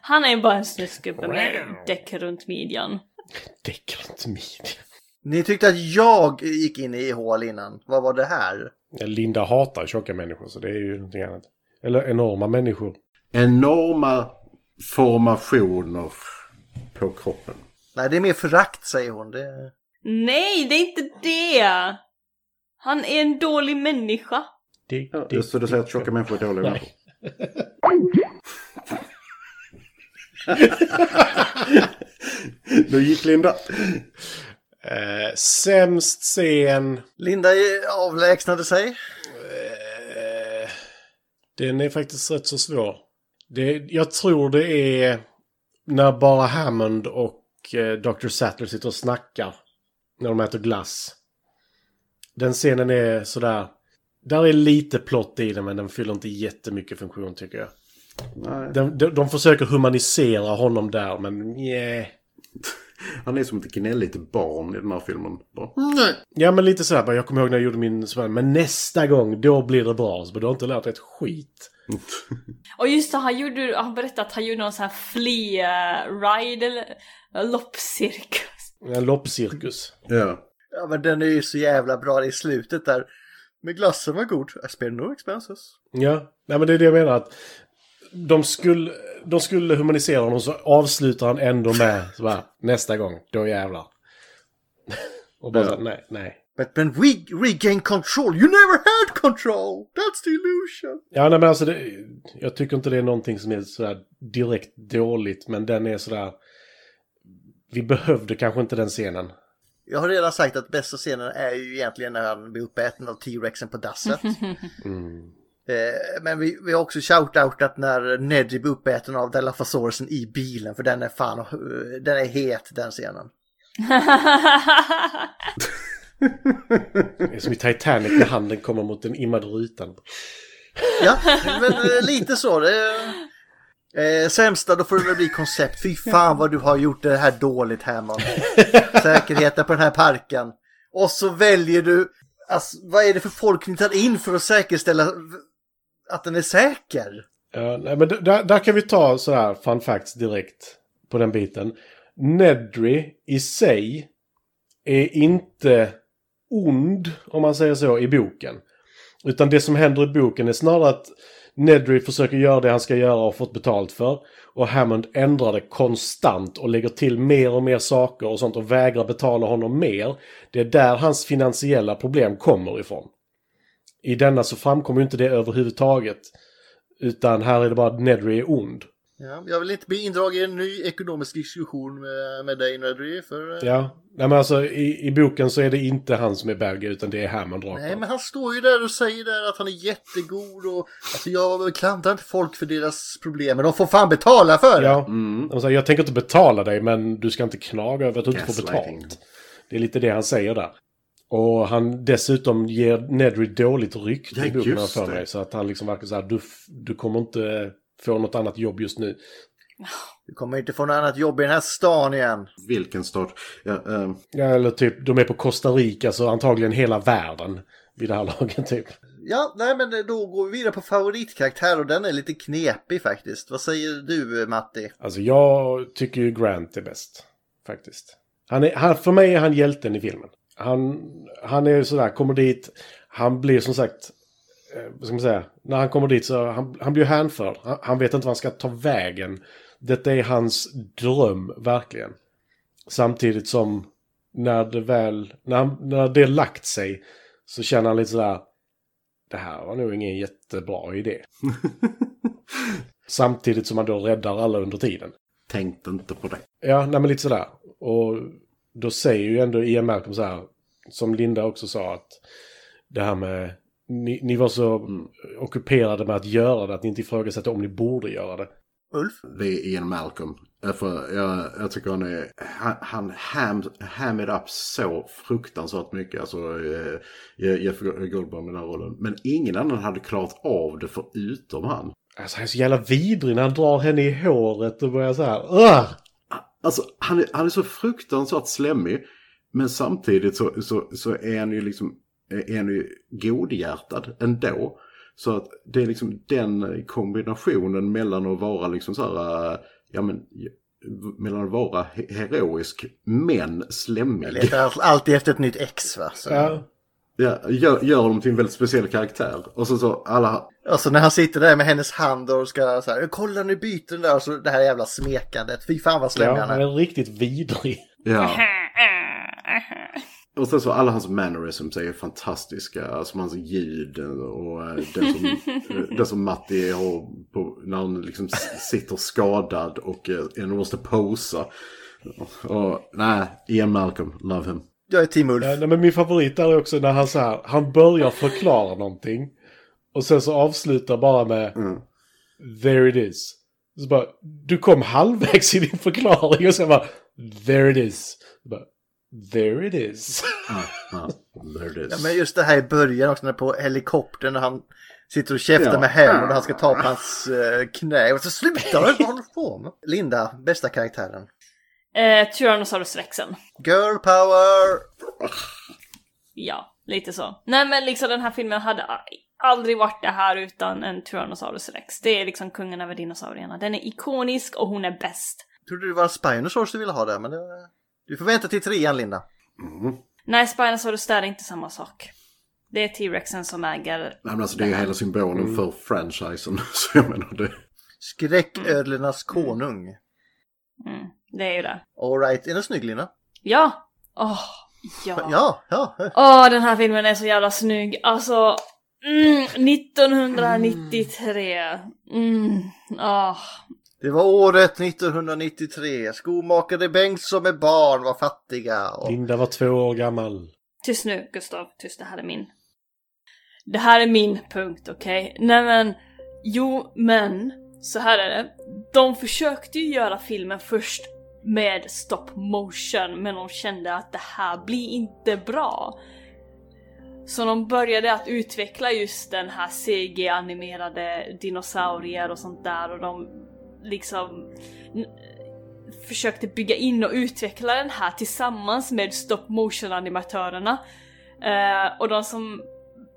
D: han är ju bara en snusgubbe med däck runt midjan.
C: Ni tyckte att jag gick in i hål innan. Vad var det här?
E: Ja, Linda hatar tjocka människor, så det är ju någonting annat. Eller enorma människor.
A: Enorma formationer på kroppen.
C: Nej, det är mer förakt säger hon. Det...
D: Nej, det är inte det! Han är en dålig människa.
A: Ja, så du säger att tjocka människor är dåliga människor? Nu gick Linda.
E: Eh, sämst scen.
C: Linda eh, avlägsnade sig.
E: Eh, Den är faktiskt rätt så svår. Det, jag tror det är när bara Hammond och eh, Dr. Sattler sitter och snackar. När de äter glass. Den scenen är sådär. Där är lite plott i den men den fyller inte jättemycket funktion tycker jag.
A: Nej.
E: De, de, de försöker humanisera honom där men yeah.
A: Han är som ett gnälligt barn i den här filmen. Bara,
E: Ja men lite sådär bara, jag kommer ihåg när jag gjorde min så här, men nästa gång då blir det bra. Så, bara, du har inte lärt dig ett skit.
D: Och just det, han, gjorde, han berättade att han gjorde någon sån här flea-ride eller loppcirkus.
E: En loppcirkus.
A: Ja.
C: Ja, men den är ju så jävla bra i slutet där. Men glassen var god. I spare no expenses.
E: Ja, nej men det är det jag menar att de skulle, de skulle humanisera honom så avslutar han ändå med så här, nästa gång, då jävlar. Och bara,
C: Ja.
E: så här, nej, nej.
C: But when we regain control, you never had control! That's the illusion!
E: Ja, nej men alltså det, jag tycker inte det är någonting som är sådär direkt dåligt, men den är sådär, vi behövde kanske inte den scenen.
C: Jag har redan sagt att bästa scenen är ju egentligen när han blir uppäten av T-Rexen på dasset. Eh, men vi, vi har också shoutoutat när Neddy blir uppäten av Dilophosaurus'en i bilen för den är fan, eh, den är het den scenen.
E: Det är som i Titanic när handen kommer mot den immade rutan.
C: Ja, men eh, lite så. Det, eh, sämsta, då får det väl bli koncept. Fy fan vad du har gjort det här dåligt Hammond. Säkerheten på den här parken. Och så väljer du, alltså, vad är det för folk ni tar in för att säkerställa att den är säker?
E: Ja, nej, men d- där, där kan vi ta sådär fun facts direkt på den biten. Nedry i sig är inte ond, om man säger så, i boken. Utan det som händer i boken är snarare att Nedry försöker göra det han ska göra och har fått betalt för. Och Hammond ändrar det konstant och lägger till mer och mer saker och sånt och vägrar betala honom mer. Det är där hans finansiella problem kommer ifrån. I denna så framkommer ju inte det överhuvudtaget. Utan här är det bara att Nedry är ond.
C: Ja, jag vill inte bli indragen i en ny ekonomisk diskussion med, med dig Nedry. För, eh,
E: Ja. Nej men alltså i, i boken så är det inte han som är bög utan det är Hammond rakt
C: Nej,
E: av.
C: men han står ju där och säger där att han är jättegod och alltså, jag klandrar inte folk för deras problem, men de får fan betala för det.
E: Ja.
A: Mm.
E: Han säger, jag tänker inte betala dig men du ska inte knaga över att du inte får
C: Gaslighting.
E: betalt. Det är lite det han säger där. Och han dessutom ger Nedry dåligt rykte
A: Ja,
E: i boken har jag
A: just
E: för
A: det.
E: mig. Så att han liksom verkar så här, du, f- du kommer inte få något annat jobb just nu.
C: Du kommer inte få något annat jobb i den här stan igen.
A: Vilken start? Ja, ehm,
E: Ja, eller typ de är på Costa Rica så antagligen hela världen vid det här laget typ.
C: Ja, nej men då går vi vidare på favoritkaraktär och den är lite knepig faktiskt. Vad säger du Matti?
E: Alltså jag tycker ju Grant är bäst. Faktiskt. Han är, han, för mig är han hjälten i filmen. Han, han är ju sådär, kommer dit, han blir som sagt, eh, vad ska man säga, när han kommer dit så han, han blir hänförd. Han, han vet inte vad han ska ta vägen. Detta är hans dröm, verkligen. Samtidigt som när det väl, när, han- när det lagt sig så känner han lite sådär, det här var nog ingen jättebra idé. Samtidigt som han då räddar alla under tiden.
A: Tänkte inte på det.
E: Ja, nej men lite sådär. Och då säger ju ändå Ian Malcolm så här, som Linda också sa, att det här med... Ni, ni var så ockuperade med att göra det att ni inte ifrågasatte om ni borde göra det.
C: Ulf?
A: Det är Ian Malcolm. Eh, För jag, jag tycker han är... Han, han ham, ham it up så fruktansvärt mycket. Alltså eh, Jeff Goldblum i den här rollen. Men ingen annan hade klarat av det förutom han.
E: Alltså han är så jävla vidrig när han drar henne i håret och börjar så här. "Ugh!"
A: Alltså han är, han är så fruktansvärt slemmig. Men samtidigt så, så, så är han ju liksom är han ju godhjärtad ändå. Så att det är liksom den kombinationen mellan att vara liksom så här, eh, ja men, mellan att vara he- heroisk men
C: Jag
A: slemmig.
C: letar all- alltid efter ett nytt ex va? Så.
A: Ja, gör, gör dem till en väldigt speciell karaktär. Och så så alla...
C: Alltså när han sitter där med hennes hand och ska så här, kolla nu byter den där och så det här jävla smekandet. Fy fan vad
E: Ja,
C: slemmig han
E: han
C: är.
E: är riktigt vidrig.
A: Ja. Och sen så alla hans mannerisms är ju fantastiska. Alltså hans ljud och eh, det som, eh, det som Matti har på, när han liksom s- sitter skadad och eh, ändå måste posa. Och nej, Ian Malcolm, love him.
C: Jag är Team Ulf.
E: Ja, nej, men min favorit där är också när han så här, han börjar förklara någonting. Och sen så avslutar bara med There it is. Så bara, du kom halvvägs i din förklaring och sen bara There it is. Så bara, There it is.
A: Ja, there it is.
C: Ja, men just det här i början också när på helikoptern när han sitter och käftar
E: Ja.
C: med hem och han ska ta på hans eh, knä. Och så slutar han! Vad håller du på med? Linda, bästa karaktären.
D: Eh, Tyrannosaurus-rexen.
C: Girl power!
D: Ja, lite så. Nej men liksom den här filmen hade aldrig varit det här utan en Tyrannosaurus rex. Det är liksom kungen över dinosaurierna. Den är ikonisk och hon är bäst.
C: Trodde det var Spinosaurus du ville ha där men det... Du får vänta till trean Linda.
D: Nej, Spinosaurus där är inte samma sak. Det är T-rexen som äger...
A: Nej, men alltså det är ju hela symbolen
C: Mm.
A: för franchisen. Så jag menar det.
C: Skräcködlornas konung.
D: Mm, det är ju det.
C: Alright, är den snygg Linda?
D: Ja! Åh, ja.
C: Ja, ja.
D: Åh, den här filmen är så jävla snygg. Alltså, mm, 1993. Mm, åh.
C: Det var året 1993. Skomakare Bengtsson med barn var fattiga. Och...
E: Linda var två år gammal.
D: Tyst nu, Gustav. Tyst, det här är min. Det här är min punkt, okej? Nej men, jo men, så här är det. De försökte ju göra filmen först med stop motion, men de kände att det här blir inte bra. Så de började att utveckla just den här CG-animerade dinosaurier och sånt där och de liksom n- försökte bygga in och utveckla den här tillsammans med stop motion animatörerna. Eh, och de som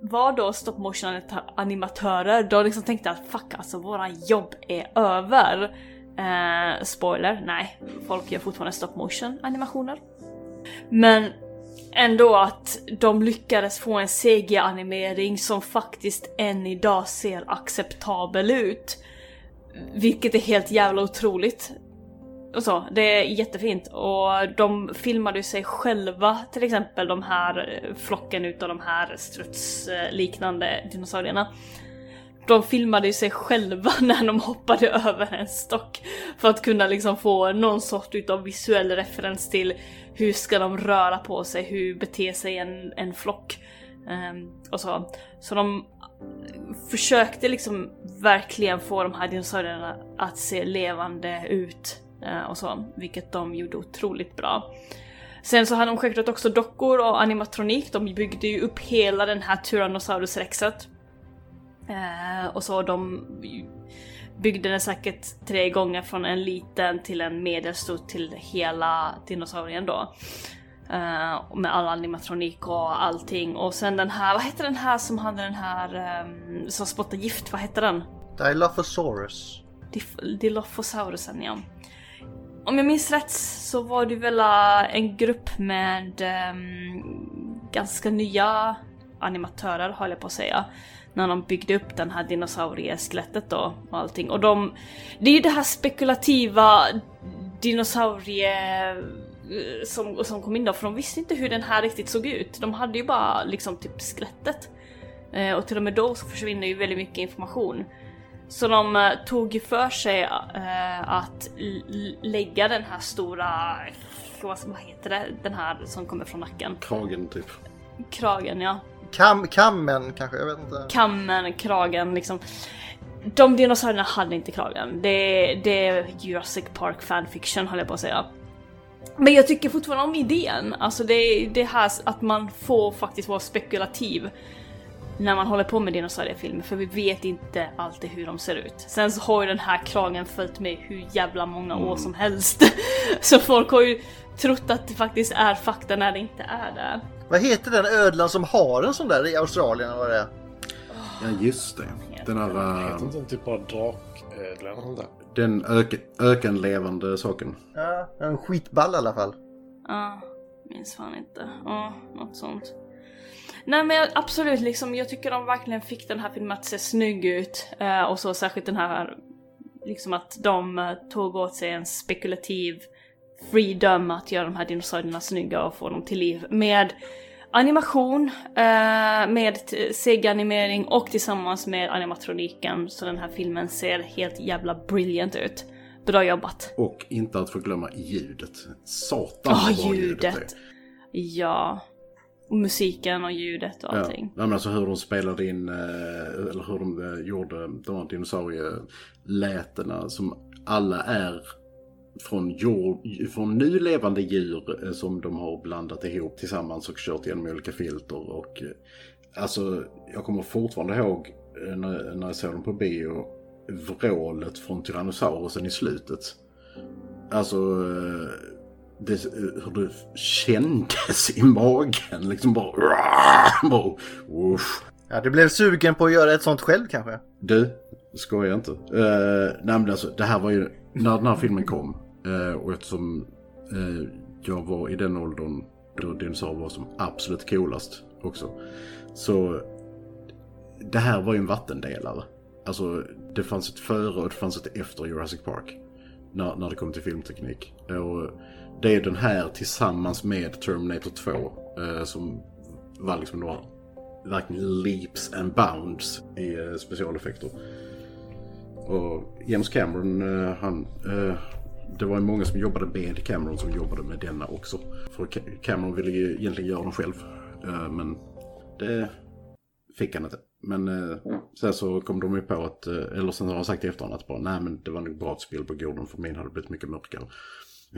D: var då stop motion anita- animatörer, de liksom tänkte att fuck alltså våran jobb är över. Eh, spoiler, nej. Folk gör fortfarande stop motion animationer. Men ändå att de lyckades få en CG-animering som faktiskt än idag ser acceptabel ut. Vilket är helt jävla otroligt. Och så, det är jättefint. Och de filmade ju sig själva till exempel de här eh, flocken utav de här strutsliknande eh, dinosaurierna. De filmade ju sig själva när de hoppade över en stock för att kunna liksom få någon sort utav visuell referens till hur ska de röra på sig, hur beter sig en, en flock ehm, och så. Så de försökte liksom verkligen få de här dinosaurierna att se levande ut eh, och så, vilket de gjorde otroligt bra. Sen så hade de självklart också dockor och animatronik, de byggde ju upp hela den här Tyrannosaurus-rexet. Eh, och så de byggde den säkert tre gånger från en liten till en medelstor till hela dinosaurien då. Eh, med all animatronik och allting. Och sen den här, vad hette den här som hade den här ehm, som spottade gift, vad hette den?
C: Dilophosaurus.
D: Dif- Dilophosaurusen ja. Om jag minns rätt så var det väl eh, en grupp med ehm, ganska nya animatörer höll jag på att säga. När de byggde upp den här dinosaurieskelettet då och allting. Och de, det är ju det här spekulativa dinosaurie eh, som, som kom in då, för de visste inte hur den här riktigt såg ut. De hade ju bara liksom typ skelettet. Eh, Och till och med då så försvinner ju väldigt mycket information. Så de eh, tog ju för sig eh, att l- l- lägga den här stora, vad vad heter det, den här som kommer från nacken.
A: Kragen typ.
D: Kragen ja.
C: Kam, kammen kanske, jag vet inte.
D: Kammen, kragen liksom. De dinosaurierna hade inte kragen. Det, det är Jurassic Park fanfiction höll jag på att säga. Men jag tycker fortfarande om idén. Alltså det, det här att man får faktiskt vara spekulativ när man håller på med dinosauriefilmer för vi vet inte alltid hur de ser ut. Sen så har ju den här kragen följt med hur jävla många år som helst. Så folk har ju trott att det faktiskt är fakta när det inte är det.
C: Vad heter den ödlan som har en sån där i Australien? eller Vad det är?
A: Ja, just det. Den här...
E: Heter
A: eh,
E: inte den typ bara draködla eller något där?
A: Den öken, ökenlevande saken.
C: Ja, en skitball i alla fall.
D: Ja, minns fan inte. Ja, något sånt. Nej men jag, absolut, liksom, jag tycker de verkligen fick den här filmen att se snygg ut. Eh, och så särskilt den här, liksom att de eh, tog åt sig en spekulativ freedom att göra de här dinosaurierna snygga och få dem till liv. Med animation, eh, med t- CG-animering och tillsammans med animatroniken. Så den här filmen ser helt jävla brilliant ut. Bra jobbat!
A: Och inte att förglömma ljudet. Satan vad
D: Ja,
A: bra
D: Ah,
E: alltså.
D: ljudet! Ja. Och musiken och ljudet och
A: Ja.
D: allting.
A: Nej, men alltså hur de spelade in, eh, eller hur de eh, gjorde de här dinosaurielätena som alla är från, jord, från nu levande djur eh, som de har blandat ihop tillsammans och kört genom olika filter. Och, eh, alltså, jag kommer fortfarande ihåg eh, när, när jag såg dem på bio, vrålet från Tyrannosaurusen i slutet. Alltså, eh, det, hur det kändes i magen. Liksom bara... bara uff.
C: Ja, du blev sugen på att göra ett sånt själv kanske?
A: Du, skojar inte. Uh, nej men alltså, det här var ju... När den här filmen kom eh, och eftersom eh, jag var i den åldern då dinosaurier var som absolut coolast också. Så det här var ju en vattendelare. Alltså, det fanns ett före och det fanns ett efter Jurassic Park. När, när det kom till filmteknik. Och det är den här tillsammans med Terminator 2 eh, som var liksom några verkligen leaps and bounds i eh, specialeffekter. Och James Cameron, eh, han... Eh, det var ju många som jobbade med Cameron som jobbade med denna också. För Ca- Cameron ville ju egentligen göra den själv. Eh, men det fick han inte. Men eh, sen så kom de ju på att, eh, eller sen har han sagt i efterhand att bara, nej men det var nog bra att Spielberg gjorde den för min hade blivit mycket mörkare.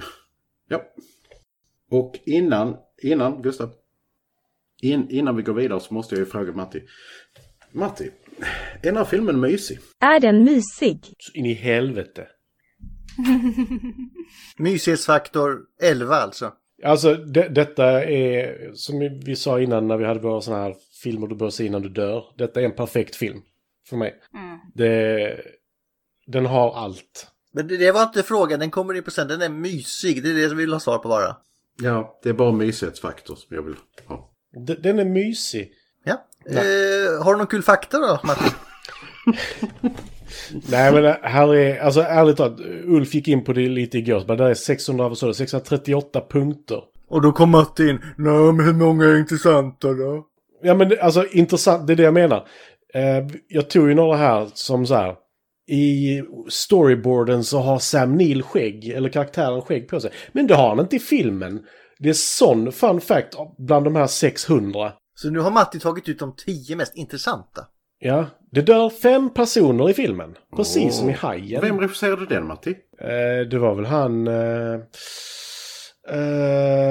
A: ja. Och innan, innan Gustav. In, innan vi går vidare så måste jag ju fråga Matti. Matti, är den här filmen mysig?
N: Är den mysig?
E: Så in i helvete.
C: Mysighetsfaktor 11 alltså.
E: Alltså det, detta är, som vi sa innan när vi hade våra sådana här filmer du bör se innan du dör. Detta är en perfekt film. För mig.
D: Mm.
E: Det, den har allt.
C: Men det, det var inte frågan, den kommer in på sen. Den är mysig, det är det som vi vill ha svar på bara.
A: Ja, det är bara mysighetsfaktor som jag vill ha.
E: D- Den är mysig.
C: Ja. Eh, har du någon kul fakta då, Matti?
E: Nej men här är, alltså ärligt talat, Ulf gick in på det lite igår. så bara, Det är 600, vad sa du, 638 punkter.
C: Och då kom Matti in. Nej, men hur många är intressanta då?
E: Ja men det- alltså intressant, det är det jag menar. Eh, jag tog ju några här som så här. I storyboarden så har Sam Neill skägg, eller karaktären skägg på sig. Men det har han inte i filmen. Det är sån fun fact bland de här 600.
C: Så nu har Matti tagit ut de tio mest intressanta.
E: Ja, det dör fem personer i filmen. Precis
A: Åh.
E: som i Hajen.
A: Vem regisserade den Matti?
E: Eh, det var väl han... Eh, eh,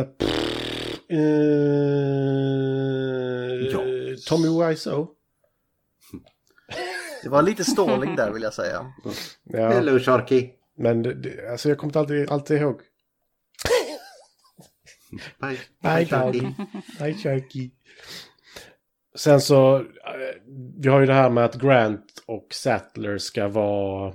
E: eh, Tommy Wiseau.
C: Det var lite ståling där vill jag säga.
E: Ja.
A: Hello, Sharky.
E: Men det- det, alltså jag kommer alltid, alltid ihåg.
A: Bye,
E: Bye, Sharky. Bye, Sharky. Sen så, eh, vi har ju det här med att Grant och Sattler ska vara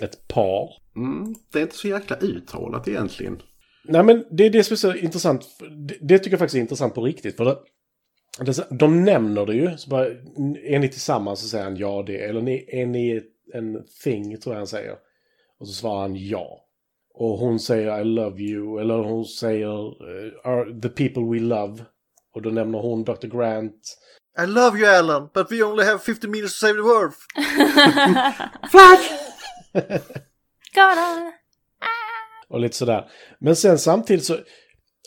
E: ett par.
A: Mm, det är inte så jäkla uttalat egentligen.
E: Nej, men det är det som är så intressant. Det, det tycker jag faktiskt är intressant på riktigt. För det, det, de nämner det ju. Så bara, är ni tillsammans så säger han ja det. Eller "Ni- är ni en thing, tror jag han säger. Och så svarar han ja. Och hon säger I love you. Eller hon säger eh, "Are the people we love. Och då nämner hon Dr. Grant.
C: I love you Alan, but we only have 50 minutes to save the world.
D: Gonna.
E: Och lite sådär. Men sen samtidigt så,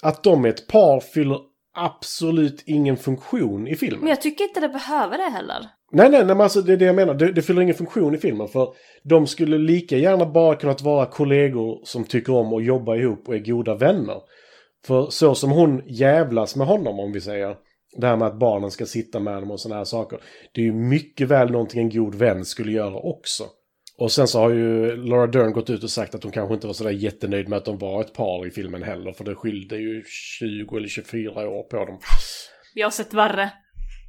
E: att de är ett par fyller absolut ingen funktion i filmen.
D: Men jag tycker inte det behöver det heller.
E: Nej, nej, nej men alltså det är det jag menar. Det, det fyller ingen funktion i filmen. För de skulle lika gärna bara kunnat vara kollegor som tycker om att jobba ihop och är goda vänner. För så som hon jävlas med honom, om vi säger, det här med att barnen ska sitta med dem och sådana här saker. Det är ju mycket väl någonting en god vän skulle göra också. Och sen så har ju Laura Dern gått ut och sagt att hon kanske inte var sådär jättenöjd med att de var ett par i filmen heller. För det skilde ju 20 eller 24 år på dem.
D: Jag har sett värre.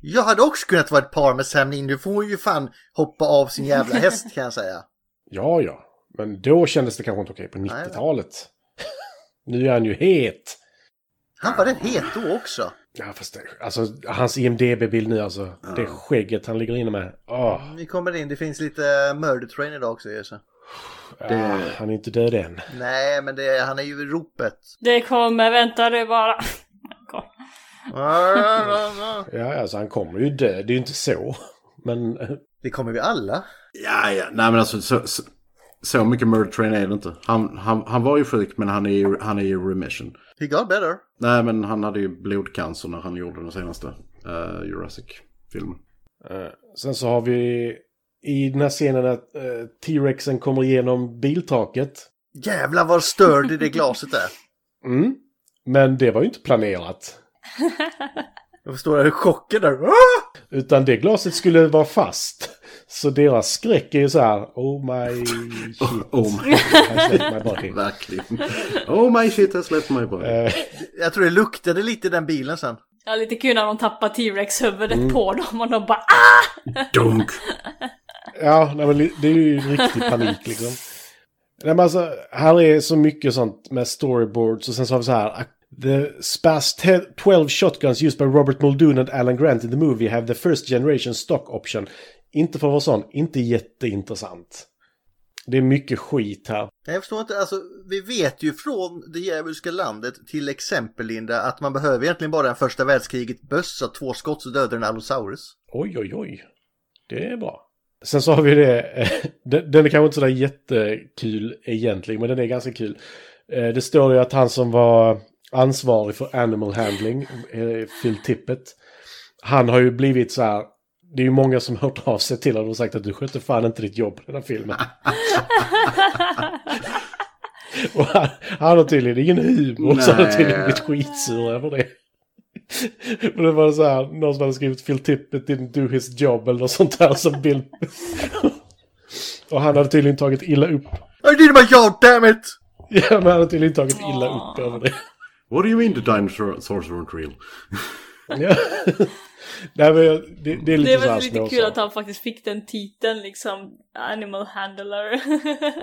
C: Jag hade också kunnat vara ett par med Sam Neill. får hon ju fan hoppa av sin jävla häst kan jag säga.
E: Ja, ja. Men då kändes det kanske inte okej på 90-talet. nu är han ju het.
C: Han var rätt het då också.
E: Ja, fast det, alltså, hans IMDB-bild nu alltså. Det skägget han ligger inne med. Åh,
C: Vi kommer in, det finns lite eh, murder train idag också ju, så.
E: ah, han är inte död än.
C: Nej, men det, han är ju i ropet.
D: Det kommer, vänta du bara.
E: Ja, alltså han kommer ju dö. Det är ju inte så. Men... eh,
C: Det kommer vi alla.
A: Ja, ja. Nej, men alltså så, så, så mycket murder train är det inte. Han, han, han var ju sjuk, men han är ju, han är ju remission.
C: He got better.
A: Nej, men han hade ju blodcancer när han gjorde den senaste eh, Jurassic-filmen.
E: Eh, Sen så har vi i den här scenen att eh, T-Rexen kommer igenom biltaket.
C: Jävlar vad störd i det glaset är.
E: Mm. Men det var ju inte planerat.
C: Jag förstår det, hur chocken där. Ah!
E: Utan det glaset skulle vara fast. Så deras skräck är ju så här, oh my shit.
A: oh my-
E: I slipped my body.
A: Verkligen. Oh my shit, I släppte mig
E: Eh,
A: bara.
C: Jag tror det luktade lite i den bilen sen.
D: Ja, lite kul när de tappar T-Rex huvudet
E: Mm.
D: på dem och de bara ah!
A: Dunk!
E: Ja, nej, men det är ju riktig panik liksom. Nej, men alltså, här är så mycket sånt med storyboards och sen så har vi så här. ah, The spas 12 shotguns used by Robert Muldoon and Alan Grant in the movie have the first generation stock option. Inte för att vara sån, inte jätteintressant. Det är mycket skit här.
C: Nej, jag förstår inte, alltså vi vet ju från det djävulska landet till exempel Linda att man behöver egentligen bara en första världskriget bössa, två skott så dödar en allosaurus.
E: Oj, oj, oj. Det är bra. Sen så har vi det, eh, den den är kanske inte sådär jättekul egentligen, men den är ganska kul. Eh, Det står ju att han som var ansvarig för animal handling, eh, Phil Tippett, han har ju blivit så här, det är ju många som hört av sig till honom och sagt att du skötte fan inte ditt jobb i den här filmen. och han, han har tydligen ingen humor, så han har tydligen
A: Nej.
E: blivit skitsur över det. Och det var så här, någon som hade skrivit Phil Tippett didn't do his job eller något sånt där som bild. Och han hade tydligen tagit illa upp.
C: I did my job, damn it!
E: Ja, men han hade tydligen tagit illa
D: Ah.
E: upp över det.
A: What do you mean the dinosaurs weren't real?
E: Ja. Nej, men jag- det, det är lite
D: Det är
E: så här
D: väl lite
E: småsaker.
D: kul att han faktiskt fick den titeln liksom, Animal Handler.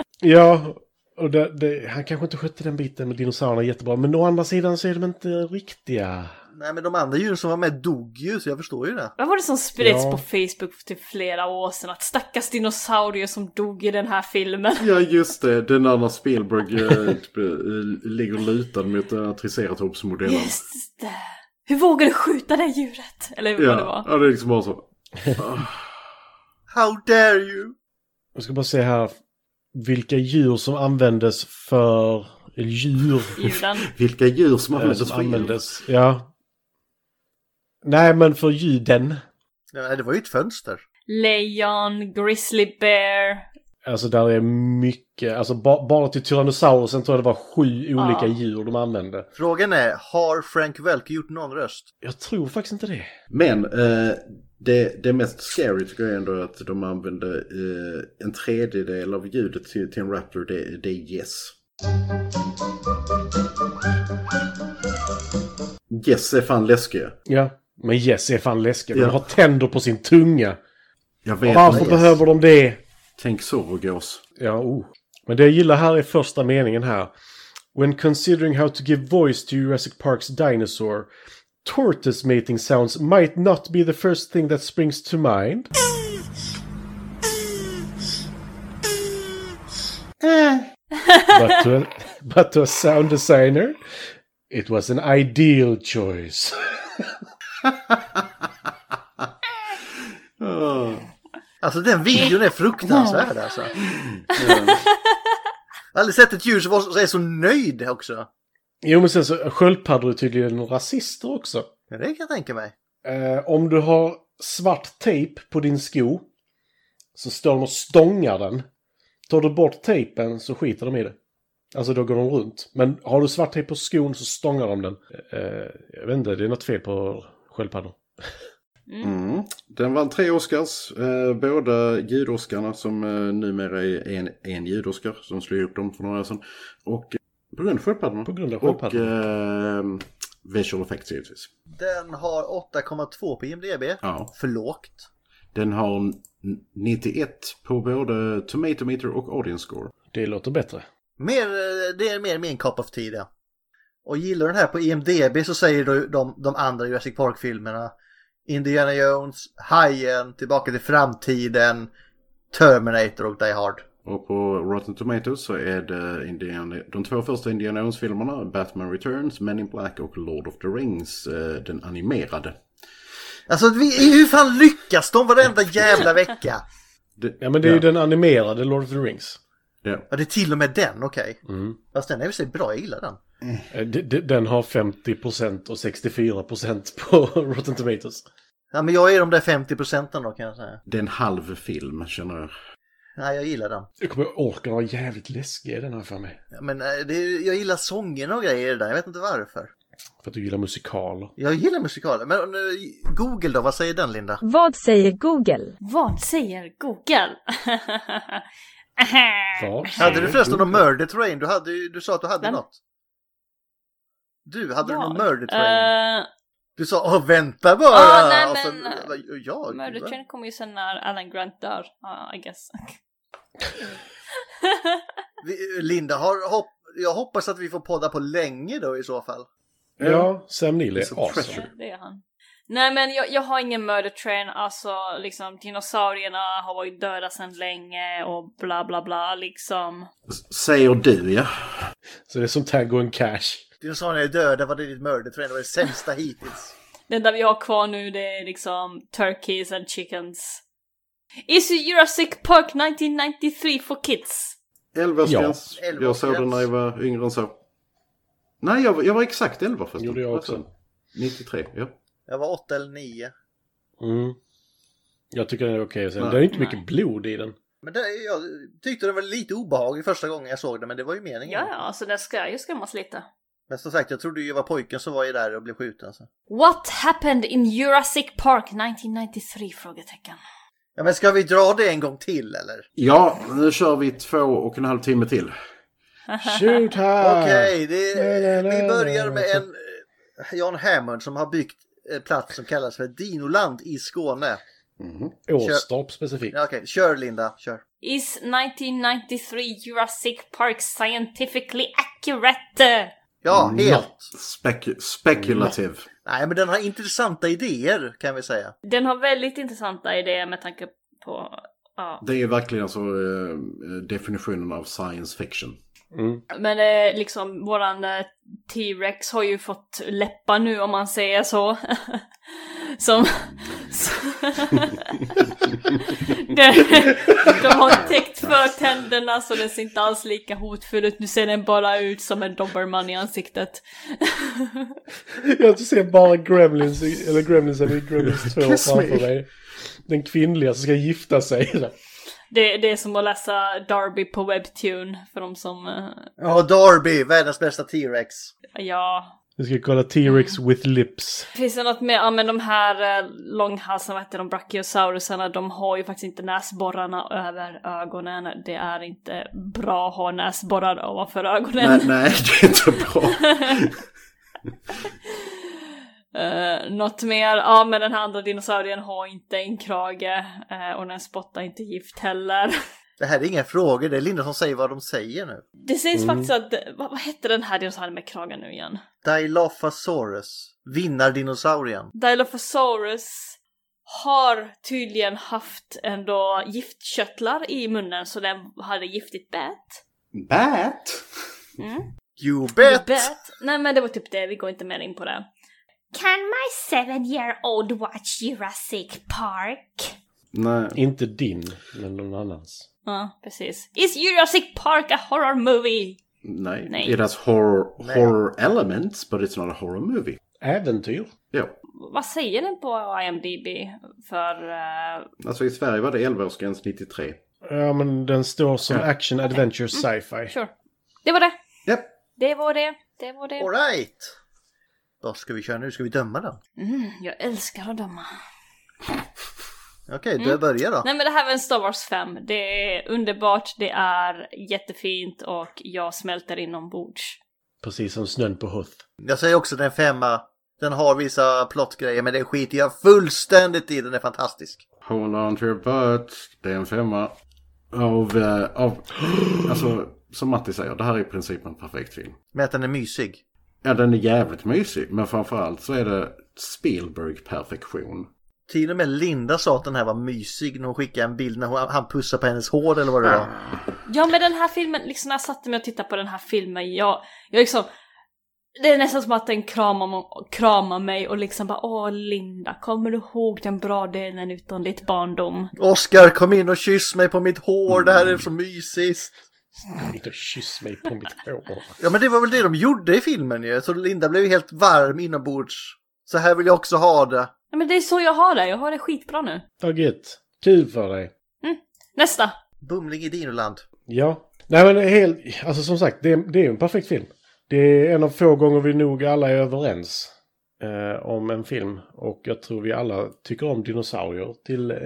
E: Ja, och det, det, han kanske inte skötte den biten med dinosaurierna jättebra. Men å andra sidan så är de inte riktiga.
C: Nej men de andra djuren som var med dog ju så jag förstår ju det.
D: Vad var det som spreds
E: Ja.
D: på Facebook för typ flera år sedan? Att stackars dinosaurier som dog i den här filmen.
A: Ja, just det. Den andra Spielberg eh, typ, eh, ligger lutad mot eh, den här triceratopsmodellen.
D: Just det. Hur vågar du skjuta det djuret? Eller vad det
A: Ja,
D: var.
A: ja, det är liksom bara så.
C: How dare you!
E: Jag ska bara se här vilka djur som användes för djur.
D: Ljuden.
A: Vilka djur som
E: Eh,
A: användes
E: som
A: för djur.
E: användes. Ja. Nej, men för ljuden.
C: Nej, det var ju ett fönster.
D: Lejon, grizzly bear,
E: Alltså där är mycket, alltså ba, bara till Tyrannosaurusen tror jag det var sju olika djur de använde.
C: Frågan är, har Frank Welke gjort någon röst?
E: Jag tror faktiskt inte det.
A: Men eh, det, det mest scary tycker jag ändå är att de använde eh, en tredjedel av ljudet till, till en Raptor, det, det är yes. Yes är fan läskiga.
E: Ja, men Yes är fan läskig.
A: Ja.
E: De har tänder på sin tunga.
A: Jag vet
E: Varför
A: inte.
E: behöver de det?
A: Tänk Sorgås.
E: Ja, oh. Men det jag gillar här är första meningen här. When considering how to give voice to Jurassic Park's dinosaur, tortoise mating sounds might not be the first thing that springs to mind. But to a, but to a sound designer, it was an ideal choice.
C: Alltså den videon är fruktansvärd alltså. Jag har aldrig sett ett djur som var så- är så nöjd också.
E: Jo, men sen så sköldpaddor är tydligen rasister också.
C: Ja, det kan jag tänka mig.
E: Eh, om du har svart tejp på din sko så står de och stångar den. Tar du bort tejpen så skiter de i det. Alltså då går de runt. Men har du svart tejp på skon så stångar de den. Eh, jag vet inte, det är något fel på sköldpaddor.
A: Mm. Den vann tre Oscars, eh, båda ljudoscarna som eh, numera är en, en ljudoscar som slog ihop dem för några år sedan. Och eh, på grund av sköldpaddorna.
E: På grund av
A: Och eh, visual effects givetvis.
C: Den har 8,2 på IMDB.
A: Ja.
C: För lågt.
A: Den har n- 91 på både Tomatometer och Audience Score.
E: Det låter bättre.
C: Mer, eh, det är mer min cup of tea det. Och gillar du den här på IMDB så säger du de, de andra Jurassic Park-filmerna. Indiana Jones, Hajen, Tillbaka till framtiden, Terminator och Die Hard.
A: Och på Rotten Tomatoes så är det Indiana, de två första Indiana Jones-filmerna, Batman Returns, Men in Black och Lord of the Rings, eh, den animerade.
C: Alltså vi, hur fan lyckas de varenda jävla vecka?
A: Det-
E: Ja, men det är ju den animerade Lord of the Rings.
A: Ja.
C: Ja, det är till och med den, okej.
E: Mm.
C: Fast den är i och för sig bra, jag gillar den.
E: Eh, de- de- Den har 50% och 64% på Rotten Tomatoes.
C: Ja, men jag är de där 50 procenten då kan jag säga.
A: Det är en halv film känner jag.
C: Nej, jag gillar den.
E: Jag kommer orken var jävligt läskig den här för mig.
C: Ja, Men eh, det, är- jag gillar sångerna och grejer där, jag vet inte varför.
E: För att du gillar musikaler.
C: Jag gillar musikaler, men eh, Google då, vad säger den Linda?
N: Vad säger Google?
D: Vad säger Google?
E: Vad?
C: Hade du förresten någon Murder Train? Du, hade, ju- du sa att du hade
D: Vem?
C: något. Du, hade du någon
D: Jag?
C: Murder Train?
D: Eh,
C: Du sa åh vänta bara!
D: Ah, nej,
C: Och sen-
D: men-
C: ja, ja,
D: Murder
C: va?
D: Train kommer ju sen när Alan Grant dör, ah, I guess.
C: Vi- eh, Linda, har hopp, jag hoppas att vi får podda på länge då i så fall.
E: Ja, Sam Neill
A: It's a
E: är
A: treasure.
E: awesome.
D: Det är han. Nej men jag, jag har ingen murder train, alltså liksom dinosaurierna har varit döda sedan länge och bla bla bla liksom.
A: S- Säger du ja.
E: Så det är som Tango and Cash.
C: Dinosaurierna är döda, vad är ditt Murder Train? Det var det sämsta hittills.
D: Det enda vi har kvar nu det är liksom turkeys and chickens. Is Jurassic Park 1993 for kids?
A: Elvaårsgräns.
D: Ja.
A: Jag såg den när jag var yngre än så. Nej, jag, var- jag var exakt 11 förresten.
E: Gjorde jag
A: Vad
E: också.
A: sa du? 93, ja.
C: Jag var åtta eller nio.
E: Mm. Jag tycker den är okej. Okay.
A: Nej.
E: Det är inte mycket blod i den.
C: Men det, jag tyckte den var lite obehaglig första gången jag såg den, men det var ju meningen.
D: Ja, ja, alltså den ska ju skrämmas lite.
C: Men som sagt, jag trodde ju jag var pojken som var ju där och blev skjuten. Så.
D: What happened in Jurassic Park 1993? Frågetecken.
C: Ja, men ska vi dra det en gång till eller?
A: Ja, nu kör vi två och en halv timme till.
E: Shoot här!
C: Okej, det-
E: Nej, nej, nej,
C: vi börjar
E: nej,
C: med
E: alltså.
C: en eh, Jan Hammond som har byggt en plats som kallas för Dinoland i Skåne.
E: Åstorp specifikt.
C: Ja, Okej, kör Linda, kör.
D: Is 1993 Jurassic Park scientifically accurate?
C: Ja, helt.
A: Not spec- speculative.
C: Nej, men den har intressanta idéer kan vi säga.
D: Den har väldigt intressanta idéer med tanke på... Ja.
A: Det är verkligen alltså eh, definitionen av science fiction.
D: Men eh, liksom våran eh, T-Rex har ju fått läppar nu om man säger så. Som... de, de har täckt för tänderna så den ser inte alls lika hotfull ut. Nu ser den bara ut som en doberman i ansiktet.
E: Jag ser bara Gremlins, i- eller Gremlins eller Gremlins 2
A: Kiss me.
E: framför mig. Den kvinnliga som ska gifta sig.
D: Det, det är som att läsa Darby på Webtune för de som... eh,
C: Ja, Darby, världens bästa T-Rex.
D: Ja,
E: Vi ska kolla T-Rex with lips.
D: Finns det något mer? Ja men de här eh, långhalsarna, vad heter de, brachiosaurusarna, de har ju faktiskt inte näsborrarna över ögonen. Det är inte bra att ha näsborrar ovanför ögonen.
A: Nej, nej, det är inte bra.
D: Eh, något mer? Ja men den här andra dinosaurien har inte en krage eh, och den spottar inte gift heller.
C: Det här är inga frågor, det är Linda som säger vad de säger nu.
D: Det sägs
C: Mm.
D: faktiskt att, vad, vad hette den här dinosaurien med kragen nu igen?
C: Dilophosaurus, vinnardinosaurien.
D: Dilophosaurus har tydligen haft ändå giftköttlar i munnen så den hade giftigt bett.
A: Bat?
D: Mm.
C: You bet!
D: Bet. Nej men det var typ det, vi går inte mer in på det.
J: Can my seven year old watch Jurassic Park?
A: Nej.
E: Inte din, men någon annans.
D: Ja, precis. Is Jurassic Park a horror movie?
A: Nej.
D: Nej.
A: It has horror,
D: Nej.
A: horror elements, but it's not a horror movie.
E: Äventyr?
A: Ja.
D: Vad säger den på IMDB för... eh,
A: Alltså i Sverige var det 11-årsgräns 93.
E: Ja, men den står som action adventure sci-fi.
D: sure. Det var det.
A: Japp.
D: Det var det. Det var det.
C: Alright! Vad ska vi köra nu? Ska vi döma den?
D: Mm, jag älskar att döma.
C: Okej, du börjar då.
D: Nej men det här var en Star Wars 5. Det är underbart, det är jättefint och jag smälter inombords.
E: Precis som snön på Hoth.
C: Jag säger också den femma. Den har vissa plottgrejer men det skiter jag fullständigt i. Den är fantastisk.
A: Hold on to your butts. Det är en femma. Av, eh, av... Alltså, som Matti säger, det här är i princip en perfekt film.
C: Men att den är mysig.
A: Ja, den är jävligt mysig. Men framförallt så är det Spielberg-perfektion.
C: Till och med Linda sa att den här var mysig när hon skickade en bild när hon, han pussade på hennes hår eller vad det var.
D: Ja men den här filmen, liksom när jag satte mig och tittade på den här filmen, jag, jag liksom... Det är nästan som att den kramar, mo- kramar mig och liksom bara Åh Linda, kommer du ihåg den bra delen utan ditt barndom?
C: Oskar kom in och kyss mig på mitt hår, det här är så mysigt.
E: Inte kyss mig på mitt hår.
C: Ja men det var väl det de gjorde i filmen ju, så Linda blev ju helt varm inombords. Så här vill jag också ha det.
D: Nej men det är så jag har det, jag har det skitbra nu.
E: Dag ett. Kul för dig.
D: Nästa!
C: Bumling i Dinoland.
E: Ja. Nej men helt, alltså som sagt, det är, det är ju en perfekt film. Det är en av få gånger vi nog alla är överens eh, om en film. Och jag tror vi alla tycker om dinosaurier. Till, eh,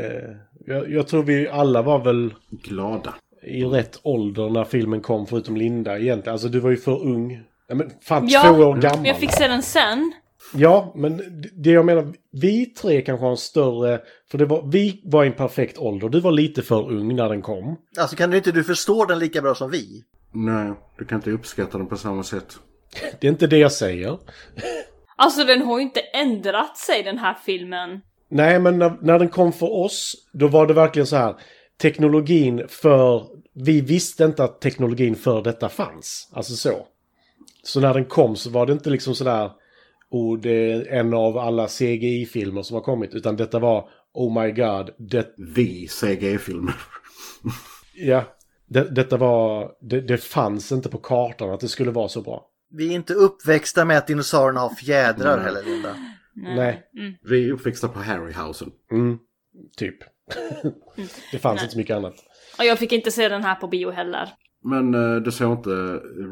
E: jag, jag tror vi alla var väl
A: glada
E: i rätt ålder när filmen kom, förutom Linda egentligen. Alltså du var ju för ung. Ja, men fan,
D: Ja,
E: två år gammal.
D: men jag fick se den sen.
E: Ja, men det- det jag menar, vi tre kanske har en större... För det var, vi var i en perfekt ålder. Du var lite för ung när den kom.
C: Alltså kan inte du förstå den lika bra som vi?
A: Nej, du kan inte uppskatta den på samma sätt.
E: Det är inte det jag säger.
D: Alltså den har ju inte ändrat sig den här filmen.
E: Nej, men när, när den kom för oss, då var det verkligen så här. Teknologin för... Vi visste inte att teknologin för detta fanns. Alltså så. Så när den kom så var det inte liksom sådär... Oh, det är en av alla CGI-filmer som har kommit. Utan detta var... Oh my god. Det...
A: Vi CGI-filmer.
E: Ja. Det, detta var... Det, det fanns inte på kartan att det skulle vara så bra.
C: Vi är inte uppväxta med att dinosaurierna har fjädrar
A: Nej.
C: heller Linda.
E: Nej. Nej.
A: Vi är uppväxta på Harryhausen.
E: Mm, typ. det fanns inte så mycket annat.
D: Och jag fick inte se den här på bio heller.
A: Men eh, du såg inte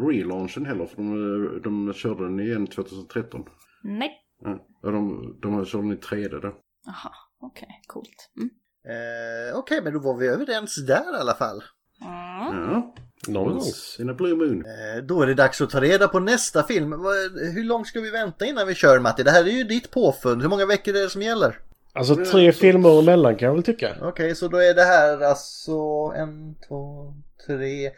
A: relaunchen heller, för de, eh, de körde den igen 2013.
D: Nej.
A: Ja, och de, de körde den i 3D då.
D: Aha, okej, coolt. Mm.
C: Eh, Okej, men då var vi överens där i alla fall.
D: Mm.
A: Ja.
E: Någon gång.
A: Once In a blue moon.
C: Eh, Då är det dags att ta reda på nästa film. Vad- Hur långt ska vi vänta innan vi kör Matti? Det här är ju ditt påfund. Hur många veckor är det som gäller?
E: Alltså tre filmer emellan kan jag väl tycka.
C: Okej, så då är det här alltså en, två, tre...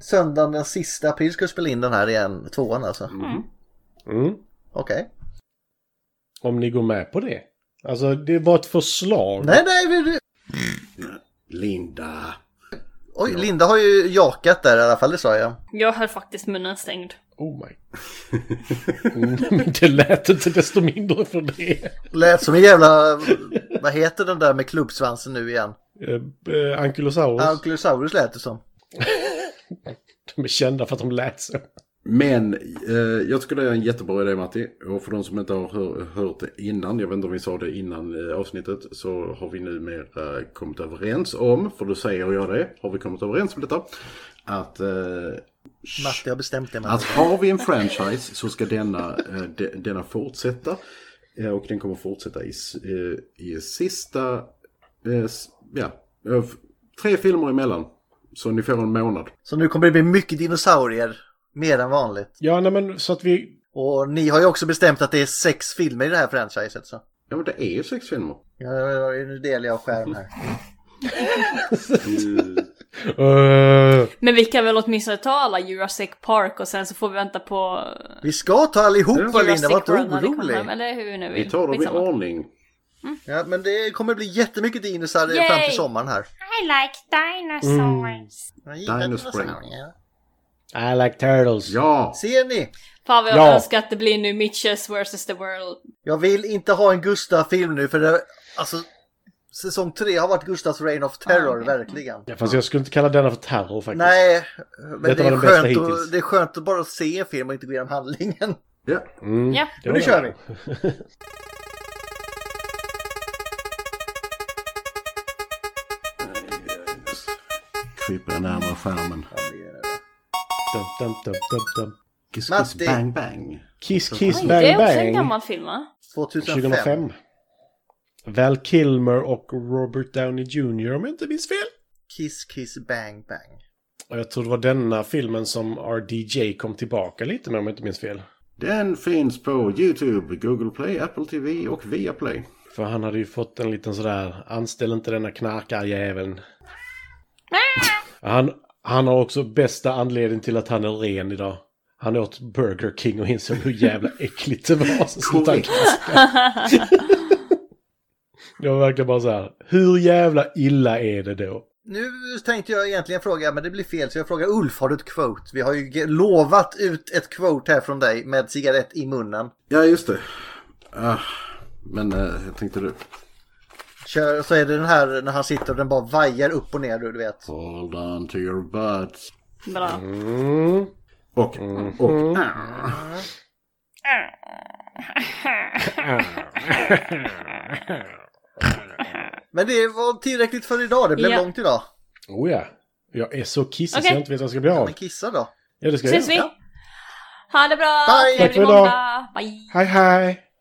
C: Söndagen den sista april ska vi spela in den här igen, tvåan alltså.
E: Mm.
C: Okej.
E: Om ni går med på det. Alltså det var ett förslag.
C: Nej, nej, vi- vi...
A: Linda.
C: Oj, Linda har ju jakat där i alla fall, det sa jag.
D: Jag höll faktiskt munnen stängd.
E: Oh my. Mm, men det lät inte desto mindre för det.
C: Lät som en jävla... Vad heter den där med klubbsvansen nu igen?
E: Eh, eh,
C: Ah,
E: Ankylosaurus.
C: Ankylosaurus lät det som.
E: De är kända för att de lät så.
A: Men eh, jag tycker det är en jättebra idé Matti. Och för de som inte har hör, hört det innan, jag vet inte om vi sa det innan eh, avsnittet, så har vi numera eh, kommit överens om, för du säger jag det, har vi kommit överens om detta, att eh,
C: Matti har bestämt det. Matti.
A: att har vi en franchise så ska denna, eh, de, denna fortsätta. Eh, och den kommer fortsätta i, s- eh, i sista... Eh, s- ja, eh, f- tre filmer emellan. Så ni får en månad.
C: Så nu kommer det bli mycket dinosaurier. Mer än vanligt.
E: Ja, nej, men så att vi...
C: Och ni har ju också bestämt att det är sex filmer i det här franchiset. Så.
A: Ja, men det är ju sex filmer.
C: Ja, nu delar jag skärm här.
A: Mm,
E: Eh,
D: Men vi kan väl åtminstone ta alla Jurassic Park och sen så får vi vänta på
C: Vi ska ta allihopa Linda, var inte
D: World när det kommer hem,
C: orolig.
D: Eller hur vi nu vill.
A: Vi tar dem i
D: Skitsamma.
A: ordning.
C: Ja, men det kommer bli jättemycket dinosar
D: Yay!
C: fram till sommaren här.
J: I like dinosaurs.
C: Jag gillar
A: Dinospring.
C: dinosaurier.
E: I like turtles.
A: Ja!
C: Ser ni?
D: Mm. Fan vad jag
E: Ja.
D: önskar att det blir nu Mitches vs. the World.
C: Jag vill inte ha en Gustav-film nu för det, alltså, säsong tre har varit Gustavs Reign of Terror, verkligen.
E: Ja, fast jag skulle inte kalla denna för terror faktiskt.
C: Nej, men
E: Detta
C: det
E: var
C: är,
E: den bästa
C: skönt
E: hittills.
C: att, det är skönt att bara se en film och inte gå igenom handlingen.
A: Ja.
E: Mm,
D: Ja.
C: Men
E: det var
C: nu kör vi.
A: Kryper närmare skärmen.
E: Dum, dum, dum, dum, dum.
A: Kiss, kiss,
C: Matti.
A: bang, bang.
E: Kiss Kiss
D: Oj, det
E: Bang
D: är också en
E: Bang
D: gammal film va?
C: 2005.
E: 2005. Val Kilmer och Robert Downey Jr om jag inte minns fel.
C: Kiss Kiss Bang Bang.
E: Och jag tror det var denna filmen som RDJ kom tillbaka lite med om jag inte minns fel.
A: Den finns på YouTube, Google Play, Apple TV och Viaplay.
E: För han hade ju fått en liten sådär, anställ inte denna knarkarjäveln. Han, han har också bästa anledning till att han är ren idag. Han åt Burger King och insåg hur jävla äckligt det var. Så slutade han knarka. Det var verkligen bara så här. Hur jävla illa är det då?
C: Nu tänkte jag egentligen fråga, men det blir fel, så jag frågar Ulf, har du ett quote? Vi har ju ge- lovat ut ett quote här från dig med cigarett i munnen.
A: Ja, just det. Ah, men eh, jag tänkte du.
C: Kör, så är det den här när han sitter och den bara vajar upp och ner, du vet.
A: Hold on to your butts.
D: Bra.
E: Mm.
A: Och, och, ah.
C: Men det var tillräckligt för idag, det blev
D: Ja.
C: långt idag.
E: Oh ja. Jag är så kissig så
D: Okej.
E: jag inte vet vad jag ska bli av.
C: Men kissa då.
E: Ja, det ska jag
D: Ses vi! Ha det bra!
C: Bye.
D: Trevlig
E: Tack för idag.
D: måndag! Bye!
E: Hej hej!